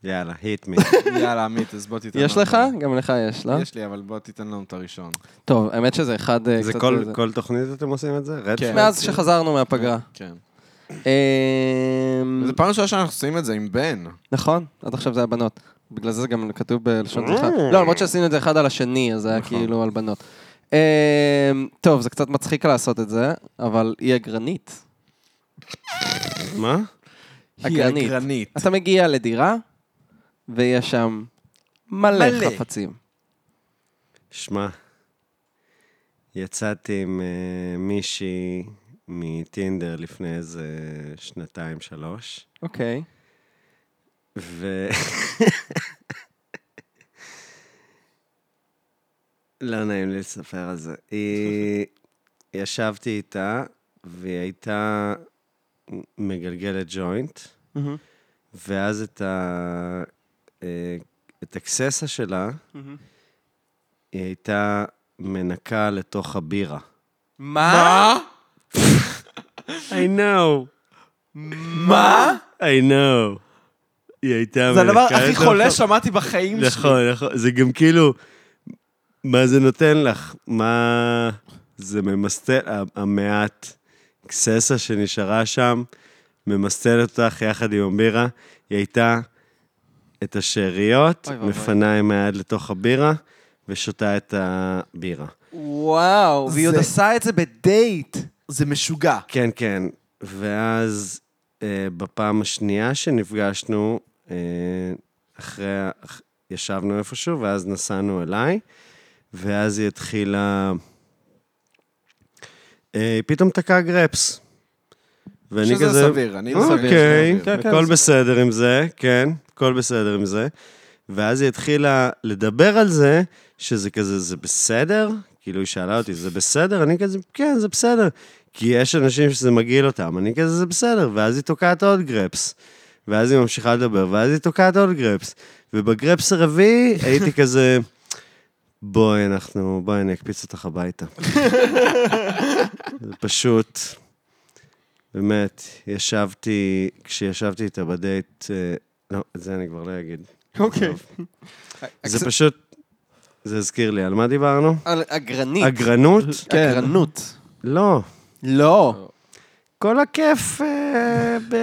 C: יאללה, hit me.
A: יאללה, עמית, אז בוא תיתן לנו.
B: יש לך? גם לך יש, לא?
A: יש לי, אבל בוא תיתן לנו את הראשון.
B: טוב, האמת שזה אחד אה,
C: זה
B: קצת...
C: כל-
B: אה,
C: כל תוכנית אתם עושים את זה? רד
A: כן.
C: פלאג?
B: מאז שחזרנו מהפגרה.
A: כן.
B: אמ,
A: זו פעם ראשונה שאנחנו עושים את זה עם בן.
B: נכון, עד עכשיו זה היה בנות. בגלל זה זה גם כתוב בלשון
A: אה.
B: זכר. לא, למרות שעשינו את זה אחד על השני, אז זה היה
A: נכון.
B: כאילו על בנות. אמ, טוב, זה קצת מצחיק לעשות את זה, אבל היא אגרנית.
C: מה?
B: אגרנית.
A: אגרנית.
B: אתה מגיע לדירה, ויש שם מלא
A: מלא.
B: חפצים.
C: שמע, יצאתי עם אה, מישהי מטינדר לפני איזה שנתיים, שלוש.
B: אוקיי.
C: ו... לא נעים לי לספר על זה. היא... ישבתי איתה, והיא הייתה מגלגלת ג'וינט,
B: מהמם.
C: ואז את ה... אה, את הקססה שלה, היא הייתה מנקה לתוך הבירה.
B: מה?
C: I know.
A: מה?
C: I know. היא הייתה
A: זה הדבר הכי
C: לתוך
A: חולה שמעתי בחיים שלי.
C: נכון, נכון. זה גם כאילו, מה זה נותן לך? מה... זה ממסטל, ה- המעט קססה שנשארה שם, ממסטל אותך יחד עם הבירה. היא הייתה את השאריות,
B: אוי ואבוי.
C: מפנה עם היד לתוך הבירה, ושותה את הבירה.
B: וואו, והיא עוד
A: זה-
B: עשה את זה בדייט.
A: זה משוגע.
C: כן, כן. ואז אה, בפעם השנייה שנפגשנו, אה, אחרי, ה- אח- ישבנו איפשהו, ואז נסענו אליי, ואז היא התחילה... אה, היא פתאום תקעה גרפס. ואני
A: שזה
C: כזה...
A: סביר, אני לא סביר.
C: אוקיי,
A: שזה סביר.
C: הכל בסדר עם זה, כן, הכל בסדר עם זה. ואז היא התחילה לדבר על זה, שזה כזה, זה בסדר? כאילו, היא שאלה אותי, זה בסדר? אני כזה, כן, זה בסדר. כי יש אנשים שזה מגעיל אותם, אני כזה, זה בסדר. ואז היא תוקעת עוד גרפס. ואז היא ממשיכה לדבר, ואז היא תוקעת עוד גרפס. ובגרפס הרביעי הייתי כזה, בואי, אנחנו, בואי, אני אקפיץ אותך הביתה. זה פשוט, באמת, ישבתי, כשישבתי איתה בדייט, אה, לא, את זה אני כבר לא אגיד.
B: אוקיי.
C: טוב. זה פשוט, זה הזכיר לי, על מה דיברנו?
B: על אגרנית.
C: אגרנות?
A: כן.
C: כן.
B: אגרנות.
C: לא.
B: לא.
C: כל הכיף אה, ב-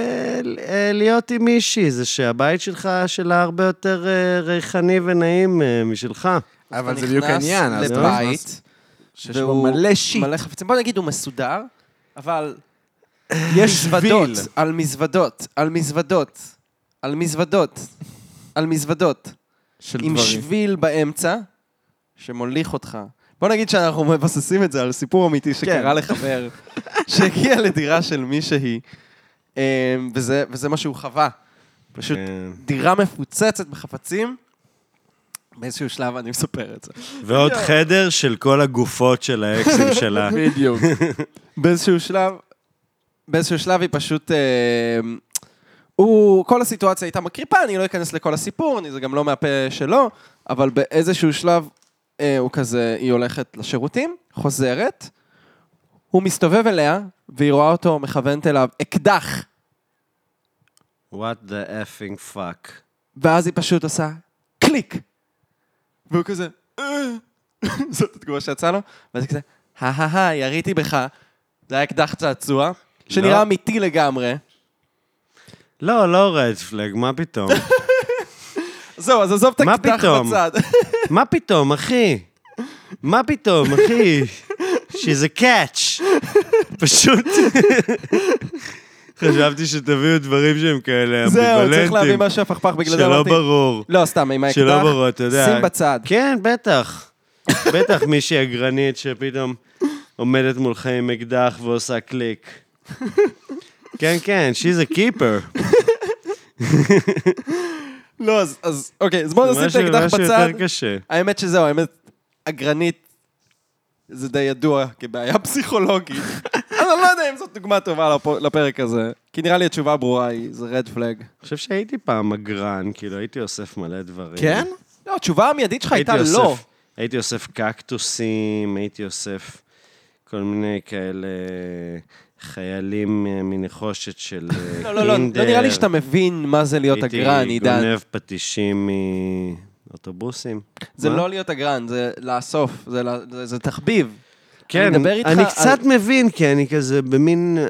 C: אה, להיות עם מישהי, זה שהבית שלך, שלה הרבה יותר אה, ריחני ונעים אה, משלך.
A: אבל
B: אתה
A: זה בדיוק
B: נכנס
A: העניין. אז אתה נכנס-
B: לבית,
A: שיש בו מלא שיט.
B: מלא חפצים. בוא נגיד, הוא מסודר, אבל...
A: יש
B: מזוודות,
A: שביל.
B: על מזוודות, על מזוודות, על מזוודות, על מזוודות.
A: של
B: עם
A: דברים.
B: שביל באמצע, שמוליך אותך. בוא נגיד שאנחנו מבססים את זה על סיפור
A: כן.
B: אמיתי שקרה לחבר, שהגיע לדירה של מישהי, אמ, וזה, וזה מה שהוא חווה. פשוט
C: כן.
B: דירה מפוצצת בחפצים. באיזשהו שלב אני מספר את זה.
C: ועוד חדר של כל הגופות של האקסים שלה.
A: בדיוק.
B: באיזשהו שלב, באיזשהו שלב היא פשוט... אה, הוא, כל הסיטואציה הייתה מקריפה, אני לא אכנס לכל הסיפור, אני, זה גם לא מהפה שלו, אבל באיזשהו שלב אה, הוא כזה, היא הולכת לשירותים, חוזרת, הוא מסתובב אליה, והיא רואה אותו מכוונת אליו אקדח,
C: What the effing fuck.
B: ואז היא פשוט עושה קליק. והוא כזה, "אה." זאת התגובה שיצאה לו, ואז היא כזה, הא הא הא, יריתי בך, זה היה אקדח צעצוע, שנראה
C: לא.
B: אמיתי לגמרי.
C: לא, לא רדפלג, מה פתאום?
B: זהו, אז עזוב את
C: מה
B: הקדח
C: פתאום?
B: בצד.
C: מה פתאום, אחי? מה פתאום, אחי? שזה קאץ'. פשוט... חשבתי שתביאו דברים שהם כאלה
B: זהו, צריך להביא
C: אמביוולנטיים.
B: משהו הפכפך, בגלל זה
C: שלא
B: אמרתי...
C: ברור.
B: לא, סתם, עם האקדח.
C: שלא ברור, אתה יודע.
B: שים בצד.
C: כן, בטח. בטח מישהי אגרנית שפתאום עומדת מולך עם אקדח ועושה קליק. כן, כן, she's a keeper.
B: לא, אז- אז אוקיי, אז בואו
C: זה
B: נשים את
C: משהו-
B: האקדח
C: משהו
B: בצד.
C: יותר קשה.
B: האמת שזהו, האמת, אגרנית, זה די ידוע כבעיה פסיכולוגית. אז אני לא יודע אם זאת דוגמה טובה לפ- לפרק הזה, כי נראה לי התשובה הברורה היא, זה רד פלג.
C: אני חושב שהייתי פעם אגרן, כאילו, הייתי אוסף מלא דברים.
A: כן?
B: לא, התשובה המיידית שלך
C: הייתי
B: הייתה לא.
C: אוסף- הייתי אוסף קקטוסים, הייתי אוסף כל מיני כאלה חיילים אה, מנחושת של אה, קינדר.
B: לא, לא, לא, לא נראה לי שאתה מבין מה זה להיות אגרן,
C: הייתי
B: עידן.
C: גונב פטישים מאוטובוסים.
B: זה
C: מה?
B: לא להיות אגרן, זה לאסוף, זה ל- זה- זה תחביב.
C: כן,
B: אני מדבר איתך
C: אני
B: על-
C: קצת מבין, כי אני כזה במין אה,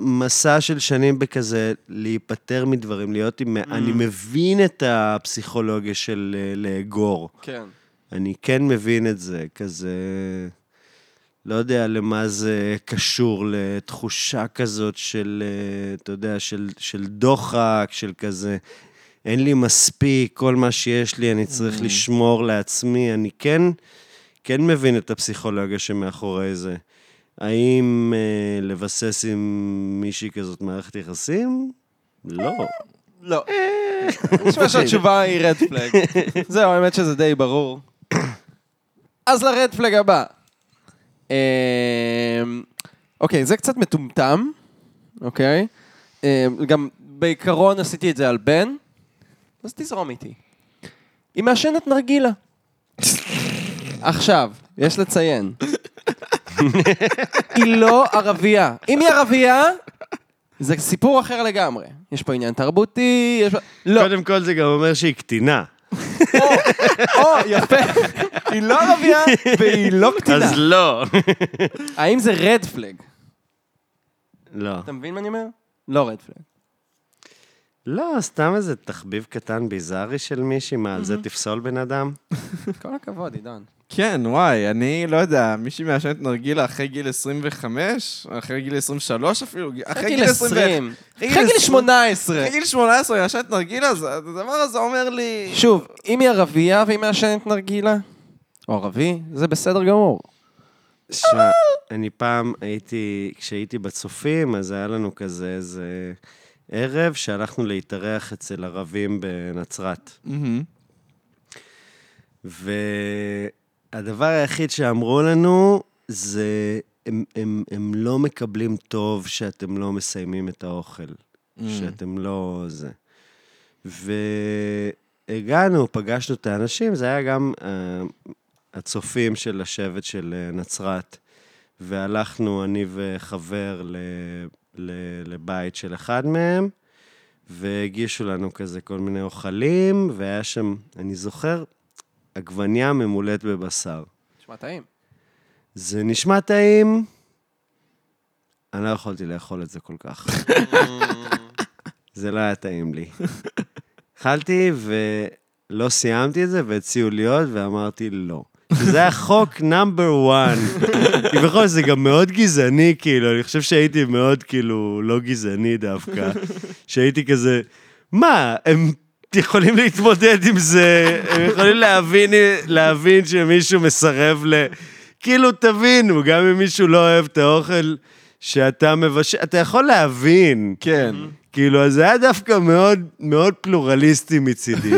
C: מסע של שנים בכזה להיפטר מדברים, להיות עם...
B: Mm.
C: אני מבין את הפסיכולוגיה של אה, לאגור.
B: כן.
C: אני כן מבין את זה, כזה... לא יודע למה זה קשור לתחושה כזאת של, אה, אתה יודע, של, של דוחק, של כזה, אין לי מספיק, כל מה שיש לי אני צריך
B: Mm-hmm.
C: לשמור לעצמי. אני כן, כן מבין את הפסיכולוגיה שמאחורי זה. האם אה, לבסס עם מישהי כזאת מערכת יחסים? לא.
B: לא. אני חושב שהתשובה היא רד פלג. זהו, האמת שזה די ברור. אז לרד פלג הבא. אמ, אוקיי, זה קצת מטומטם, אוקיי? אמ, גם בעיקרון עשיתי את זה על בן, אז תזרום איתי. היא מעשנת נרגילה. עכשיו, יש לציין. היא לא ערבייה. אם היא ערבייה, זה סיפור אחר לגמרי. יש פה עניין תרבותי, יש פה... לא,
C: קודם כל זה גם אומר שהיא קטינה.
B: או, יפה. היא לא ערבייה והיא לא קטינה.
C: אז לא.
B: האם זה רד פלג?
C: לא.
B: אתה מבין מה אני אומר? לא רד פלג.
C: לא, סתם איזה תחביב קטן ביזארי של מישהי, מה, על זה תפסול בן אדם?
B: כל הכבוד, עידן.
A: כן, וואי, אני לא יודע, מישהי מעשנת נרגילה אחרי גיל 25? אחרי גיל 23 אפילו?
B: אחרי גיל 20. אחרי גיל 18.
A: אחרי גיל 18 היא מעשנת נרגילה, זה- הדבר הזה אומר לי...
B: שוב, אם היא ערבייה והיא מעשנת נרגילה, או ערבי, זה בסדר גמור.
C: שמע, אני פעם הייתי, כשהייתי בצופים, אז היה לנו כזה איזה ערב שהלכנו להתארח אצל ערבים בנצרת.
A: מהמם.
C: והדבר היחיד שאמרו לנו זה, הם, הם, הם לא מקבלים טוב שאתם לא מסיימים את האוכל, mm. שאתם לא זה. והגענו, פגשנו את האנשים, זה היה גם uh, הצופים של השבט של אה, נצרת, והלכנו, אני וחבר, ל, ל, לבית של אחד מהם. והגישו לנו כזה כל מיני אוכלים, והיה שם, אני זוכר, עגבניה ממולאת בבשר.
B: נשמע טעים.
C: זה נשמע טעים, אני לא יכולתי לאכול את זה כל כך. זה לא היה טעים לי. אכלתי ולא סיימתי את זה, והציעו לי עוד, ואמרתי לא. שזה היה חוק נאמבר 1. בכל זאת, זה גם מאוד גזעני, כאילו, אני חושב שהייתי מאוד, כאילו, לא גזעני דווקא. שהייתי כזה, מה, הם יכולים להתמודד עם זה, הם יכולים להבין, להבין שמישהו מסרב ל... כאילו, תבינו, גם אם מישהו לא אוהב את האוכל שאתה מבשל, אתה יכול להבין.
A: כן.
C: כאילו, אז זה היה דווקא מאוד, מאוד פלורליסטי מצידי.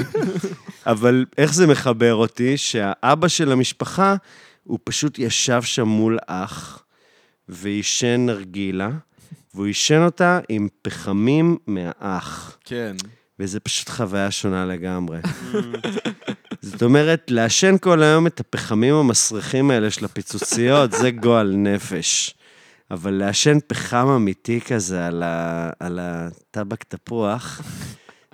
C: אבל איך זה מחבר אותי? שהאבא של המשפחה, הוא פשוט ישב שם מול אח, ועישן נרגילה, והוא עישן אותה עם פחמים מהאח.
A: כן.
C: וזה פשוט חוויה שונה לגמרי. זאת אומרת, לעשן כל היום את הפחמים המסריחים האלה של הפיצוציות, זה גועל נפש. אבל לעשן פחם אמיתי כזה על, ה... על הטבק תפוח,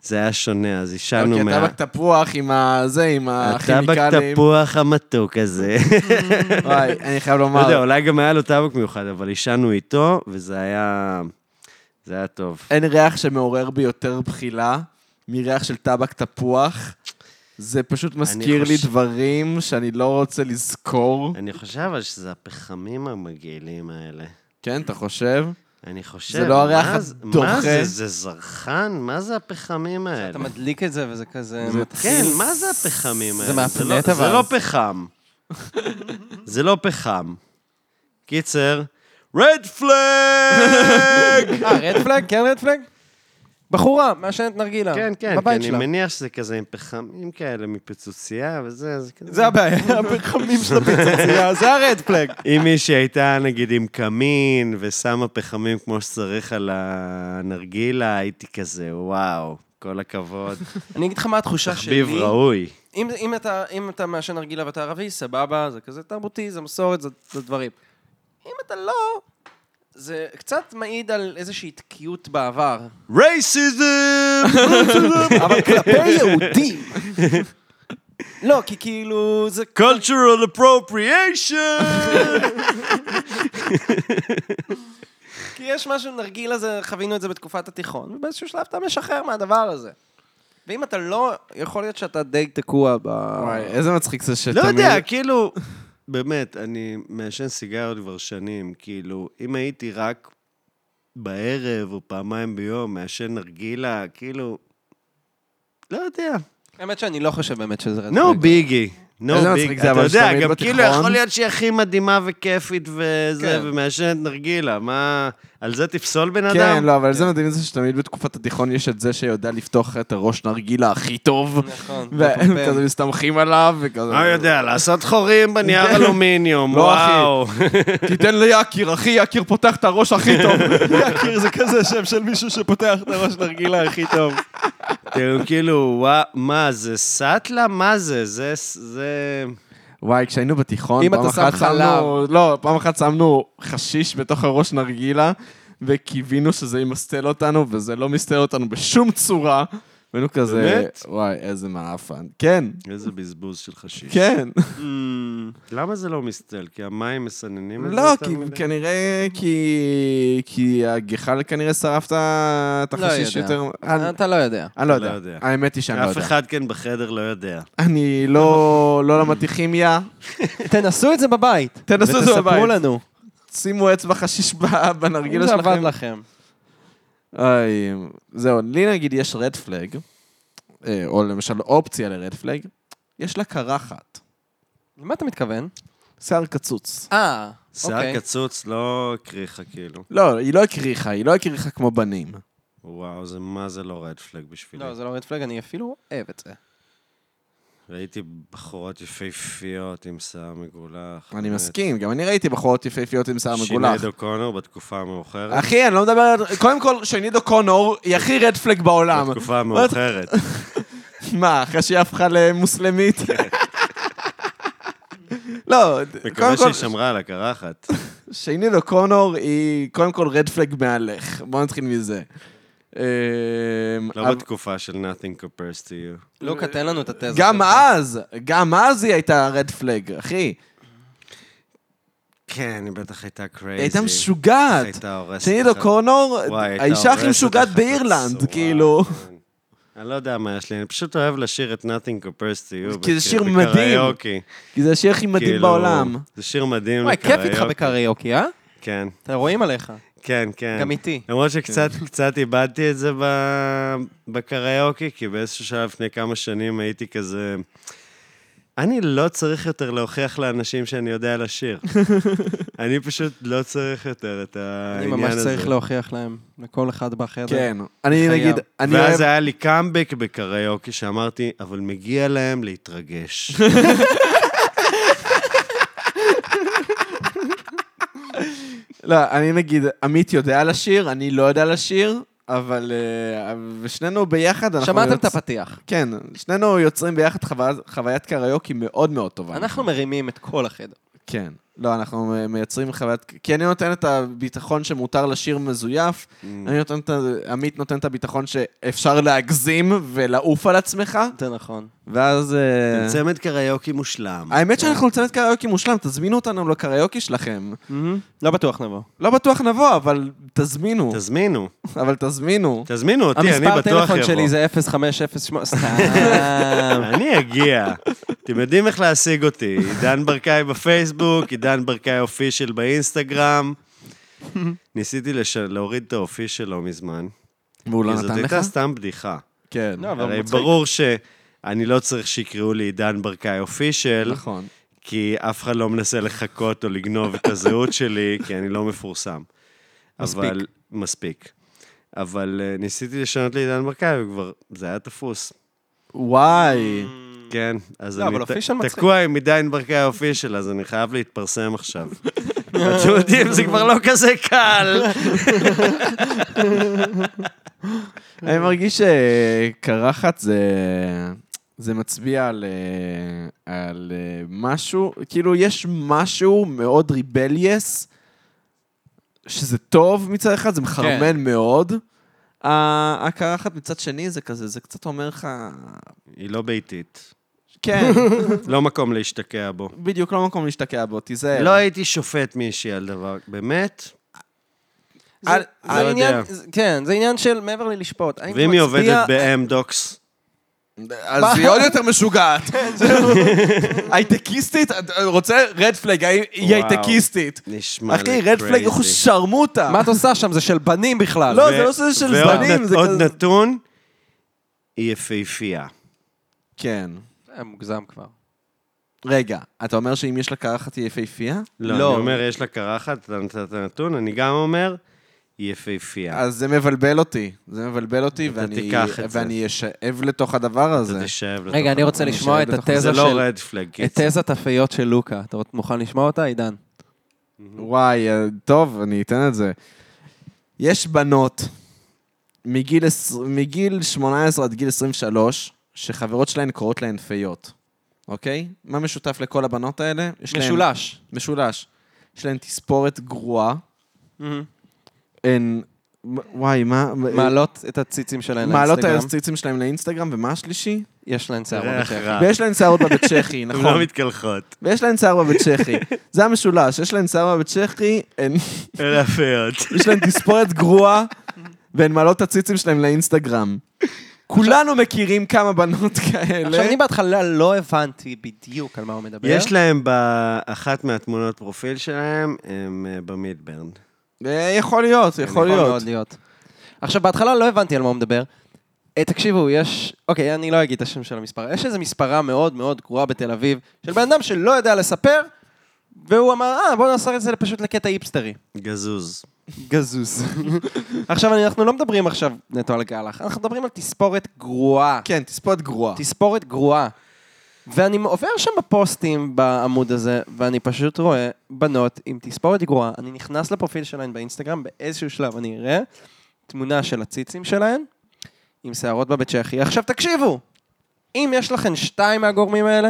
C: זה היה שונה, אז עישנו
A: אוקיי,
C: מה...
A: הטבק תפוח עם הזה, עם
C: הטבק
A: הכימיקלים.
C: תפוח המתוק הזה.
A: וואי, אני חייב
C: לא יודע,
A: לומר.
C: אולי גם היה לו טבק מיוחד, אבל עישנו איתו, וזה היה... זה היה טוב.
A: אין ריח שמעורר בי יותר בחילה מריח של טבק תפוח. זה פשוט מזכיר לי
C: חושב-
A: דברים שאני לא רוצה לזכור.
C: אני חושב אבל שזה הפחמים המגעילים האלה.
A: כן, אתה חושב?
C: אני חושב,
A: לא
C: מה
A: הריח
C: זה-
A: הדוחה.
C: מה זה, זה זרחן? מה זה הפחמים האלה?
B: אתה מדליק את זה וזה כזה...
C: כן, מה זה הפחמים
B: זה
C: האלה? לא-
B: מהפנט,
C: זה
B: אבל.
C: לא פחם. זה לא פחם. קיצר, רד פלאג!
B: אה, רד פלאג? כן רד פלאג? בחורה, מעשנת נרגילה.
C: כן, כן, כי
B: בבית
C: אני
B: שלה.
C: מניח שזה כזה עם פחמים כאלה מפיצוצייה וזה, זה כזה.
B: זה הבעיה, הפחמים של הפיצוצייה, זה הרד פלאג.
C: אם מישהי הייתה נגיד עם קמין ושמה פחמים כמו שצריך על הנרגילה, הייתי כזה, וואו, כל הכבוד.
B: אני אגיד לך מה התחושה שלי.
C: תחביב ראוי.
B: אם, אם, אתה, אם אתה מעשן נרגילה ואתה ערבי, סבבה, זה כזה תרבותי, זה מסורת, זה, זה דברים. אם אתה לא, זה קצת מעיד על איזושהי תקיעות בעבר.
C: רייסיזם!
B: אבל כלפי יהודים. לא, כי כאילו, זה...
C: cultural appropriation!
B: כי יש משהו, נרגילה זה, חווינו את זה בתקופת התיכון, ובאיזשהו שלב אתה משחרר מהדבר הזה. ואם אתה לא, יכול להיות שאתה די תקוע ב...
A: וואי, איזה מצחיק זה
C: לא
A: שתמיד...
C: יודע, כאילו, באמת, אני מעשן סיגריות כבר שנים, כאילו, אם הייתי רק בערב או פעמיים ביום מעשן נרגילה, כאילו, לא יודע.
B: האמת שאני לא חושב באמת שזה רד
C: נו
B: פלאג.
C: ביגי. נו
A: איזה מצחיק
C: ביג,
A: זה,
C: אתה
A: אבל
C: יודע,
A: שתמיד
C: גם כאילו
A: בתיכון-
C: יכול להיות שהיא הכי מדהימה וכיפית וזה,
B: כן.
C: ומעשנת נרגילה, מה, על זה תפסול בן אדם?
A: כן, לא, אבל איזה מדהים זה שתמיד בתקופת התיכון יש את זה שיודע לפתוח את הראש נרגילה הכי טוב.
B: נכון.
A: וכזה מסתמכים עליו, וכזה...
C: לא יודע, לעשות חורים בנייר
A: כן.
C: אלומיניום,
A: לא, אחי.
C: וואו.
A: תיתן ליאקיר, אחי, יאקיר פותח את הראש הכי טוב.
B: להכיר זה כזה שם של מישהו שפותח את הראש נרגילה הכי טוב.
C: תראו, כאילו, וואו, מה זה, סאטלה? מה זה? זה, זה...
A: וואי, כשהיינו בתיכון,
B: אם
A: פעם
B: אתה שם
A: אחת
B: חלב.
A: שמנו... לא, פעם אחת שמנו חשיש בתוך הראש נרגילה, וקיווינו שזה ימסטל אותנו, וזה לא מסטל אותנו בשום צורה. והיינו כזה...
C: באמת?
A: וואי, איזה מעפן. כן,
C: איזה בזבוז של חשיש.
A: כן.
C: למה זה לא מסתל? כי המים מסננים את זה?
A: לא,
C: יותר
A: כי-
C: מדי?
A: כנראה כי... כי הגחל כנראה שרף את ה- את
B: לא
A: החשיש
B: יודע.
A: יותר... אני-
B: אתה לא יודע.
A: אני לא
C: אתה לא
A: יודע.
C: יודע.
A: האמת היא שאני לא
C: אף
A: יודע.
C: אחד כאן בחדר לא יודע.
A: אני לא לא למדתי כימיה.
B: תנסו את זה בבית.
A: תנסו את זה
B: ותספרו
A: בבית.
B: לנו.
A: שימו אצבע חשיש ב-
B: אם
A: בנרגילה
B: זה עבד
A: שלכם.
B: לכם.
A: אוי, זהו, לי נגיד יש רד פלג, אה, או למשל אופציה לרד פלג, יש לה קרחת,
B: למה אתה מתכוון?
A: שיער קצוץ.
B: אה,
C: שיער
A: אוקיי.
C: קצוץ לא הקריחה כאילו.
A: לא, היא לא הקריחה, היא לא הקריחה כמו בנים.
C: וואו, זה מה זה לא רד פלג בשבילי.
B: לא, זה לא רד פלאג, אני אפילו אוהב את זה.
C: ראיתי בחורות יפהפיות עם שיער מגולח.
A: אני
C: באמת.
A: מסכים, גם אני ראיתי בחורות יפהפיות עם שיער מגולח.
C: שיני דוקונור בתקופה המאוחרת.
A: אחי, אני לא מדבר על... קודם כל, שנידו קונור היא הכי רד פלג בעולם.
C: בתקופה המאוחרת.
A: מה, אחרי שהיא הפכה למוסלמית? לא,
C: מקווה
A: קודם כל,
C: שהיא שמרה על הקרחת.
A: שייני דוקונור היא קודם כל רד פלג מהלך. בואו נתחיל מזה. אה,
C: לא
A: אבל-
C: בתקופה של nothing compares to you.
B: לוקה, תן לא לנו את התזה.
A: גם
B: שלך.
A: אז, גם אז היא הייתה רד פלג, אחי.
C: כן, היא בטח הייתה קרייזי.
A: היא הייתה משוגעת.
C: הייתה הורסת.
A: שנידו
C: אחת-
A: קונור,
C: וואי, הייתה
A: האישה הכי
C: הורסת
A: משוגעת
C: אחת
A: באירלנד,
C: בצורה,
A: כאילו.
C: כן. אני לא יודע מה יש לי, אני פשוט אוהב לשיר את Nothing Compares to You.
A: כי זה
C: בק-
A: שיר מדהים.
C: בקריוקי.
A: כי זה השיר הכי מדהים
C: כאילו,
A: בעולם.
C: זה שיר מדהים
B: וואי, כיף איתך
C: לקריוקי.
B: בקריוקי, אה?
C: כן,
B: אתה רואים עליך.
C: אה, כן, כן.
B: גם איתי.
C: למרות שקצת קצת איבדתי את זה ב- בקריוקי, כי באיזשהו שלב לפני כמה שנים הייתי כזה... אני לא צריך יותר להוכיח לאנשים שאני יודע לשיר. אני פשוט לא צריך יותר את
B: אני
C: העניין הזה.
B: ממש צריך להוכיח להם, לכל אחד בחדר.
A: כן. אני
B: חייב.
A: נגיד, אני אוהב...
C: ואז היה לי קאמבק בקריוקי, שאמרתי, אבל מגיע להם להתרגש.
A: לא, אני נגיד, עמית יודע לשיר, אני לא יודע לשיר, אבל אה, שנינו ביחד, אנחנו...
B: שמעתם את
A: יוצ-
B: הפתיח.
A: כן, שנינו יוצרים ביחד חוויה- חוויית קריוקי מאוד מאוד טובה.
B: אנחנו מרימים את כל החדר.
A: כן. לא, אנחנו אה, מייצרים חוויית... כי אני נותן את הביטחון שמותר לשיר מזויף,
B: Mm.
A: אני נותן את ה... עמית נותן את הביטחון שאפשר להגזים ולעוף על עצמך.
B: זה נכון. ואז...
A: כן.
B: אה,
C: צמד קריוקי מושלם.
A: האמת שאנחנו נצא קריוקי מושלם, תזמינו אותנו לקריוקי שלכם.
B: מהמם. לא בטוח נבוא.
A: לא בטוח נבוא, אבל תזמינו.
C: תזמינו,
A: אבל תזמינו.
C: תזמינו אותי, אני
B: המספר
C: בטוח יבוא.
B: טלפון שלי זה 0508, סתם.
C: אני אגיע. אתם יודעים איך להשיג אותי. עידן ברקאי בפייסבוק, עידן ברקאי אופישל באינסטגרם. ניסיתי לש... להוריד את האופי שלו מזמן.
A: והוא לא
C: כי זאת
A: נתן לך?
C: הייתה סתם בדיחה.
A: כן.
B: לא, אבל הוא
C: הרי
B: מצחיק.
C: ברור שאני לא צריך שיקראו לי עידן ברקאי אופישל,
A: נכון.
C: כי אף אחד לא מנסה לחקות או לגנוב את הזהות שלי, כי אני לא מפורסם.
A: מספיק.
C: אבל, מספיק. אבל אה, ניסיתי לשנות לעידן ברקאי, וכבר, זה היה תפוס.
A: וואי.
C: כן, אז
B: לא,
C: אני
B: אבל
C: ת-
B: אופישל מצחיק.
C: תקוע עם עידן ברקאי אופישל, אז אני חייב להתפרסם עכשיו. אתם יודעים, זה כבר לא כזה קל.
A: אני מרגיש שקרחת זה... זה מצביע על, אה, על אה, משהו, כאילו יש משהו מאוד ריבליאס, שזה טוב מצד אחד, זה מחרמן
B: כן.
A: מאוד. ה- הקרחת מצד שני זה כזה, זה קצת אומר לך,
C: היא לא ביתית.
A: כן,
C: לא מקום להשתקע בו.
A: בדיוק לא מקום להשתקע בו, תיזהר.
C: לא הייתי שופט מישהי על דבר, באמת?
B: זה-
A: אל-
B: זה
C: לא
B: עניין-
C: יודע.
B: זה- כן, זה עניין של מעבר ללשפוט. האם אתה
C: ואם היא
B: מצביע-
C: עובדת באמדוקס?
A: אז היא עוד יותר משוגעת. הייטקיסטית, אה, רוצה רד פלג, היא
C: וואו.
A: הייטקיסטית.
C: נשמע לי
A: אחי, רד פלג,
C: crazy.
A: הוא שרמוטה.
B: מה את עושה שם? זה של בנים בכלל.
A: לא,
C: ו-
A: זה לא שזה של
C: ועוד
A: זמנים,
C: נ-
A: זה
C: עוד
A: כזה-
C: נתון, היא יפהפייה.
A: כן.
B: זה אה, מוגזם כבר.
A: רגע, אתה אומר שאם יש לה קרחת היא יפהפייה?
C: לא, אני אומר, יש לה קרחת, אתה נתת נתון, אני גם אומר, היא יפהפייה.
A: אז זה מבלבל אותי. זה מבלבל אותי,
C: אתה
A: ואני-
C: תיקח את זה.
A: ואני אשאב לתוך הדבר הזה.
C: אתה תשאב לתוך...
B: רגע, אני רוצה
A: אני
B: לשמוע
A: שואל
B: את
A: בתוך-
B: התזה
C: זה
B: של...
C: לא רד פלג,
B: את תזת הפיות של לוקה. אתה מוכן לשמוע אותה, עידן?
A: וואי, אה, טוב, אני אתן את זה. יש בנות מגיל, עש- מגיל 18 עד גיל 23, שחברות שלהן קוראות להן פיות, אוקיי? מה משותף לכל הבנות האלה? יש להן-
B: משולש.
A: משולש. יש להן תספורת גרועה, הן... וואי, מה...
B: מעלות את הציצים שלהן
A: מעלות את
B: לאינסטגרם.
A: הציצים שלהם לאינסטגרם, ומה השלישי?
B: יש להן שערות
C: ריח
A: כן.
B: יותר.
C: רע. אה.
A: ויש להן שערות בבית צ'כי,
C: הן לא
A: נכון.
C: מתקלחות.
A: ויש להן שיער בבית צ'כי. זה המשולש, יש להן שיער בבית צ'כי, הן-
C: אלה הפיות.
A: יש להן תספורת גרועה, והן מעלות את הציצים שלהם לאינסטגרם. כולנו מכירים כמה בנות
B: עכשיו,
A: כאלה.
B: אני בהתחלה לא הבנתי בדיוק על מה הוא מדבר.
C: יש להם באחת מהתמונות פרופיל שלהם, הם אה, במידברן.
A: אה, יכול להיות, יכול להיות.
B: מאוד להיות. עכשיו, בהתחלה לא הבנתי על מה הוא מדבר. אה, תקשיבו, יש... אוקיי, אני לא אגיד את השם של המספרה. יש איזו מספרה מאוד מאוד גרועה בתל אביב, של בן אדם שלא יודע לספר, והוא אמר, אה, בואו נעשה את זה פשוט לקטע היפסטרי.
C: גזוז.
B: גזוז. עכשיו, אנחנו לא מדברים עכשיו נטו על גלח, אנחנו מדברים על תספורת גרועה.
A: כן, תספורת גרועה.
B: תספורת גרועה. ואני עובר שם בפוסטים בעמוד הזה, ואני פשוט רואה בנות עם תספורת גרועה. אני נכנס לפרופיל שלהן באינסטגרם, באיזשהו שלב אני אראה תמונה של הציצים שלהן, עם שערות בבית צ'כי. עכשיו תקשיבו, אם יש לכן שתיים מהגורמים האלה,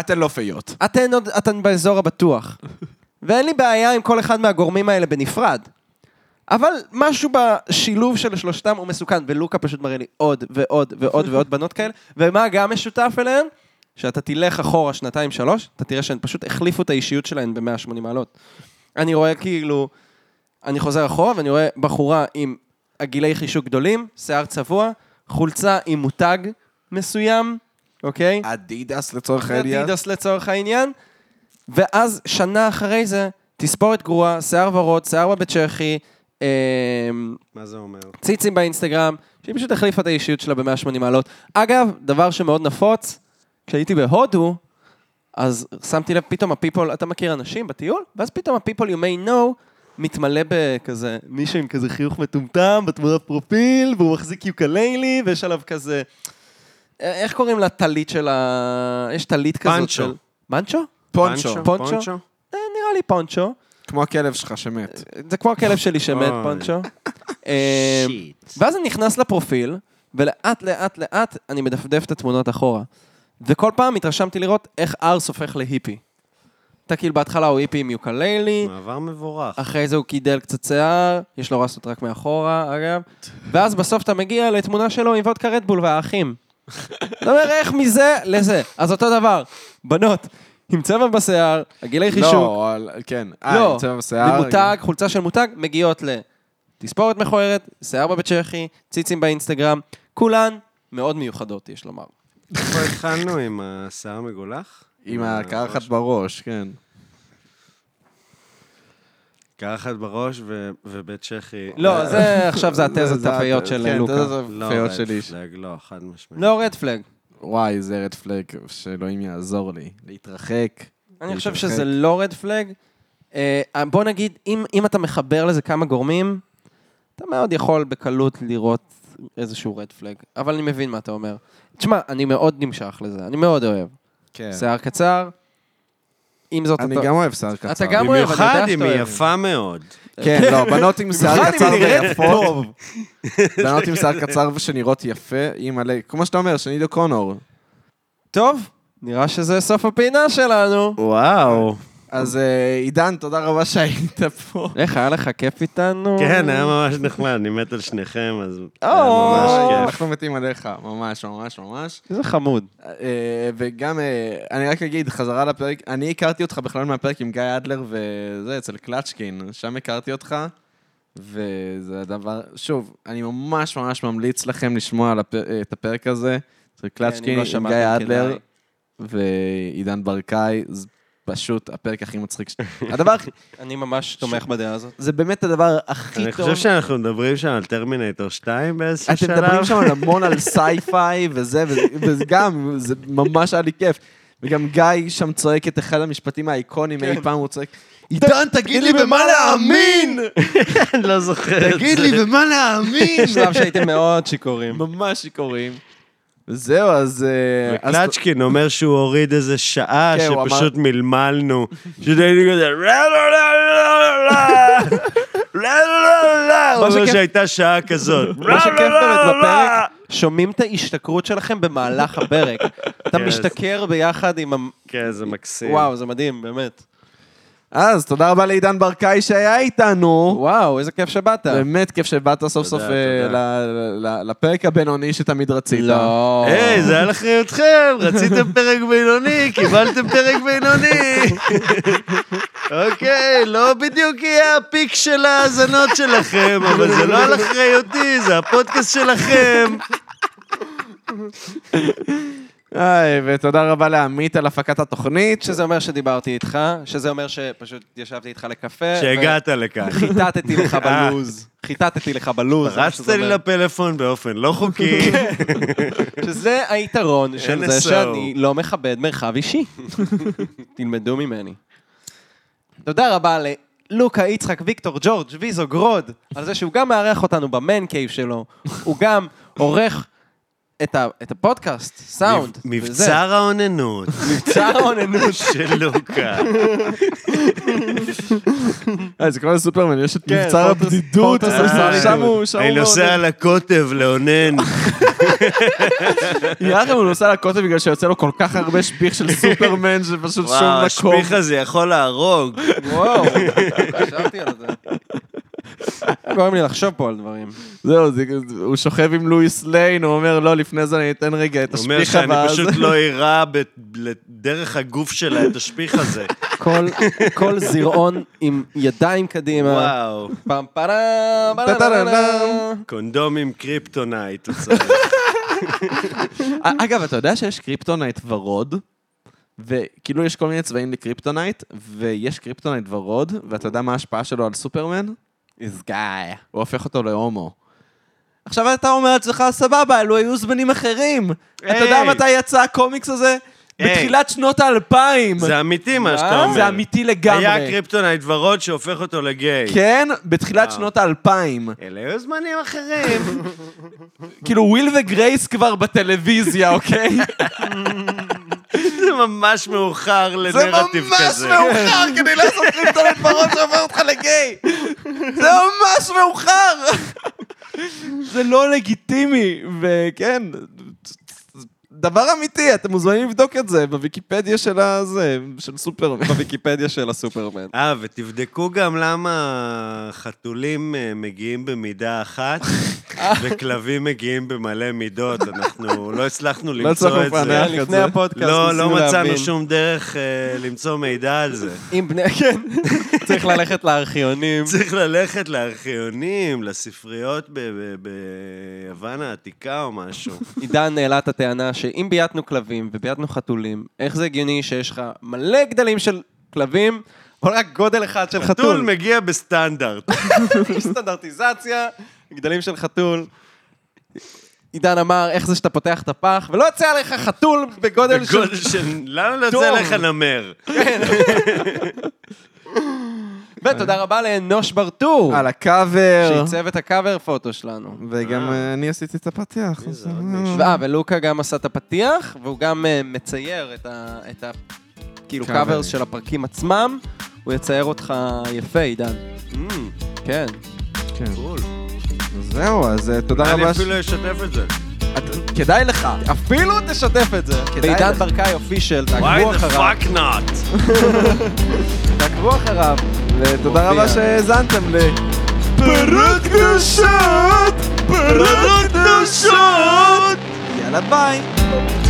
A: אתן לא פיות.
B: אתן, עוד, אתן באזור הבטוח. ואין לי בעיה עם כל אחד מהגורמים האלה בנפרד. אבל משהו בשילוב של שלושתם הוא מסוכן, ולוקה פשוט מראה לי עוד ועוד ועוד ועוד בנות כאלה, ומה גם משותף אליהן? שאתה תלך אחורה שנתיים-שלוש, אתה תראה שהן פשוט החליפו את האישיות שלהן ב-180 מעלות. אני רואה כאילו, אני חוזר אחורה ואני רואה בחורה עם הגילי חישוק גדולים, שיער צבוע, חולצה עם מותג מסוים, אוקיי?
A: אדידס לצורך העניין.
B: אדידס לצורך העניין. ואז שנה אחרי זה, תספורת גרועה, שיער ורוד, שיער בבית צ'כי, אמ,
C: מה זה אומר?
B: ציצים באינסטגרם, שהיא פשוט החליפה את האישיות שלה ב-180 מעלות. אגב, דבר שמאוד נפוץ, כשהייתי בהודו, אז שמתי לב, פתאום הפיפול, אתה מכיר אנשים בטיול? ואז פתאום הפיפול you may know מתמלא בכזה, מישהו עם כזה חיוך מטומטם בתמונת פרופיל, והוא מחזיק יוקללי, ויש עליו כזה... אה, איך קוראים לטלית של ה... יש טלית כזאת
C: פאנצ'ו.
B: של... מנצ'ו?
A: פונצ'ו.
B: פונצ'ו? אה, נראה לי פונצ'ו.
A: כמו הכלב שלך שמת.
B: זה כמו הכלב שלי שמת,
C: אוי.
B: פונצ'ו. אה,
C: שיט.
B: ואז אני נכנס לפרופיל, ולאט לאט לאט אני מדפדף את התמונות אחורה. וכל פעם התרשמתי לראות איך ארס הופך להיפי. אתה כאילו בהתחלה הוא היפי עם יוקללי,
C: מעבר מבורך.
B: אחרי זה הוא קידל קצת שיער, יש לו רסות רק מאחורה, אגב, ואז בסוף אתה מגיע לתמונה שלו עם וודקה רדבול והאחים. אתה אומר, איך מזה לזה? אז אותו דבר, בנות, עם צבע בשיער, הגילי חישוק,
A: לא, אבל- כן.
B: לא.
A: אה, עם צבע בשיער.
B: למותג, חולצה של מותג, מגיעות לתספורת מכוערת, שיער בבית צ'כי, ציצים באינסטגרם, כולן מאוד מיוחדות, יש לומר.
C: איפה התחלנו עם השיער המגולח?
A: עם הקרחת בראש, כן.
C: קרחת בראש ו- ובית צ'כי. אה,
B: לא, זה עכשיו זה התזות
A: זה-
B: הפיות
A: זה-
B: של
A: כן,
B: לוקה.
A: זה- זה
C: לא,
A: הפיות
C: red
A: שלי.
C: flag, לא, חד משמעית.
B: לא רדפלג.
A: וואי, זה רד פלג, שאלוהים יעזור לי. להתרחק.
B: אני חושב
A: להתרחק.
B: שזה לא רד פלג. אה, בוא נגיד, אם, אם אתה מחבר לזה כמה גורמים, אתה מאוד יכול בקלות לראות איזשהו רד פלג. אבל אני מבין מה אתה אומר. תשמע, אני מאוד נמשך לזה, אני מאוד אוהב.
A: כן.
B: שיער קצר, עם זאת
A: אני
B: אתה...
A: גם אוהב שיער קצר.
B: אתה גם אוהב, אני יודע
C: במיוחד
B: שאתה
C: אם
B: אוהב.
C: היא יפה מאוד.
A: כן, לא, בנות עם שיער
B: במיוחד אם
A: קצר
B: היא נראית
A: ויפות. בנות עם שיער קצר ושנראות יפה, היא מלא... כמו שאתה אומר, שנידו קונור.
B: טוב, נראה שזה סוף הפינה שלנו.
C: וואו.
A: אז אה, עידן, תודה רבה שהיית פה.
B: איך, היה לך כיף איתנו?
C: כן, היה ממש נחמד, אני מת על שניכם, אז היה
B: או.
C: ממש כיף.
A: אנחנו מתים עליך, ממש, ממש, ממש.
B: איזה חמוד.
A: אה, וגם, אה, אני רק אגיד, חזרה לפרק, אני הכרתי אותך בכלל מהפרק עם גיא אדלר וזה, אצל קלצ'קין, שם הכרתי אותך, וזה הדבר, שוב, אני ממש ממש ממליץ לכם לשמוע על הפ- אה, את הפרק הזה, אצל קלצ'קין,
B: לא
A: עם
B: שמעתי,
A: גיא אדלר
B: כדאי.
A: ועידן ברקאי, זה פשוט הפרק הכי מצחיק. ש- הדבר, הכי-
B: אני ממש תומך בדעה הזאת.
A: זה באמת הדבר הכי
C: אני
A: טוב.
C: חושב שאנחנו מדברים שם על טרמינטור 2 באיזשהו
A: אתם
C: שלב.
A: מדברים שם על המון על סייפיי וזה, וזה- וזה גם, זה ממש היה לי כיף. וגם גיא שם צועק את אחד המשפטים האיקונים, אי פעם הוא צועק, כן. עידן, תגיד לי במה להאמין!
C: אני לא זוכר את
A: תגיד
C: זה.
A: לי במה להאמין!
B: בשלב שהייתם מאוד
C: לא,
B: שיכורים.
A: ממש שיכורים. זהו, אז... אה, אז-
C: קלצ'קין אומר שהוא הוריד איזה שעה
A: כן, הוא אמר-
C: שפשוט מלמלנו. פשוט היינו כזה, "לא, לא, לא, לא, לא, לא, לא, לא, לא." הוא
B: מה
C: אומר
B: שכן-
C: שהייתה שעה כזאת.
B: מה שכיף
C: "לא, לא,
B: באמת
C: לא, לא."
B: בפרק, שומעים את ההשתכרות שלכם במהלך הפרק. אתה
C: כן,
B: משתכר ביחד עם ה...
C: כן, זה מקסים.
B: וואו, זה מדהים, באמת.
A: אז תודה רבה לעידן ברקאי שהיה איתנו.
B: וואו, איזה כיף שבאת.
A: באמת כיף שבאת סוף סוף
C: תודה.
A: אה, ל- ל- לפרק הבינוני שתמיד רצית.
B: לא.
C: היי, זה על אחריותכם, רציתם פרק בינוני, קיבלתם פרק בינוני. אוקיי, לא בדיוק יהיה הפיק של ההאזנות שלכם, אבל זה לא על אחריותי, זה הפודקאסט שלכם.
A: היי, ותודה רבה לעמית על הפקת התוכנית.
B: שזה אומר שדיברתי איתך, שזה אומר שפשוט ישבתי איתך לקפה.
C: שהגעת לכאן.
B: חיטטתי לך בלוז. חיטטתי לך בלוז. זה מה
C: רצת
B: שזה
C: לי
B: אומר.
C: לפלאפון באופן לא חוקי.
B: שזה היתרון של זה
C: NSO.
B: שאני לא מכבד מרחב אישי. תלמדו ממני. תודה רבה ללוקה יצחק ויקטור ג'ורג' ויזו גרוד, על זה שהוא גם מארח אותנו במן קייב שלו, הוא גם עורך את ה- את הפודקאסט, סאונד. וזה.
C: מבצר האוננות
B: מבצע האוננות.
C: של לוקה.
A: אה, זה כמו לסופרמן, יש את
B: כן,
A: מבצר
B: פוטוס-
A: הבדידות,
B: פוטוס-
A: אז
B: אה,
A: שם הוא, שם
C: אני
A: הוא
C: נוסע
A: מעונן.
C: לקוטב לאונן.
A: נראה לכם הוא נוסע לקוטב בגלל שיוצא לו כל כך הרבה שפיך של סופרמן, שפשוט שום
C: וואו,
A: מקום.
C: השפיך הזה יכול להרוג.
B: וואו, חשבתי על זה. גורם לי לחשוב פה על דברים.
A: זהו, זה- הוא שוכב עם לואיס ליין, הוא אומר, לא, לפני זה אני אתן רגע את
C: הוא אומר
A: השפיך
C: שאני
A: הבא.
C: פשוט לא אירע דרך הגוף שלה את השפיך הזה.
B: כל- כל זרעון עם ידיים קדימה.
C: וואו,
B: פעם פעם,
A: טה-טה-טה-טם.
C: קונדום עם קריפטונייט. הוא צריך.
A: אגב, אתה יודע שיש קריפטונייט ורוד? וכאילו יש כל מיני צבעים לקריפטונייט, ויש קריפטונייט ורוד, ואתה יודע מה ההשפעה שלו על סופרמן?
B: This guy.
A: הוא הופך אותו להומו. עכשיו אתה אומר לעצמך, סבבה, אלו היו זמנים אחרים. אתה יודע
C: היי.
A: מתי יצא הקומיקס הזה?
C: היי.
A: בתחילת שנות האלפיים.
C: זה אמיתי מה שאתה
B: מה?
C: אומר.
A: זה אמיתי
C: היה
A: לגמרי.
C: קריפטונייט אה. ורוד שהופך אותו לגיי.
A: כן, בתחילת
C: וואו.
A: שנות האלפיים.
C: אלה היו זמנים אחרים.
A: כאילו, וויל וגרייס כבר בטלוויזיה, אוקיי?
C: זה ממש מאוחר
A: זה
C: לנרטיב
A: ממש
C: כזה.
A: מאוחר כדי לעשות קריפטונט בראש שהופך אותך לגיי. זה ממש מאוחר. זה לא לגיטימי, וכן, דבר אמיתי, אתם מוזמנים לבדוק את זה בוויקיפדיה של הזה, של סופרמן.
B: בוויקיפדיה של הסופרמן.
C: אה, ותבדקו גם למה חתולים אה, מגיעים במידה אחת אה. וכלבים מגיעים במלא מידות. אנחנו לא הצלחנו
A: הצלחנו
C: למצוא את זה.
A: לפענח.
B: לפני הפודקאסט
C: לא, לא
B: ניסינו
C: מצאנו
B: להבין.
C: שום דרך אה, למצוא מידע על זה.
B: אם בני... כן. צריך ללכת לארכיונים.
C: צריך ללכת לארכיונים, לספריות ב- ב- ביוון העתיקה או משהו.
B: עידן העלה את הטענה שאם בייתנו כלבים ובייתנו חתולים, איך זה הגיוני שיש לך מלא גדלים של כלבים, אבל רק גודל אחד של
C: חתול
B: חתול?
C: מגיע בסטנדרט.
B: יש סטנדרטיזציה, גדלים של חתול. עידן אמר, איך זה שאתה פותח את הפח, ולא יוצא עליך חתול בגודל של...
C: בגודל של... למה לא
B: דום.
C: יוצא לך נמר?
B: ותודה רבה לאנוש ברטור,
A: על הקאבר.
B: שעיצב את הקאבר פוטו שלנו.
A: וגם אה, אני עשיתי את הפתיח. אז-
C: זה? עוד מישהו?
A: Mm.
B: אה, ולוקה גם עשה את הפתיח, והוא גם אה, מצייר את ה... את ה כאילו
A: קאברים.
B: קאברס של הפרקים עצמם, הוא יצייר אותך יפה, עידן.
A: Mm,
B: כן.
A: כן.
C: בול.
A: זהו, אז אה, תודה
C: אני
A: רבה. ש-
C: אפילו אשתף את זה.
A: את- כדאי לך.
B: אפילו תשתף את זה.
A: כדאי
B: בעידן
A: לך.
B: ברקאי אופישל, תעקבו
C: Why the
B: אחריו.
C: fuck not?
B: תעקבו אחריו.
A: ותודה רבה
B: מופיע.
A: שהאזנתם ל... פרק קדושות! פרק קדושות! יאללה ביי!